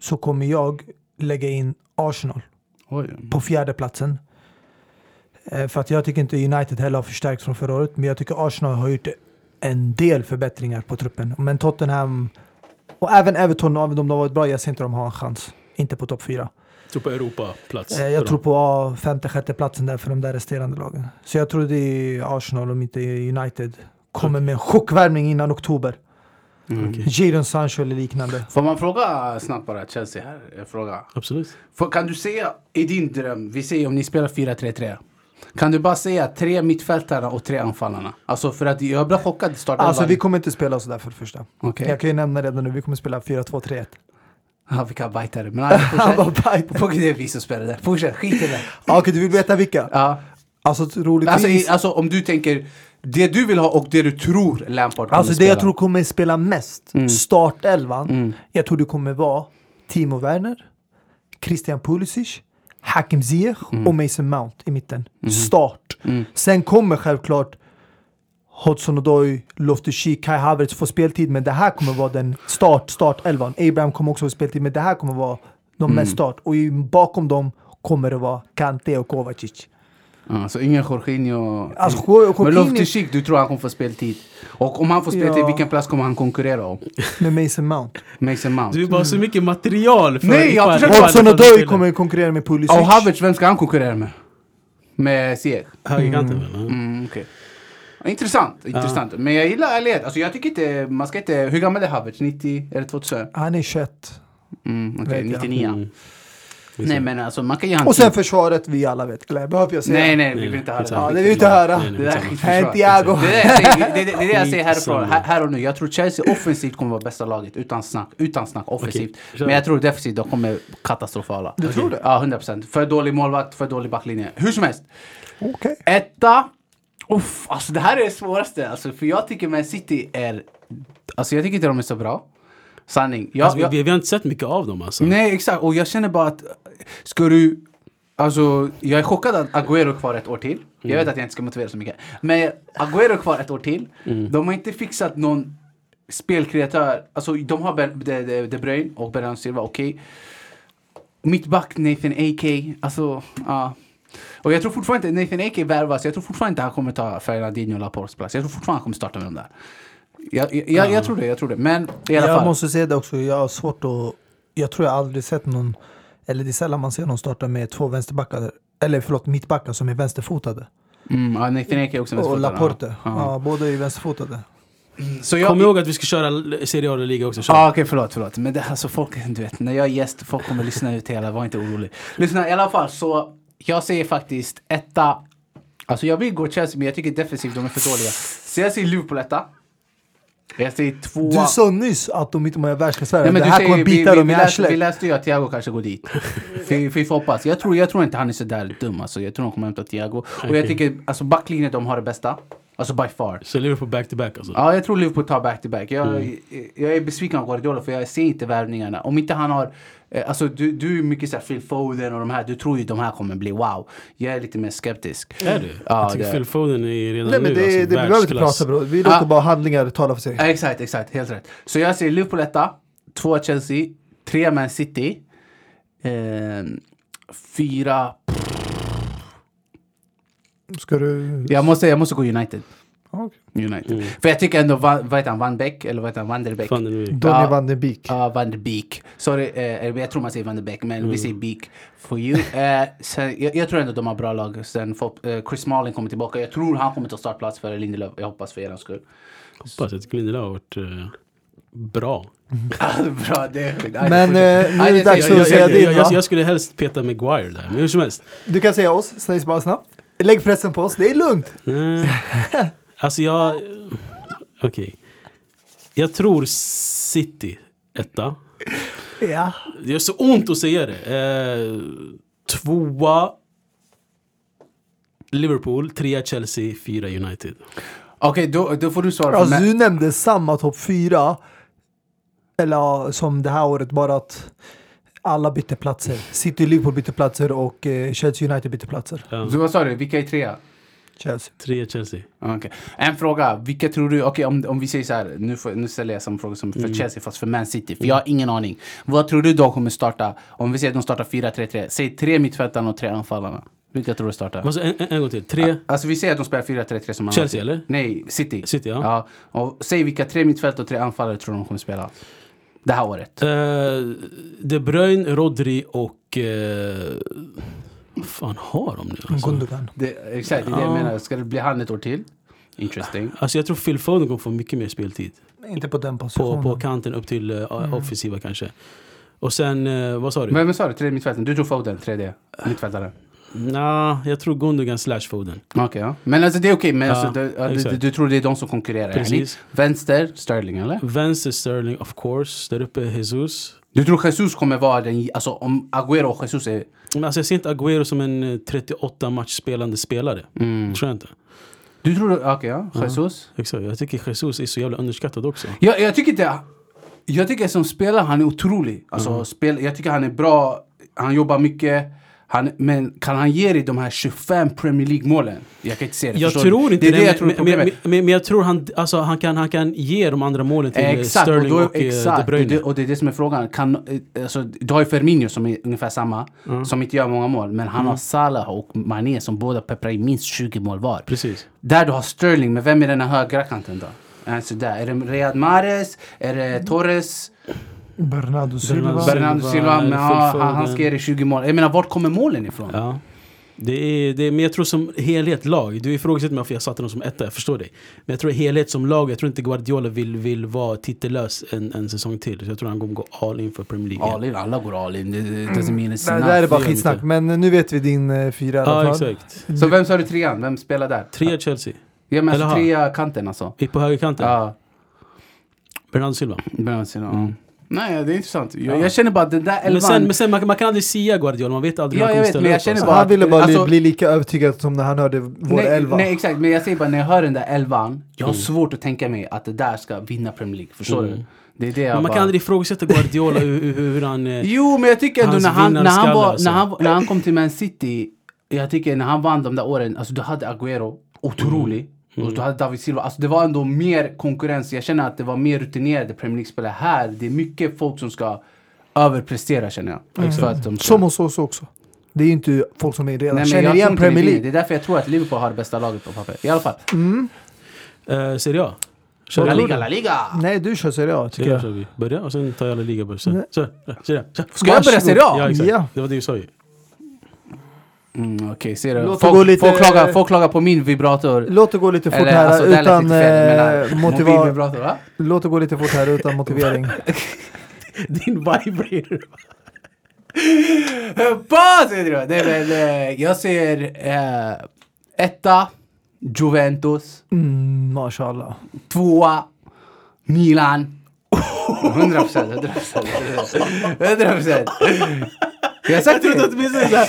[SPEAKER 3] så kommer jag lägga in Arsenal
[SPEAKER 2] Oj.
[SPEAKER 3] på fjärde platsen. Eh, För att jag tycker inte United heller har förstärkts från förra året, men jag tycker Arsenal har gjort en del förbättringar på truppen. Men Tottenham och även Everton, även om de har varit bra, jag ser inte de har en chans. Inte på topp fyra.
[SPEAKER 1] Tror på Europaplats.
[SPEAKER 3] Eh,
[SPEAKER 1] för
[SPEAKER 3] Jag tror
[SPEAKER 1] dem.
[SPEAKER 3] på ah, femte, sjätte platsen där för de där resterande lagen. Så jag tror det är Arsenal, om inte United, kommer med en chockvärmning innan oktober.
[SPEAKER 1] Okej.
[SPEAKER 3] Jadon Sancho eller liknande.
[SPEAKER 2] Får man fråga snabbt bara, Chelsea här? eh, Fråga.
[SPEAKER 1] Absolut.
[SPEAKER 2] Får, kan du säga i din dröm, vi säger om ni spelar 4-3-3. Kan du bara säga tre mittfältarna och tre anfallarna? Alltså för att jag blev chockad i starten.
[SPEAKER 3] Alltså vi kommer inte spela sådär för det första.
[SPEAKER 2] Okej.
[SPEAKER 3] Jag kan ju nämna redan nu, vi kommer spela 4-2-3-1.
[SPEAKER 2] Ja, vilka bajtare. Men nej,
[SPEAKER 3] Han
[SPEAKER 2] fortsätt.
[SPEAKER 3] bara bajt.
[SPEAKER 2] Fuck det är vi som spelar där. Fortsätt, skit i det.
[SPEAKER 3] Ja, Okej, du vill veta vilka?
[SPEAKER 2] Ja.
[SPEAKER 3] Alltså
[SPEAKER 2] Alltså, i,
[SPEAKER 3] troligtvis.
[SPEAKER 2] alltså om du tänker det du vill ha och det du tror Lampard kommer
[SPEAKER 3] Alltså det
[SPEAKER 2] spela.
[SPEAKER 3] jag tror kommer spela mest, startelvan,
[SPEAKER 2] Mm.
[SPEAKER 3] jag tror det kommer vara Timo Werner, Christian Pulisic, Hakim Ziyech och Mason Mount i mitten. Start.
[SPEAKER 2] Mm.
[SPEAKER 3] Sen kommer självklart Hodgson Odoi, Loftus-Cheek, Kai Havertz få speltid, men det här kommer vara den start, startelvan. Abraham kommer också få speltid, men det här kommer vara de
[SPEAKER 2] Mm.
[SPEAKER 3] mest start. Och i- bakom dem kommer det vara Kante och Kovacic.
[SPEAKER 2] Ja, så ingen Jorginho.
[SPEAKER 3] Alltså, Jorginho-
[SPEAKER 2] Men Loftus-Cheek, du tror han kommer få speltid. Och om han får speltid,
[SPEAKER 3] Ja.
[SPEAKER 2] vilken plats kommer han konkurrera om?
[SPEAKER 3] Med Mason Mount.
[SPEAKER 2] Mason Mount.
[SPEAKER 1] Du har bara så mycket material. För
[SPEAKER 2] Nej, jag
[SPEAKER 1] ifall-
[SPEAKER 2] försöker-
[SPEAKER 1] ifall-
[SPEAKER 3] Hodgson
[SPEAKER 1] ifall du
[SPEAKER 3] Odoi
[SPEAKER 1] spelar.
[SPEAKER 3] kommer konkurrera med Pulisic.
[SPEAKER 2] Och Havertz, vem ska han konkurrera med? Med Ziyech?
[SPEAKER 1] Högerkanten väl? ja.
[SPEAKER 2] Mm, okej. Intressant, intressant. Men jag gillar ärlighet. Alltså jag tycker inte, man ska inte... Hur gammal är Havertz? 90? Är det 2000?
[SPEAKER 3] Han är 21.
[SPEAKER 2] Mm, okej,
[SPEAKER 3] Vet jag.
[SPEAKER 2] 99.
[SPEAKER 1] Mm.
[SPEAKER 2] Nej men alltså man kan ge han
[SPEAKER 3] Och sen
[SPEAKER 2] tid.
[SPEAKER 3] försvaret, vi alla vet. Eller Behöver jag säga?
[SPEAKER 2] Nej nej, vi
[SPEAKER 1] Nej,
[SPEAKER 2] vill inte höra
[SPEAKER 1] skitsamma.
[SPEAKER 3] Ja, det vill vi inte höra.
[SPEAKER 1] Nej, nej,
[SPEAKER 2] Det där är
[SPEAKER 1] skitsamma.
[SPEAKER 2] skitförsvar.
[SPEAKER 3] Hej, Thiago.
[SPEAKER 2] Det, där jag säger, det, det, det är det jag säger härifrån,
[SPEAKER 1] Skitsamma.
[SPEAKER 2] här, här och nu. Jag tror Chelsea offensivt kommer vara bästa laget, utan snack. Utan snack offensivt.
[SPEAKER 1] Okej, kör.
[SPEAKER 2] Men jag tror defensivt, de kommer katastrofala.
[SPEAKER 3] Du tror det?
[SPEAKER 2] Ja, 100 procent. För dålig målvakt, för dålig backlinje. Hur som helst.
[SPEAKER 3] Okej.
[SPEAKER 2] Etta. Uff, alltså det här är det svåraste. Alltså, för jag tycker Man City är... Alltså jag tycker inte de är så bra. Sanning. Jag,
[SPEAKER 1] Alltså, vi-
[SPEAKER 2] jag,
[SPEAKER 1] vi, vi har inte sett mycket av dem alltså.
[SPEAKER 2] nej, exakt. Och jag känner bara att... Ska du... Alltså, jag är chockad att Agüero är kvar ett år till. Jag
[SPEAKER 3] Mm.
[SPEAKER 2] vet att jag inte ska motivera så mycket. Men Agüero är kvar ett år till.
[SPEAKER 3] Mm.
[SPEAKER 2] De har inte fixat någon spelkreatör. Alltså, de har Ben- De, de, de Bruyne och Bernardo Silva, okej. Mittback Nathan A.K. Alltså, ja. Och jag tror fortfarande inte Nathan A.K. värvas. Jag tror fortfarande inte han kommer ta Fernandinho och Laportes plats. Jag tror fortfarande han kommer starta med dem där. Jag, jag, jag, jag tror det, jag tror det. Men i alla
[SPEAKER 3] Jag
[SPEAKER 2] fall.
[SPEAKER 3] måste säga det också, jag har svårt att... Jag tror jag aldrig sett någon... Eller det är sällan man ser någon starta med två vänsterbackar. Eller förlåt, mittbackar som är vänsterfotade.
[SPEAKER 2] Mm, ja, Nathan A.K. är också
[SPEAKER 3] Och
[SPEAKER 2] vänsterfotad, ja.
[SPEAKER 3] Laporte.
[SPEAKER 2] Ja.
[SPEAKER 3] Ja, båda är vänsterfotade.
[SPEAKER 2] Så
[SPEAKER 1] Kom
[SPEAKER 2] jag...
[SPEAKER 1] ihåg att vi ska köra l- Serie A och liga också.
[SPEAKER 2] Ja,
[SPEAKER 1] Kör.
[SPEAKER 2] okej, förlåt, förlåt. Men det, alltså folk, du vet, när jag är gäst, folk kommer lyssna ut hela, var inte orolig. Lyssna, i alla fall så, jag säger faktiskt etta. Alltså jag vill gå Chelsea, men jag tycker defensivt, de är för dåliga. Så jag säger Liverpool etta. Jag säger tvåa.
[SPEAKER 3] Du sa nyss att de inte mår världsklassare.
[SPEAKER 2] Nej, men
[SPEAKER 3] det
[SPEAKER 2] du
[SPEAKER 3] här
[SPEAKER 2] säger,
[SPEAKER 3] kommer
[SPEAKER 2] vi-
[SPEAKER 3] bita
[SPEAKER 2] vi,
[SPEAKER 3] dem i
[SPEAKER 2] vi, läste, vi
[SPEAKER 3] arslet.
[SPEAKER 2] läste ju att Thiago kanske går dit. Vi, vi får hoppas. Jag tror, jag tror inte han är så där dum. Alltså. Jag tror de kommer hämta Thiago. Och jag
[SPEAKER 1] Okej.
[SPEAKER 2] tycker alltså, backlinjen de har det bästa. Alltså by far.
[SPEAKER 1] Så Liverpool back to back alltså.
[SPEAKER 2] Ja, jag tror Liverpool tar back-to-back. Jag, jag är besviken på Guardiola för jag ser inte värvningarna. Om inte han har... eh, Alltså du, du är mycket såhär Phil Foden och de här. Du tror ju de här kommer bli wow. Jag är lite mer skeptisk.
[SPEAKER 1] Är du?
[SPEAKER 2] Ja,
[SPEAKER 1] jag tycker
[SPEAKER 2] det-
[SPEAKER 1] Phil Foden är redan
[SPEAKER 3] Nej men
[SPEAKER 1] nu
[SPEAKER 3] det, det
[SPEAKER 1] alltså,
[SPEAKER 3] behöver vi inte
[SPEAKER 1] världsklass.
[SPEAKER 3] prata bro. Vi låter
[SPEAKER 2] Ah.
[SPEAKER 3] bara handlingar tala för sig.
[SPEAKER 2] Ja, exakt, exakt. Helt rätt. Så jag säger Liverpool etta, två Chelsea, tre Man City, eh, fyra...
[SPEAKER 3] Ska du...
[SPEAKER 2] Jag måste, jag måste gå United.
[SPEAKER 3] Ja, okej.
[SPEAKER 2] United. För jag tycker ändå, Va- vad heter han, Van Beek? Eller vad heter han, Mm. Van der Beek?
[SPEAKER 1] Fan, det är nu.
[SPEAKER 3] Donny
[SPEAKER 2] Ja.
[SPEAKER 3] van den Beek.
[SPEAKER 2] Ja, Ah, Van der Beek. Sorry, eh, eller jag tror man säger Van der Beek, men vi säger Beek for you. Eh, sen, jag, jag tror ändå de har bra lag. Sen får, eh, Chris Smalling kommer tillbaka. Jag tror han kommer ta startplats för Lindelöf. Jag hoppas för er skull.
[SPEAKER 1] Hoppas att Lindelöf har varit eh, bra.
[SPEAKER 2] Ah, bra, det är skönt.
[SPEAKER 3] Men, eh, nu är det dags
[SPEAKER 1] Jag,
[SPEAKER 3] Så
[SPEAKER 1] jag,
[SPEAKER 3] säger
[SPEAKER 1] jag,
[SPEAKER 3] din,
[SPEAKER 1] jag,
[SPEAKER 3] va?
[SPEAKER 1] jag, jag skulle helst peta Maguire där, men hur som helst.
[SPEAKER 3] Du kan säga oss, snabbt, bara snabbt. Lägg pressen på oss, det är lugnt.
[SPEAKER 1] Nej. Alltså jag... Okej. Jag tror City etta.
[SPEAKER 3] Ja.
[SPEAKER 1] Det gör så ont att säga det. Eh, tvåa Liverpool, trea Chelsea, fyra United.
[SPEAKER 2] Okej, då, då får du svara. för
[SPEAKER 3] Alltså,
[SPEAKER 2] mig.
[SPEAKER 3] du nämnde samma topp fyra eller, ja, som det här året, bara att alla bytte platser. City och Liverpool bytte platser och eh, Chelsea United bytte platser.
[SPEAKER 2] Så vad sa du, vilka är trea?
[SPEAKER 3] Chelsea.
[SPEAKER 1] Tre Chelsea.
[SPEAKER 2] Okej. En fråga, vilka tror du, okej om, om vi säger så här, nu, får, nu ställer jag samma fråga som för Chelsea fast för Man City, för jag har ingen aning. Vad tror du de kommer starta, om vi säger att de startar 4-3-3, säg tre mittfältarna och tre anfallarna. Vilka tror du startar?
[SPEAKER 1] Alltså, en, en, en gång till. Tre.
[SPEAKER 2] Alltså vi säger att de spelar 4-3-3 som man
[SPEAKER 1] Chelsea, eller?
[SPEAKER 2] Nej, City.
[SPEAKER 1] City, ja.
[SPEAKER 2] ja. Och säg vilka tre mittfält och tre anfallare tror du de kommer spela det här året.
[SPEAKER 1] Eh, De Bruyne, Rodri och... eh, vad fan har de nu? Alltså,
[SPEAKER 3] Gundogan.
[SPEAKER 2] Det, exakt, det är det jag menar. Ska det bli han ett år till? Interesting.
[SPEAKER 1] alltså jag tror Phil Foden kommer få mycket mer speltid.
[SPEAKER 3] Inte på den
[SPEAKER 1] På,
[SPEAKER 3] positionen.
[SPEAKER 1] på kanten upp till eh, offensiva kanske. Och sen, eh, vad sa du?
[SPEAKER 2] Vem sa du? Tre mittfältare? Du tror Foden, tredje mittfältaren?
[SPEAKER 1] Nja, jag tror Gundogan slash Foden.
[SPEAKER 2] Okej, ja. Men alltså det är okej, men
[SPEAKER 1] Ja,
[SPEAKER 2] alltså, det, ja, du,
[SPEAKER 1] exakt.
[SPEAKER 2] du, du tror det är de som konkurrerar?
[SPEAKER 1] Precis.
[SPEAKER 2] yani? Vänster, Sterling eller?
[SPEAKER 1] Vänster Sterling of course, där uppe Jesus.
[SPEAKER 2] Du tror Jesus kommer vara den, alltså om Agüero och Jesus är...
[SPEAKER 1] Men alltså jag ser inte Agüero som en eh, 38 match spelande spelare.
[SPEAKER 2] Mm.
[SPEAKER 1] Tror jag inte.
[SPEAKER 2] Du tror, okej ja, Jesus.
[SPEAKER 1] Exakt. Jag tycker Jesus är så jävla underskattad också.
[SPEAKER 2] Jag, jag tycker inte... Jag tycker som spelare, han är otrolig. Alltså,
[SPEAKER 1] Mm.
[SPEAKER 2] spel, jag tycker han är bra, han jobbar mycket. Han, men kan han ge dig de här 25 Premier League-målen? Jag kan inte se det.
[SPEAKER 1] Jag
[SPEAKER 2] förstår du?
[SPEAKER 1] tror inte
[SPEAKER 2] det. är det
[SPEAKER 1] men-
[SPEAKER 2] jag tror
[SPEAKER 1] men,
[SPEAKER 2] är
[SPEAKER 1] men,
[SPEAKER 2] problemet.
[SPEAKER 1] men, men jag tror han, alltså, han, kan, han kan ge de andra målen till eh,
[SPEAKER 2] Exakt, och,
[SPEAKER 1] Sterling
[SPEAKER 2] då,
[SPEAKER 1] och, eh, De
[SPEAKER 2] exakt. Och,
[SPEAKER 1] Bruyne.
[SPEAKER 2] det, och det är det som är frågan. Kan, eh, alltså, du har ju Firmino som är ungefär samma,
[SPEAKER 1] Mm.
[SPEAKER 2] som inte gör många mål. Men han har Salah och Mané som båda pepprar in minst 20 mål var.
[SPEAKER 1] Precis.
[SPEAKER 2] Där du har Sterling, men vem är den här högra kanten då? Alltså där. Är det Riyad Mahrez? Är
[SPEAKER 1] Mm.
[SPEAKER 2] det Torres?
[SPEAKER 3] Bernardo Silva.
[SPEAKER 1] Silva.
[SPEAKER 2] Bernardo Silva?
[SPEAKER 1] eller
[SPEAKER 2] Men, ja,
[SPEAKER 1] Phil
[SPEAKER 2] han, han
[SPEAKER 1] Foden.
[SPEAKER 2] ska ge dig 20 mål. Jag menar, vart kommer målen ifrån?
[SPEAKER 1] Ja. Det är, det är, men jag tror som helhet lag, du ifrågasätter mig varför jag satte dem som etta, jag förstår dig. Men jag tror helhet som lag, jag tror inte Guardiola vill, vill vara titellös en, en säsong till. Så jag tror han kommer gå all in för Premier League. igen.
[SPEAKER 2] All in, alla går all in. Det, det, det doesn't mean it's enough.
[SPEAKER 3] Det Mm. där är bara
[SPEAKER 1] det gör vi
[SPEAKER 3] skitsnack.
[SPEAKER 1] inte.
[SPEAKER 3] Men nu vet vi din eh, fyra i
[SPEAKER 1] Ja,
[SPEAKER 3] alla fall.
[SPEAKER 1] exakt.
[SPEAKER 2] Så vem sa du trean? Vem spelar där?
[SPEAKER 1] Trea Chelsea.
[SPEAKER 2] Ja, men
[SPEAKER 1] Eller
[SPEAKER 2] alltså,
[SPEAKER 1] har-
[SPEAKER 2] trea kanten alltså.
[SPEAKER 1] I- På högerkanten.
[SPEAKER 2] Ja.
[SPEAKER 1] Bernardo Silva.
[SPEAKER 2] Bernardo Silva. ja. Nej, det är intressant. Jag, jag känner bara att den där elvan...
[SPEAKER 1] Mm. Men sen, men sen man, man kan aldrig sia Guardiola, man vet aldrig
[SPEAKER 2] Ja,
[SPEAKER 1] när han
[SPEAKER 2] jag
[SPEAKER 1] kommer
[SPEAKER 2] vet, men
[SPEAKER 1] ställa upp.
[SPEAKER 2] jag känner
[SPEAKER 1] alltså.
[SPEAKER 2] bara-
[SPEAKER 3] Han ville bara
[SPEAKER 2] Alltså-
[SPEAKER 3] bli lika övertygad som när han hörde vår
[SPEAKER 2] nej,
[SPEAKER 3] elva.
[SPEAKER 2] Nej, exakt. Men jag säger bara, när jag hör den där elvan, jag
[SPEAKER 1] Mm.
[SPEAKER 2] har svårt att tänka mig att det där ska vinna Premier League. Förstår du? Det är det jag
[SPEAKER 1] Men man
[SPEAKER 2] bara...
[SPEAKER 1] kan aldrig ifrågasätta Guardiola hur, hur, hur han... eh,
[SPEAKER 2] Jo, men jag tycker ändå
[SPEAKER 1] Hans
[SPEAKER 2] när han, när, han
[SPEAKER 1] vinnarskalle,
[SPEAKER 2] var,
[SPEAKER 1] alltså.
[SPEAKER 2] när, han, när han kom till Man City, jag tycker när han vann de där åren, alltså du hade Agüero, otrolig.
[SPEAKER 3] Mm.
[SPEAKER 2] Och du hade David Silva. Alltså det var ändå mer konkurrens. Jag känner att det var mer rutinerade Premier League-spelare här. Det är mycket folk som ska överprestera känner jag. För att de ska-
[SPEAKER 3] Mm. Som hos oss också. Det är ju inte folk som är redan
[SPEAKER 2] Nej, men
[SPEAKER 3] känner
[SPEAKER 2] jag tror
[SPEAKER 3] igen
[SPEAKER 2] inte det är
[SPEAKER 3] Premier
[SPEAKER 2] det.
[SPEAKER 3] League. Mm.
[SPEAKER 2] Det är därför jag tror att Liverpool har det bästa laget på papper. I alla fall.
[SPEAKER 1] eh, Serie A. Kör
[SPEAKER 2] La
[SPEAKER 1] vi.
[SPEAKER 2] Liga, La Liga!
[SPEAKER 3] Nej, du kör Serie A tycker
[SPEAKER 1] Serie A
[SPEAKER 3] jag.
[SPEAKER 1] kör vi. Börja och sen tar jag alla liga först. Sen. Så, så, så, så.
[SPEAKER 2] Ska
[SPEAKER 3] Mm.
[SPEAKER 2] jag börja Serie
[SPEAKER 1] Ja,
[SPEAKER 2] A?
[SPEAKER 1] exakt.
[SPEAKER 3] Ja.
[SPEAKER 1] Det var det du sa ju.
[SPEAKER 2] Mm, Okej, ser du.
[SPEAKER 3] Låt det gå
[SPEAKER 2] Folk,
[SPEAKER 3] lite-
[SPEAKER 2] folk, klagar, folk klagar på min vibrator.
[SPEAKER 3] Låt det gå lite fort
[SPEAKER 2] Eller,
[SPEAKER 3] här
[SPEAKER 2] alltså, det här lät
[SPEAKER 3] utan
[SPEAKER 2] lite fel,
[SPEAKER 3] eh,
[SPEAKER 2] men,
[SPEAKER 3] motivering.
[SPEAKER 2] motivvibrator, va?
[SPEAKER 3] Låt det gå lite fort här utan motivering.
[SPEAKER 1] Din vibrator.
[SPEAKER 2] Vad säger du? Nej, men, eh, jag ser eh, etta, Juventus,
[SPEAKER 3] Mm, mashallah.
[SPEAKER 2] tvåa, Milan. 100 procent, 100 procent. 100 procent. Jag har sagt det.
[SPEAKER 1] Åtminstone såhär,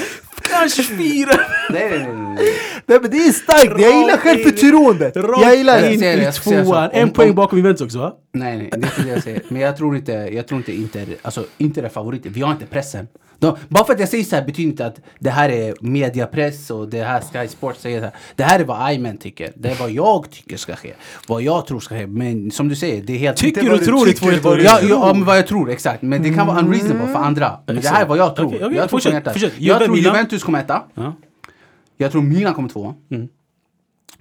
[SPEAKER 1] kanske fyra.
[SPEAKER 2] Nej, nej, nej, nej.
[SPEAKER 3] Nej men det är starkt, jag gillar självförtroendet. Jag gillar
[SPEAKER 1] Rakt
[SPEAKER 3] det.
[SPEAKER 1] in
[SPEAKER 2] ser det,
[SPEAKER 1] i
[SPEAKER 2] jag ser det.
[SPEAKER 1] tvåan.
[SPEAKER 2] Om-
[SPEAKER 1] En
[SPEAKER 2] om-
[SPEAKER 1] poäng bakom Juventus också va?
[SPEAKER 2] Nej, nej, det är inte det jag säger. Men jag tror inte, jag tror inte Inter, alltså Inter är favoriter. Vi har inte pressen. De, bara för att jag säger så här betyder inte att det här är mediapress och det här Sky Sports säger. Så här. Det här är vad Ayman tycker. Det är vad jag tycker ska ske. Vad jag tror ska ske. Men som du säger, det är helt...
[SPEAKER 1] Tycker
[SPEAKER 2] Inte vad
[SPEAKER 1] och tror är
[SPEAKER 2] tycker,
[SPEAKER 1] två helt
[SPEAKER 2] vad du-
[SPEAKER 1] olika.
[SPEAKER 2] Ja, ja, men vad jag tror, Mm. exakt. Men det kan vara unreasonable för andra. Men det här är vad jag tror.
[SPEAKER 1] Okej, okej,
[SPEAKER 2] jag tror
[SPEAKER 1] fortsätt,
[SPEAKER 2] från hjärtat.
[SPEAKER 1] fortsätt.
[SPEAKER 2] Jag
[SPEAKER 1] Juve,
[SPEAKER 2] tror
[SPEAKER 1] Milan.
[SPEAKER 2] Juventus kommer etta.
[SPEAKER 1] Ja.
[SPEAKER 2] Jag tror Milan kommer tvåa.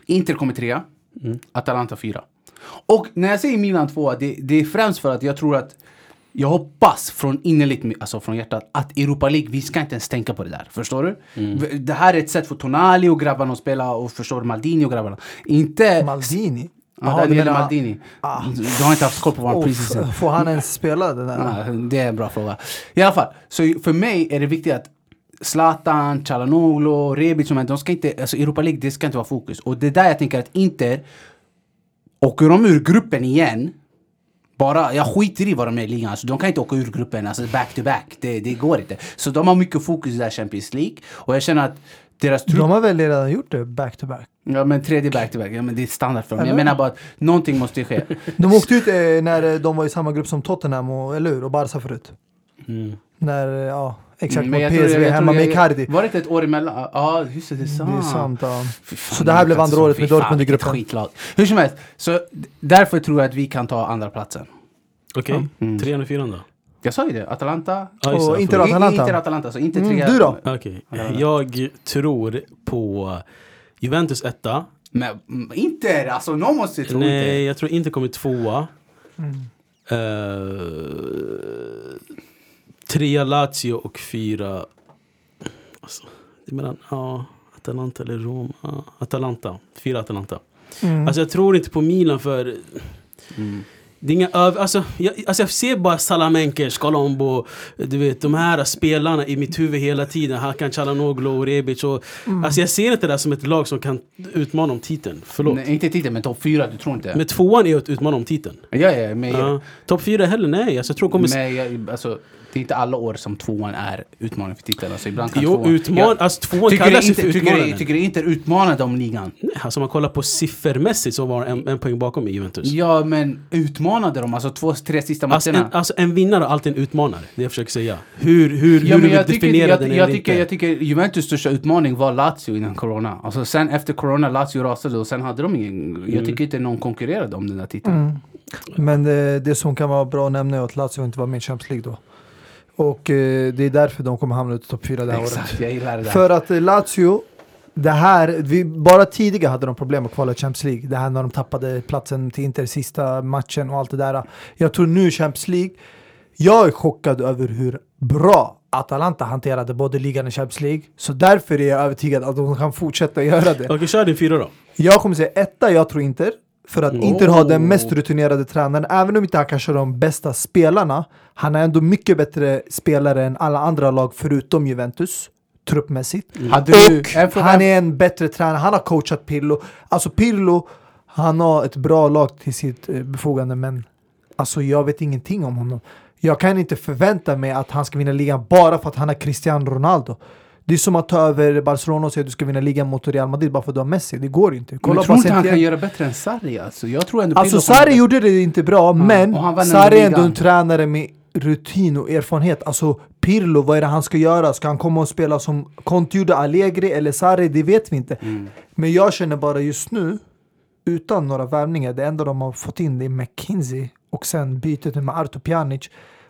[SPEAKER 2] Inter kommer trea. Atalanta fyra. Och när jag säger Milan tvåa, det, det är främst för att jag tror att jag hoppas från innerligt, alltså från hjärtat, att Europa League, vi ska inte ens tänka på det där. Förstår du?
[SPEAKER 3] Mm.
[SPEAKER 2] V- Det här är ett sätt för Tonali och grabbarna att spela och förstår du, Maldini och grabbarna. Inte...
[SPEAKER 3] Maldini?
[SPEAKER 2] Ja,
[SPEAKER 3] Jaha, du
[SPEAKER 2] Daniele
[SPEAKER 3] menar- Ah.
[SPEAKER 2] Maldini. Du har inte haft koll på vår
[SPEAKER 3] Åh,
[SPEAKER 2] preseason.
[SPEAKER 3] f- Får han ens spela den där?
[SPEAKER 2] Ja, Ah, det är en bra fråga. I alla fall, så för mig är det viktigt att Zlatan, Calhanoglu, Rebic, de här, de ska inte, alltså Europa League, det ska inte vara fokus. Och det är där jag tänker att Inter, åker de ur gruppen igen, bara, jag skiter i vad de är i ligan, alltså, de kan inte åka ur gruppen alltså, back to back, det, det går inte. Så de har mycket fokus i det här Champions League, och jag känner att deras trupp
[SPEAKER 3] De har väl redan gjort det back to back?
[SPEAKER 2] Ja men tredje back to back, ja, men det är standard för dem. Jag menar bara att någonting måste ju ske.
[SPEAKER 3] De åkte ut eh, när eh, de var i samma grupp som Tottenham, och, eller hur? Och Barca förut. När, eh, ja, exakt
[SPEAKER 2] Mm. Men
[SPEAKER 3] mot
[SPEAKER 2] jag tror-
[SPEAKER 3] PSV
[SPEAKER 2] jag tror-
[SPEAKER 3] hemma med
[SPEAKER 2] jag-
[SPEAKER 3] Icardi.
[SPEAKER 2] Var det inte ett år emellan? Ja, ah, just det, det är sant.
[SPEAKER 3] Det är sant. Ja.
[SPEAKER 2] Fy fan,
[SPEAKER 3] Så det här blev
[SPEAKER 2] Newcastle,
[SPEAKER 3] andra året
[SPEAKER 2] fy
[SPEAKER 3] med Dortmund i
[SPEAKER 2] fan, vilket
[SPEAKER 3] gruppen.
[SPEAKER 2] Skitlag. Hur som helst, så d- därför tror jag att vi kan ta andra platsen.
[SPEAKER 1] Okej,
[SPEAKER 2] Mm.
[SPEAKER 1] trean och fyran då?
[SPEAKER 2] Jag sa ju det, Atalanta.
[SPEAKER 1] Ja, just det,
[SPEAKER 3] Och inte
[SPEAKER 1] förlåt.
[SPEAKER 3] då- Atalanta.
[SPEAKER 2] I- Inte Atalanta, så inte
[SPEAKER 3] Mm,
[SPEAKER 2] trea.
[SPEAKER 3] du då?
[SPEAKER 1] Okej, jag tror på Juventus etta.
[SPEAKER 2] Men mm, inte, alltså någon måste tro
[SPEAKER 1] Nej,
[SPEAKER 2] inte.
[SPEAKER 1] jag tror inte kommer tvåa. Eh, trea Lazio och fyra... Alltså, det är mellan ja, Atalanta eller Roma. Atalanta. Fyra Atalanta.
[SPEAKER 3] Mm.
[SPEAKER 1] Alltså jag tror inte på Milan för... Det är inga öv- alltså, jag, alltså jag ser bara Salamenkers, Colombo, du vet de här spelarna i mitt huvud hela tiden. Hakan Calhanoglu och Rebic. Och, Alltså jag ser inte det där som ett lag som kan utmana om titeln. Förlåt.
[SPEAKER 2] Nej, inte titeln, men topp fyra, du tror inte?
[SPEAKER 1] Men tvåan är ju att utmana om titeln.
[SPEAKER 2] ja, ja, men,
[SPEAKER 1] Ja. Topp fyra heller, nej. Alltså, jag tror kommer...
[SPEAKER 2] men jag, alltså, det är inte alla år som tvåan är utmaning för titeln. Alltså, ibland kan
[SPEAKER 1] jo,
[SPEAKER 2] tvåan...
[SPEAKER 1] utman... alltså, tvåan
[SPEAKER 2] Tycker du
[SPEAKER 1] kallas ju
[SPEAKER 2] inte,
[SPEAKER 1] för
[SPEAKER 2] tycker,
[SPEAKER 1] utmanaren.
[SPEAKER 2] du- tycker du inte utmanande om ligan?
[SPEAKER 1] Nej, alltså om man kollar på siffermässigt så var en, en poäng bakom i Juventus.
[SPEAKER 2] Ja, men utmanade de alltså två, tre sista
[SPEAKER 1] typ. Alltså en,
[SPEAKER 2] matcherna?
[SPEAKER 1] alltså en vinnare är alltid en utmanare, det jag försöker säga. Hur, hur, hur
[SPEAKER 2] Ja,
[SPEAKER 1] du
[SPEAKER 2] men
[SPEAKER 1] vill
[SPEAKER 2] jag, tycker,
[SPEAKER 1] definiera
[SPEAKER 2] jag,
[SPEAKER 1] den
[SPEAKER 2] jag,
[SPEAKER 1] eller
[SPEAKER 2] tycker,
[SPEAKER 1] inte.
[SPEAKER 2] jag tycker Juventus största utmaning var Lazio innan corona. Alltså sen efter corona, Lazio rasade och sen hade de ingen... Jag tycker inte någon konkurrerade om den där titeln.
[SPEAKER 3] Mm. Men eh, det som kan vara bra att nämna är att Lazio inte var med i Champions League då. Och eh, det är därför de kommer hamna i topp fyra det här året.
[SPEAKER 2] Exakt, jag gillar det där.
[SPEAKER 3] För att eh, Lazio, det här, vi, bara tidigare hade de problem att kvala Champions League. Det här när de tappade platsen till Inter sista matchen och allt det där. Jag tror nu Champions League, jag är chockad över hur bra Atalanta hanterade både ligan och Champions League. Så därför är jag övertygad att de kan fortsätta göra det.
[SPEAKER 1] Okej, kör din fyra då.
[SPEAKER 3] Jag kommer säga etta, jag tror Inter. För att Inter har den mest rutinerade tränaren. Även om inte han kanske har de bästa spelarna. Han är ändå mycket bättre spelare än alla andra lag förutom Juventus. Truppmässigt.
[SPEAKER 2] Hade du... En
[SPEAKER 3] Och
[SPEAKER 2] fråga,
[SPEAKER 3] han är en bättre tränare. Han har coachat Pirlo. Alltså Pirlo, han har ett bra lag till sitt eh, befogande. Men alltså jag vet ingenting om honom. Jag kan inte förvänta mig att han ska vinna ligan bara för att han är Cristiano Ronaldo. Det är som att ta över Barcelona och säga att du ska vinna ligan mot Real Madrid bara för att du har Messi. Det går ju inte.
[SPEAKER 2] men
[SPEAKER 3] Kolla
[SPEAKER 2] tror
[SPEAKER 3] på
[SPEAKER 2] inte han
[SPEAKER 3] Santiago.
[SPEAKER 2] kan göra bättre än Sarri alltså. Jag tror ändå
[SPEAKER 3] Alltså
[SPEAKER 2] Pirlo kommer-
[SPEAKER 3] Sarri gjorde det inte bra, men
[SPEAKER 2] och han vann
[SPEAKER 3] Sarri är ändå
[SPEAKER 2] ligan.
[SPEAKER 3] en tränare med rutin och erfarenhet. Alltså Pirlo, vad är det han ska göra? Ska han komma och spela som Conte gjorde, Allegri eller Sarri? Det vet vi inte.
[SPEAKER 2] Mm.
[SPEAKER 3] Men jag känner bara just nu, utan några värvningar, det enda de har fått in det är McKinsey och sen bytet nu med Arto Pjanic.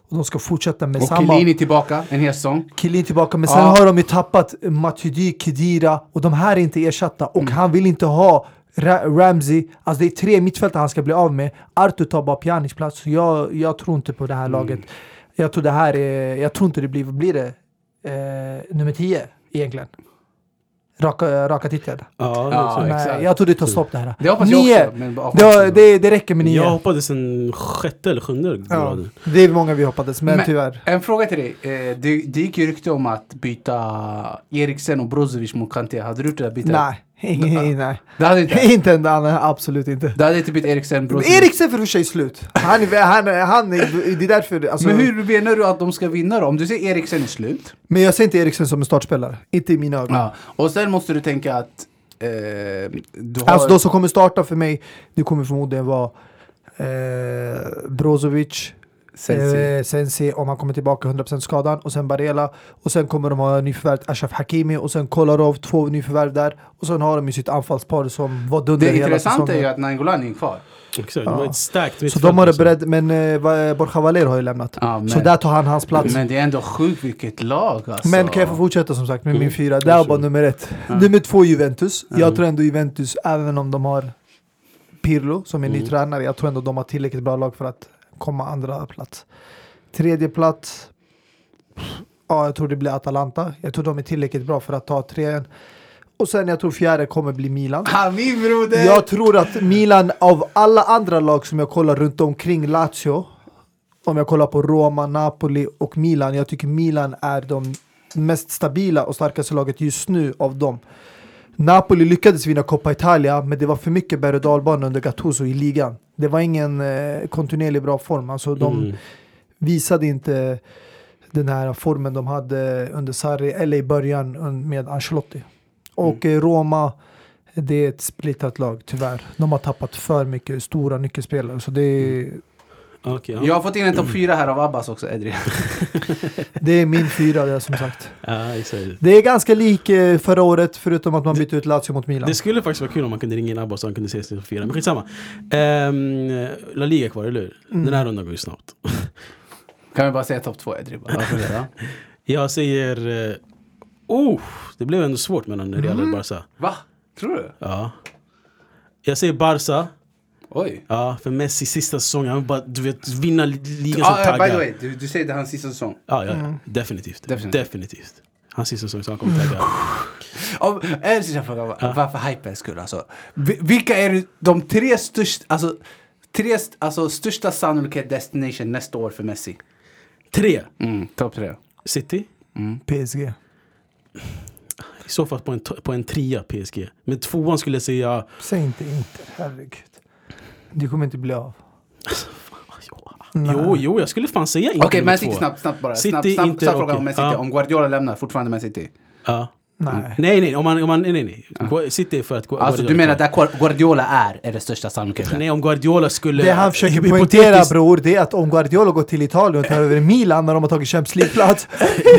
[SPEAKER 3] Och de ska fortsätta med
[SPEAKER 2] Och
[SPEAKER 3] samma...
[SPEAKER 2] Chiellini tillbaka en hel säsong.
[SPEAKER 3] Kilin tillbaka, men sen
[SPEAKER 2] Ja.
[SPEAKER 3] har de ju tappat Matuidi, Kedira och de här är inte ersatta. Och
[SPEAKER 2] Mm.
[SPEAKER 3] han vill inte ha Ra- Ramsey. Alltså det är tre mittfältare han ska bli av med. Arthur tar bara Pjanic plats. Så jag, jag tror inte på det
[SPEAKER 2] Mm.
[SPEAKER 3] här laget. Jag tror det här är, jag tror inte det blir, vad blir det? Eh, nummer 10 egentligen. Raka, raka titlar.
[SPEAKER 1] Ja,
[SPEAKER 2] Ja,
[SPEAKER 1] så-
[SPEAKER 3] Nej,
[SPEAKER 2] exakt. Typ.
[SPEAKER 3] Jag tror det tar stopp det här.
[SPEAKER 2] Det hoppas jag
[SPEAKER 3] nio.
[SPEAKER 2] också, men-
[SPEAKER 3] det, det, det räcker med nio.
[SPEAKER 1] Jag hoppades en sjätte eller sjunde
[SPEAKER 3] ja.
[SPEAKER 1] graden.
[SPEAKER 3] Det är många vi hoppades, men,
[SPEAKER 2] Men-
[SPEAKER 3] tyvärr.
[SPEAKER 2] En fråga till dig. Eh, Det, det gick ju rykte om att byta Eriksen och Brozovic mot Kanté. Hade du gjort det där bytet?
[SPEAKER 3] Nej, ingen, nej.
[SPEAKER 2] typ. Det hade inte.
[SPEAKER 3] inte en annan, absolut inte.
[SPEAKER 2] Du hade inte bytt Eriksen, Brozovic.
[SPEAKER 3] Eriksen för sig är slut. Han, är- han, är- han, är- det är därför. Alltså,
[SPEAKER 2] Men hur menar du att de ska vinna då? Om du säger Eriksen är slut.
[SPEAKER 3] men jag ser inte Eriksen som en startspelare. Inte i mina ögon.
[SPEAKER 2] Ja. Och sen måste du tänka att eh, du har...
[SPEAKER 3] Alltså de som kommer starta för mig, det kommer förmodligen vara eh, Brozovic,
[SPEAKER 2] Sensi.
[SPEAKER 3] Eh, Sensi om han kommer tillbaka 100% skadan och sen Barela och sen kommer de ha nyförvärvet Ashraf Hakimi och sen Kolarov, två nyförvärv där och sen har de ju sitt anfallspar som var dunder
[SPEAKER 2] det
[SPEAKER 3] hela
[SPEAKER 2] intressanta är ju
[SPEAKER 3] säsongen.
[SPEAKER 2] att Nangolan är kvar.
[SPEAKER 1] Exakt, det var ett starkt
[SPEAKER 3] Så de har det
[SPEAKER 1] mittfält.
[SPEAKER 3] beredd, men eh, vad- Borja Valer har ju lämnat.
[SPEAKER 2] Ja, men-
[SPEAKER 3] Så där tar han hans plats.
[SPEAKER 2] Men det är ändå sjukt vilket lag alltså.
[SPEAKER 3] Men kan jag få fortsätta som sagt med
[SPEAKER 2] Mm.
[SPEAKER 3] min fyra? Det här var nummer ett. Nummer två Juventus. Jag tror ändå Juventus, även om de har Pirlo som är
[SPEAKER 2] Mm.
[SPEAKER 3] ny tränare, jag tror ändå de har tillräckligt bra lag för att komma andra plats. Tredje plats. Ja, jag tror det blir Atalanta. Jag tror de är tillräckligt bra för att ta trean. Och sen jag tror fjärde kommer bli Milan.
[SPEAKER 2] Ah, min broder!
[SPEAKER 3] Jag tror att Milan av alla andra lag som jag kollar runt omkring Lazio om jag kollar på Roma, Napoli och Milan. Jag tycker Milan är de mest stabila och starkaste laget just nu av dem. Napoli lyckades vinna Coppa Italia, men det var för mycket berg och dalbana under Gattuso i ligan. Det var ingen eh, kontinuerlig bra form. Alltså, de visade inte den här formen de hade under Sarri eller i början un- med Ancelotti. Och eh, Roma, det är ett splittat lag tyvärr. De har tappat för mycket stora nyckelspelare. Så det är
[SPEAKER 1] Okej, ja.
[SPEAKER 2] Jag har fått in en topp fyra här av Abbas också, Edri.
[SPEAKER 3] Det är min fyra där som sagt.
[SPEAKER 1] Ja, exakt.
[SPEAKER 3] Det är ganska lik eh, förra året förutom att man bytte ut Lazio mot Milan.
[SPEAKER 1] Det skulle faktiskt vara kul om man kunde ringa in Abbas så han kunde se sin fyra. Men skitsamma. Um, La Liga är kvar, eller hur?
[SPEAKER 2] Mm.
[SPEAKER 1] Den här rundan går ju snabbt.
[SPEAKER 2] Kan vi bara säga topp två, Edri? Bara, varför det, va?
[SPEAKER 1] Jag säger... eh, Oh, det blev ändå svårt mellan Real
[SPEAKER 2] Mm.
[SPEAKER 1] och Barca.
[SPEAKER 2] va? Tror du?
[SPEAKER 1] Ja. Jag säger Barca.
[SPEAKER 2] Oj.
[SPEAKER 1] Ja, för Messi sista säsongen, han vill bara du vet, vinna li- ligan som
[SPEAKER 2] Ah, by the
[SPEAKER 1] taggad.
[SPEAKER 2] way, du, du säger det är hans sista säsong.
[SPEAKER 1] Ja, ja, ja. Definitivt.
[SPEAKER 2] Definitivt.
[SPEAKER 1] Definitivt. Hans sista säsong, så han kommer tagga.
[SPEAKER 2] Om, en sista fråga, va- varför hypens skull alltså. Vi- Vilka är de tre största, alltså, tre, st- alltså största sannolikhet destination nästa år för Messi?
[SPEAKER 1] Tre.
[SPEAKER 2] Mm, topp tre.
[SPEAKER 1] City.
[SPEAKER 3] PSG.
[SPEAKER 1] I så fall på en, to- på en trea PSG. Men tvåan skulle jag säga...
[SPEAKER 3] Säg inte Inter, herregud. Det kommer inte bli av.
[SPEAKER 1] Ja.
[SPEAKER 3] Nej.
[SPEAKER 1] Jo, jo, jag skulle fan säga Inter
[SPEAKER 2] Okej,
[SPEAKER 1] nummer
[SPEAKER 2] Man City
[SPEAKER 1] två.
[SPEAKER 2] snabbt, snabbt bara.
[SPEAKER 1] City,
[SPEAKER 2] snabbt, snabbt,
[SPEAKER 1] Inter,
[SPEAKER 2] snabb fråga om
[SPEAKER 1] okej.
[SPEAKER 2] Man City.
[SPEAKER 1] Ja.
[SPEAKER 2] Om Guardiola lämnar, fortfarande Man City.
[SPEAKER 1] Ja.
[SPEAKER 3] Nej.
[SPEAKER 1] Nej, nej, om man, om man, nej, nej, nej. Gua- City är för att... Gua-
[SPEAKER 2] Alltså du
[SPEAKER 1] Guardiola-
[SPEAKER 2] menar där Guar- Guardiola är, är det största sannolikheten?
[SPEAKER 1] Nej, om Guardiola skulle...
[SPEAKER 3] Det han försöker
[SPEAKER 1] hypotetiskt-
[SPEAKER 3] poängtera bror, det är att om Guardiola går till Italien och tar över Milan när de har tagit Champions League-plats,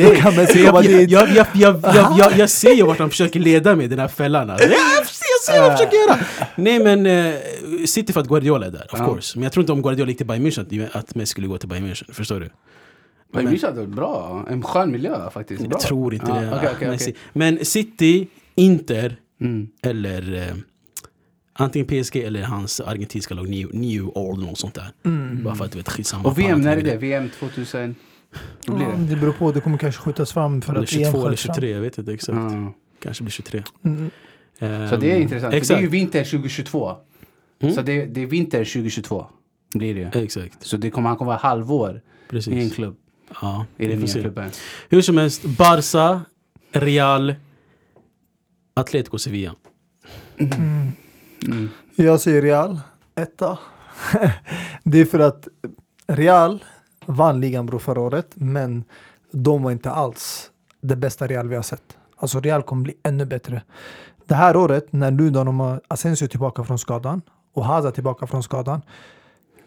[SPEAKER 3] då kan Messi komma
[SPEAKER 1] Jag, jag,
[SPEAKER 3] dit.
[SPEAKER 1] jag, jag, jag, jag, jag, jag ser ju vart han försöker leda mig, den här fällan. alltså. Jag ser- jag ser vad han försöker göra! Nej men, eh, City för att Guardiola är där, of course. Men jag tror inte om Guardiola gick till Bayern München, att- att Messi skulle gå till Bayern München. Förstår du?
[SPEAKER 2] Men Mischa, det är bra. En skön miljö faktiskt. Bra.
[SPEAKER 1] Jag tror inte
[SPEAKER 2] Ja, Ah,
[SPEAKER 1] det.
[SPEAKER 2] okej, okej,
[SPEAKER 1] Messi.
[SPEAKER 2] okej.
[SPEAKER 1] Men City, Inter,
[SPEAKER 2] Mm.
[SPEAKER 1] eller eh, antingen PSG eller hans argentinska lag New, New Old, något sånt där. Bara för att du vet, skitsamma.
[SPEAKER 2] Och VM,
[SPEAKER 1] Fan,
[SPEAKER 2] när är det? VM 2000? Hur blir det?
[SPEAKER 3] Mm, Det beror på, det kommer kanske skjutas fram för
[SPEAKER 1] Eller
[SPEAKER 3] att EM
[SPEAKER 1] 22 eller
[SPEAKER 3] skjuts fram.
[SPEAKER 1] 23, jag vet inte exakt.
[SPEAKER 2] Ja.
[SPEAKER 1] Kanske blir 23.
[SPEAKER 3] Mm.
[SPEAKER 2] Ah. Så det är
[SPEAKER 1] Ehm,
[SPEAKER 2] intressant. För
[SPEAKER 1] Exakt. Mm.
[SPEAKER 2] det är ju vinter 2022. Så det, det är vinter 2022. Blir det ju.
[SPEAKER 1] Exakt,
[SPEAKER 2] Så det kommer, han kommer vara halvår
[SPEAKER 1] Eh. precis.
[SPEAKER 2] i en klubb.
[SPEAKER 1] Ja,
[SPEAKER 2] I den
[SPEAKER 1] vi får
[SPEAKER 2] nya
[SPEAKER 1] se.
[SPEAKER 2] klubben.
[SPEAKER 1] Hur som helst, Barca, Real, Atletico Sevilla.
[SPEAKER 3] Jag säger Real, etta. det är för att Real vann ligan bror förra året, men de var inte alls det bästa Real vi har sett. Alltså Real kommer bli ännu bättre. Det här året, när nu då de har Asensio tillbaka från skadan och Hazard tillbaka från skadan.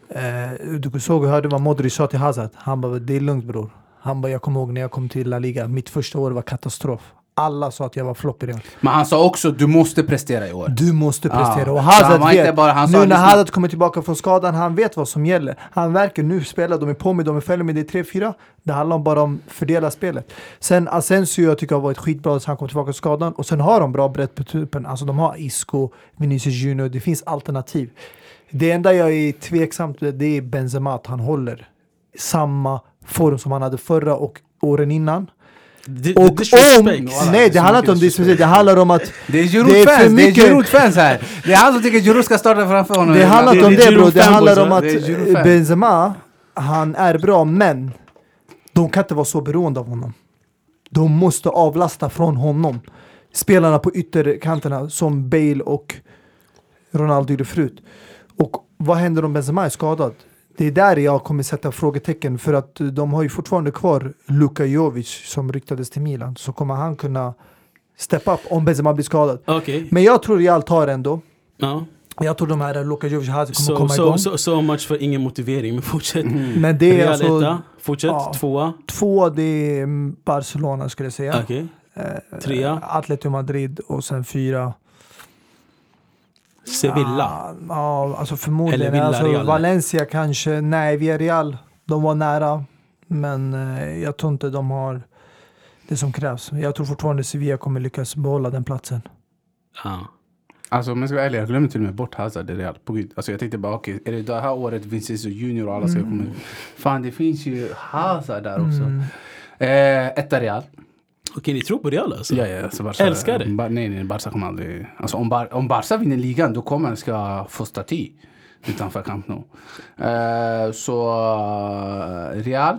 [SPEAKER 3] Eh, du såg och hörde vad Modric sa till Hazard. Han bara, det är lugnt bror. Han bara, jag kommer ihåg när jag kom till La Liga. Mitt första år var katastrof. Alla sa att jag var flopp i Real.
[SPEAKER 2] Men han sa också du måste prestera i år.
[SPEAKER 3] Du måste prestera.
[SPEAKER 2] Ah. Ja.
[SPEAKER 3] Och
[SPEAKER 2] Så han
[SPEAKER 3] Hazard
[SPEAKER 2] var inte
[SPEAKER 3] vet.
[SPEAKER 2] bara- han sa
[SPEAKER 3] nu när
[SPEAKER 2] liksom-
[SPEAKER 3] Hazard kommer tillbaka från skadan, han vet vad som gäller. Han verkar nu spela, de är på mig, de är fäller med det är 3-4. Det handlar bara om att fördela spelet. Sen Asensio, jag tycker har varit skitbra så han kom tillbaka från skadan. Och sen har de bra brett på truppen. Alltså de har Isco, Vinicius Junior, det finns alternativ. Det enda jag är tveksam till det är Benzema, att han håller samma form som han hade förra och åren innan.
[SPEAKER 1] D-
[SPEAKER 3] Och om...
[SPEAKER 1] disrespect.
[SPEAKER 3] Nej, det handlar inte om disrespect. Det handlar om att...
[SPEAKER 2] Det är
[SPEAKER 3] Det är för
[SPEAKER 2] Giroud-fans! Det är
[SPEAKER 3] mycket-
[SPEAKER 2] Giroud-fans här! Det är han som tycker Giroud ska starta framför honom.
[SPEAKER 3] Det handlar inte om
[SPEAKER 1] det är
[SPEAKER 3] det bro, det
[SPEAKER 1] Giroud-fanboys,
[SPEAKER 3] handlar om
[SPEAKER 1] va?
[SPEAKER 3] att
[SPEAKER 2] Det är Giroud-fan.
[SPEAKER 3] Benzema, han är bra men de kan inte vara så beroende av honom. De måste avlasta från honom. Spelarna på ytterkanterna som Bale och Ronaldo gjorde förut. Och vad händer om Benzema är skadad? Det är där jag kommer sätta frågetecken för att de har ju fortfarande kvar Luka Jovic som ryktades till Milan. Så kommer han kunna steppa upp om Benzema blir skadad.
[SPEAKER 1] Okej,
[SPEAKER 3] Men jag tror Real tar ändå.
[SPEAKER 1] ja.
[SPEAKER 3] Jag tror de här Luka Jovic och Hazard kommer
[SPEAKER 1] So,
[SPEAKER 3] komma
[SPEAKER 1] so,
[SPEAKER 3] igång.
[SPEAKER 1] so, so much för ingen motivering, men fortsätt.
[SPEAKER 3] Men det är
[SPEAKER 1] Real
[SPEAKER 3] alltså
[SPEAKER 1] etta, fortsätt.
[SPEAKER 3] ja.
[SPEAKER 1] Tvåa,
[SPEAKER 3] två, det är mm, Barcelona skulle jag säga.
[SPEAKER 1] okej.
[SPEAKER 3] Eh,
[SPEAKER 1] Trea,
[SPEAKER 3] Atletico Madrid och sen fyra.
[SPEAKER 1] Sevilla.
[SPEAKER 3] Ah, Ja, alltså förmodligen.
[SPEAKER 1] Eller
[SPEAKER 3] Alltså,
[SPEAKER 1] Villarreal.
[SPEAKER 3] Valencia kanske. Nej, Villarreal. De var nära. Men eh, jag tror inte de har det som krävs. Jag tror fortfarande Sevilla kommer lyckas behålla den platsen.
[SPEAKER 1] Ja.
[SPEAKER 2] Alltså om jag ska vara ärlig, jag glömmer till och med bort Hazard i Real. På gud. Alltså jag tänkte bara okej, är det det här året Vincenzo Junior och alla
[SPEAKER 1] Mm.
[SPEAKER 2] ska komma ut? Fan det finns ju Hazard där också. Eh, etta Real.
[SPEAKER 1] Okej, ni tror på Real alltså?
[SPEAKER 2] Ja, ja, alltså Barca,
[SPEAKER 1] Älskar det.
[SPEAKER 2] Ba, nej, nej, Barca kommer aldrig... Alltså om, Bar, om Barca vinner ligan då kommer han ska få staty utanför Camp Nou. Eh, så eh, Real.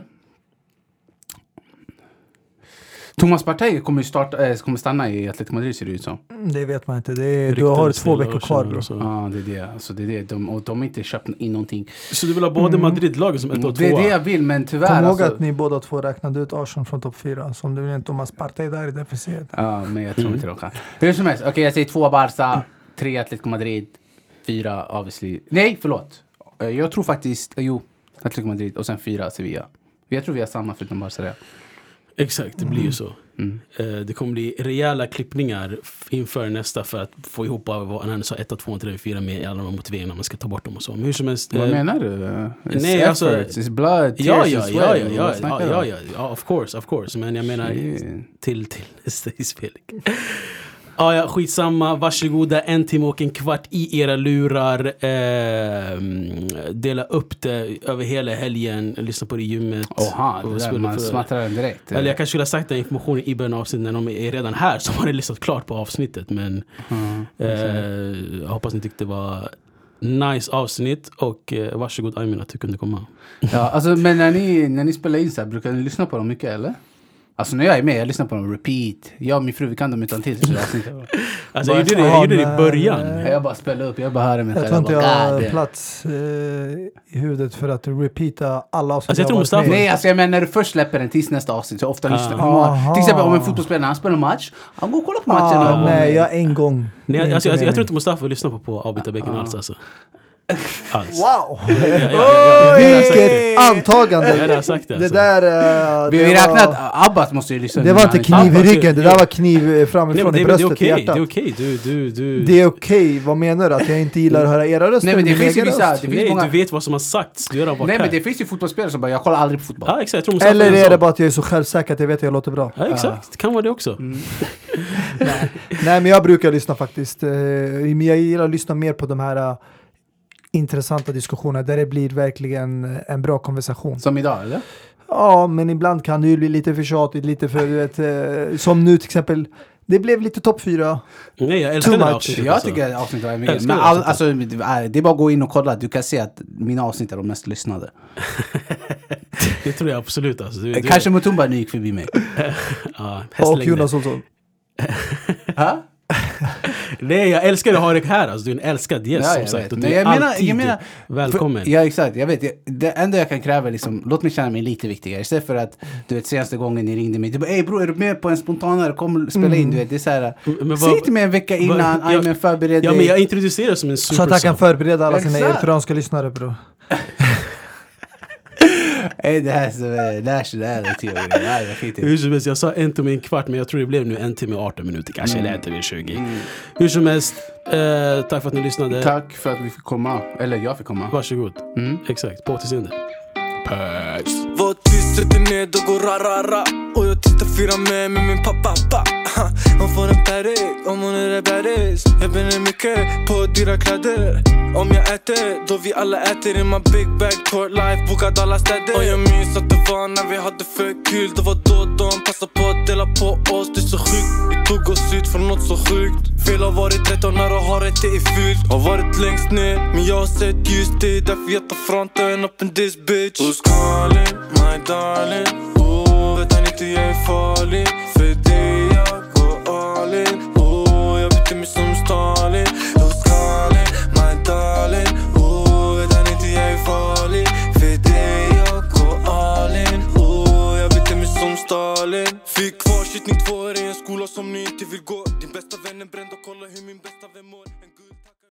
[SPEAKER 2] Thomas Partey kommer, ju starta, eh, kommer stanna i Atletico Madrid ser det ut som.
[SPEAKER 3] Mm, Det vet man inte. Det är, du
[SPEAKER 1] Ryktades
[SPEAKER 3] har
[SPEAKER 1] till
[SPEAKER 3] två veckor
[SPEAKER 1] Arsenal
[SPEAKER 3] kvar bro.
[SPEAKER 1] och så.
[SPEAKER 2] Ja, det är det. Alltså, det är det. De, och de har inte köpt in någonting.
[SPEAKER 1] Så du vill ha
[SPEAKER 3] Mm.
[SPEAKER 1] både Madrid-lagen som ett och
[SPEAKER 2] Det är
[SPEAKER 1] tvåa?
[SPEAKER 2] det jag vill, men tyvärr.
[SPEAKER 3] Kom ihåg
[SPEAKER 2] Alltså,
[SPEAKER 3] att ni båda två räknade ut Arsenal från topp fyra. Så om det blir en Thomas Partey där i defensiven.
[SPEAKER 2] Ja, men jag tror inte
[SPEAKER 1] Mm.
[SPEAKER 2] de kan. Hur som helst, okej jag säger två Barca, tre Atletico Madrid, fyra obviously. Nej, förlåt. Eh, Jag tror faktiskt, eh, jo. Atletico Madrid och sen fyra Sevilla. Jag tror vi har samma förutom Barcelona.
[SPEAKER 1] Exakt, det blir ju så.
[SPEAKER 2] Mm.
[SPEAKER 1] Eh, Det kommer bli rejäla klippningar f- inför nästa för att få ihop vad han sa, 1, 2, 3, 4 med alla de motiveringarna man ska ta bort dem och så. Men hur som helst.
[SPEAKER 2] Vad
[SPEAKER 1] eh,
[SPEAKER 2] menar du? It's
[SPEAKER 1] nej,
[SPEAKER 2] efforts,
[SPEAKER 1] alltså-
[SPEAKER 2] it's blood,
[SPEAKER 1] Ja,
[SPEAKER 2] tears,
[SPEAKER 1] ja,
[SPEAKER 2] and
[SPEAKER 1] ja, ja,
[SPEAKER 2] sweat.
[SPEAKER 1] ja,
[SPEAKER 2] Vad snackar
[SPEAKER 1] ja,
[SPEAKER 2] du
[SPEAKER 1] ja,
[SPEAKER 2] om?
[SPEAKER 1] ja, ja, of course, of course. Men jag menar
[SPEAKER 2] Shit.
[SPEAKER 1] till, till nästa inspelning. Ja, ja, skitsamma. Varsågoda, en timme och en kvart i era lurar. Ehm, dela upp det över hela helgen. Lyssna på det i gymmet.
[SPEAKER 2] Oha, det
[SPEAKER 1] Och
[SPEAKER 2] där,
[SPEAKER 1] skulle
[SPEAKER 2] man
[SPEAKER 1] få-
[SPEAKER 2] smattrar den direkt.
[SPEAKER 1] Eller jag kanske skulle ha sagt den informationen i början av avsnittet när de är redan här så har ni lyssnat klart på avsnittet. Men
[SPEAKER 2] Mm.
[SPEAKER 1] eh, jag hoppas ni tyckte det var nice avsnitt och eh, varsågod Aymin att du kunde komma.
[SPEAKER 2] Ja, alltså, men när ni, när ni spelar in så här, brukar ni lyssna på dem mycket eller? Alltså när jag är med, jag lyssnar på dem repeat. Jag och min fru, vi kan dem utan till. Så jag, inte.
[SPEAKER 1] Alltså, jag
[SPEAKER 2] Bara-
[SPEAKER 1] gjorde det, jag gjorde det
[SPEAKER 3] Ah,
[SPEAKER 1] i början.
[SPEAKER 3] nej.
[SPEAKER 2] jag bara spelar upp, jag bara hör dem.
[SPEAKER 3] Jag tror inte jag
[SPEAKER 2] bara,
[SPEAKER 3] har
[SPEAKER 2] "God damn."
[SPEAKER 3] plats eh, i huvudet för att repeata alla avsnitt
[SPEAKER 1] Alltså, jag tror
[SPEAKER 3] har varit
[SPEAKER 1] Mustafa-
[SPEAKER 3] med i.
[SPEAKER 2] Nej, alltså jag menar när du först släpper den tills nästa avsnitt, så ofta
[SPEAKER 1] Ah.
[SPEAKER 2] lyssnar man.
[SPEAKER 3] Aha.
[SPEAKER 2] Till exempel om en fotbollsspelare, när han spelar match, han går och kollar på matchen.
[SPEAKER 3] Ah,
[SPEAKER 2] och-
[SPEAKER 3] nej, jag en gång.
[SPEAKER 1] Nej, alltså, alltså,
[SPEAKER 3] Inte
[SPEAKER 1] jag,
[SPEAKER 3] mer.
[SPEAKER 1] tror inte Mustafa lyssnar på, på avbytarbänken alls alltså. Alls.
[SPEAKER 3] Wow!
[SPEAKER 1] Jag, jag, jag, jag, jag, jag, jag,
[SPEAKER 3] Vilket
[SPEAKER 1] jag hade
[SPEAKER 3] antagande!
[SPEAKER 1] sagt det
[SPEAKER 3] Det
[SPEAKER 1] alltså.
[SPEAKER 3] där... eh,
[SPEAKER 2] Vi har
[SPEAKER 3] det
[SPEAKER 2] ju
[SPEAKER 3] var-
[SPEAKER 2] räknat, Abbas måste ju lyssna.
[SPEAKER 3] Det var inte
[SPEAKER 1] knivigt.
[SPEAKER 3] kniv i ryggen, det där var kniv eh,
[SPEAKER 1] Nej,
[SPEAKER 3] framifrån
[SPEAKER 1] men det,
[SPEAKER 3] i
[SPEAKER 1] det är
[SPEAKER 3] bröstet, i
[SPEAKER 1] okej, det
[SPEAKER 3] hjärtat.
[SPEAKER 1] är okej. Du, du, du.
[SPEAKER 3] Det är okej, vad menar du? Att jag inte gillar att höra era röster?
[SPEAKER 2] Nej, men det
[SPEAKER 3] min
[SPEAKER 2] finns ju
[SPEAKER 3] egen
[SPEAKER 2] vissa-
[SPEAKER 3] röst?
[SPEAKER 2] det finns
[SPEAKER 1] Nej,
[SPEAKER 2] många-
[SPEAKER 1] du vet vad som har sagts. Du har redan varit
[SPEAKER 2] Nej men
[SPEAKER 1] här.
[SPEAKER 2] det finns ju fotbollsspelare som bara, jag kollar aldrig på fotboll.
[SPEAKER 1] Ja, exakt. Jag tror Mustafa
[SPEAKER 3] Eller
[SPEAKER 1] en
[SPEAKER 3] är det
[SPEAKER 1] sån.
[SPEAKER 3] bara att jag är så självsäker att jag vet att jag låter bra?
[SPEAKER 1] Ja, exakt. Det kan vara det också.
[SPEAKER 2] Mm.
[SPEAKER 3] Nej men jag brukar lyssna faktiskt. Eh, Men jag gillar att lyssna mer på de här eh, intressanta diskussionerna där det blir verkligen eh, en bra konversation.
[SPEAKER 2] Som idag eller?
[SPEAKER 3] Ja men ibland kan det ju bli lite för tjatigt, lite för du vet, eh, som nu till exempel. Det blev lite topp fyra.
[SPEAKER 1] Nej, jag älskar
[SPEAKER 3] Too
[SPEAKER 1] det här
[SPEAKER 3] much.
[SPEAKER 1] avsnittet.
[SPEAKER 2] Jag
[SPEAKER 1] alltså.
[SPEAKER 2] tycker avsnittet var mycket.
[SPEAKER 1] Älskar
[SPEAKER 2] Men
[SPEAKER 1] det
[SPEAKER 2] all, alltså, det är- det är bara att gå in och kolla, du kan se att mina avsnitt är de mest lyssnade.
[SPEAKER 1] Det tror jag absolut. Alltså. Du, du,
[SPEAKER 2] Eh, Kanske Mutumba nu gick förbi mig.
[SPEAKER 1] ja,
[SPEAKER 3] Och
[SPEAKER 1] hästlängder.
[SPEAKER 3] Jonas Olsson.
[SPEAKER 2] Ha?
[SPEAKER 1] Nej, jag älskar att ha dig här. Alltså. Du är en älskad gäst
[SPEAKER 2] Ja,
[SPEAKER 1] som
[SPEAKER 2] jag
[SPEAKER 1] sagt.
[SPEAKER 2] vet.
[SPEAKER 1] Och du
[SPEAKER 2] Men
[SPEAKER 1] är
[SPEAKER 2] jag menar- jag
[SPEAKER 1] alltid
[SPEAKER 2] menar-
[SPEAKER 1] välkommen.
[SPEAKER 2] För, ja exakt, jag vet. Jag, det enda jag kan kräva är liksom, låt mig känna mig lite viktigare. Istället för att, du vet senaste gången ni ringde mig, du bara ey bror är du med på en spontanare, kom och spela in. Du vet, det är så här,
[SPEAKER 1] Mm. Men vad-
[SPEAKER 2] säg till mig en vecka innan,
[SPEAKER 1] jag-
[SPEAKER 2] aj men förbered
[SPEAKER 1] ja,
[SPEAKER 2] dig.
[SPEAKER 1] men jag introducerar som en
[SPEAKER 3] Så att jag kan
[SPEAKER 1] supersub.
[SPEAKER 3] förbereda alla sina
[SPEAKER 2] Exakt.
[SPEAKER 3] eritreanska lyssnare bror.
[SPEAKER 2] Ey det här är så- det här är så- det här är tio år. Nej, jag skiter i det.
[SPEAKER 1] Hur som helst, jag sa en timme och en kvart men jag tror det blev nu en timme och 18 minuter kanske, eller en timme och 20. Hur som helst, eh, tack för att ni lyssnade.
[SPEAKER 2] Tack för att vi fick komma, eller jag fick komma.
[SPEAKER 1] Varsågod. Exakt, på återseende. Peace.
[SPEAKER 4] Var tyst, sätt dig ned och gå ra-ra-ra Och jag tittar fyra med med min pappa pa. Ha, Hon får en pärik om hon är en bäris Jag bränner mycket på dyra kläder Om jag äter, då vi alla äter i my big bag Court life, bokad alla städer Och jag minns att det var när vi hade för kul Det var då de passade på att dela på oss Det är så sjukt, vi tog oss ut från något så sjukt Fel har varit rätt och när och har rätt det är fult Har varit längst ner, men jag har sett ljus Det är därför jag tar fronten up in this bitch Who's calling, my darling? Oh, vet han inte jag är farlig? För dig jag går all in Oh, jag beter mig som Stalin Who's calling, my darling? Oh, vet han inte jag är farlig? För dig jag går all in Oh, jag beter mig som Stalin Fick kvar 22 år i en skola som ni inte vill gå Din bästa vän är bränd och kolla hur min bästa vän mår En gud tackar-